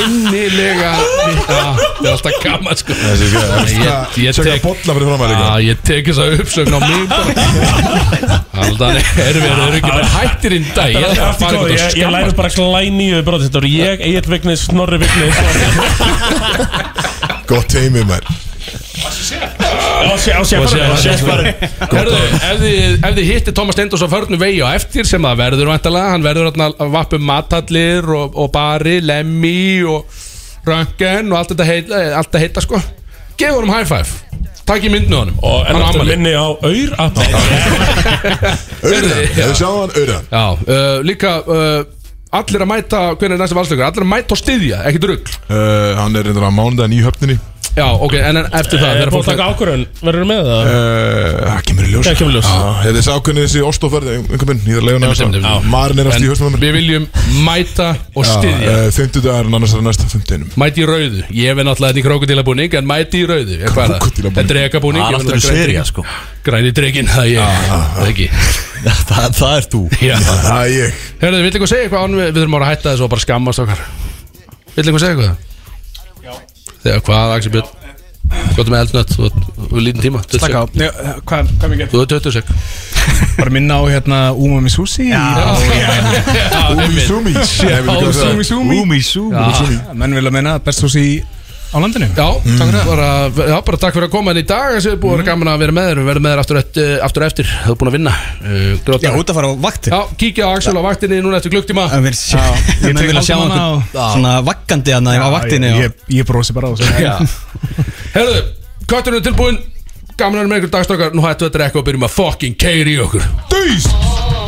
S1: Innilega Já, Það er alltaf gaman sko Ég- ég
S8: Sjöka
S1: tek-
S8: bolla fyrir fram að líka
S1: Já, Ah, ég tek þess að uppsögn á mig bara. Aldan, erum við, erum við ekki bara hættir inn í dag Ég er bara
S10: Ég,
S1: að fara eitthvað
S10: ég, ég læri bara glænýju bróðið þetta Ég, Egil Vignis, Snorri Vignis
S8: Gott heimið mær
S10: Og sé, og sé,
S1: Og sé-
S10: og
S1: og sé-
S10: sé
S1: Herðu, ef þið, ef þið hittir Tómas Steindós á förnum vegi á eftir sem það verður væntalega, hann verður þarna að vappa um matallir og, og bari, lemmi og röngen og allt þetta heita, allt þetta heita sko gefur honum high five, takk í myndinu honum
S10: Og enn
S1: Hann á
S10: aftur
S1: afmæli.
S10: minni á Öyr appi.
S8: Öðran,
S1: Heyrðu,
S8: hefur sjáð hann öðran
S1: Já, uh, líka uh, allir að mæta, hvernig er næsta valslökur allir að mæta og styðja, ekki drugg
S8: Uh, Hann er reyndar að mánudaginn í höfninni
S1: Já, ok, en en eftir
S10: Það
S1: það
S10: er
S1: þegar
S10: búin að
S1: fólk-
S10: Eh, taka ákvörðun Verður þú með það?
S8: Uh, Það kemur í ljós
S10: Það kemur í ljós.
S8: Já, Hefði þessi ákveðni þessi Óstofverði Einhvern minn, ég er leiðun
S1: Einmitt, einmitt, einmitt.
S8: Marinn er að stíða höstum
S1: En við viljum mæta og styðja
S3: eh,
S8: Fymtudagar en eh, annars er það næsta fymtudaginum
S1: Mæti í rauðu, ég veit náttúrulega þetta í krókudílabúning En mæti í rauðu, ég hvað er það?
S8: Krókódílabúning.
S1: Þetta er dregabúning
S3: Það er
S1: ég
S3: aftur
S1: veit náttúrulega græni- Græni dregin, það er ég,
S3: í sería, sko. Ah,
S1: það er ekki
S3: Það það er þú
S1: Já.
S8: Það er ég
S1: Herðu, vill eitthvað segja eitthvað án við Við þurfum bara að hætta þessu og bara skammast okkar Vill eitthvað segja eitthvað? Já Þegar hvað, Axel Björn? Hvað er með eldnött? Þú ert- þú ert lítinn tíma
S4: Takk á Já, Hvað, hvað mikið?
S1: Þú er 20 sek
S4: Bara minna á hérna Umami Sushi
S1: Já,
S8: Úmi Súmi
S1: Já,
S4: Umami Sushi
S3: Úmi sú
S1: Já.
S4: Menn vilja meina best sushi í á landinu
S1: Já, takk fyrir bara, já, bara takk fyrir að koma inn í dag þessi er búið að vera gaman að vera með þér við verðum með þér aftur, eftir, aftur eftir þú er búin að vinna uh, gráta.
S3: Já, út að fara á vaktir
S1: Já, kíkja á Axel á vaktinni núna eftir klukktíma
S9: Ég menn vilja sjá einhvern svona vakkandi hann á vaktinni og-
S4: Ég, ég brosi bara á þessu
S9: Já.
S1: Herðu, kötturinn er tilbúinn gaman að vera með ykkur dagstokkar nú hættu þetta ekki og byrjum að fucking keiri okkur
S8: Dís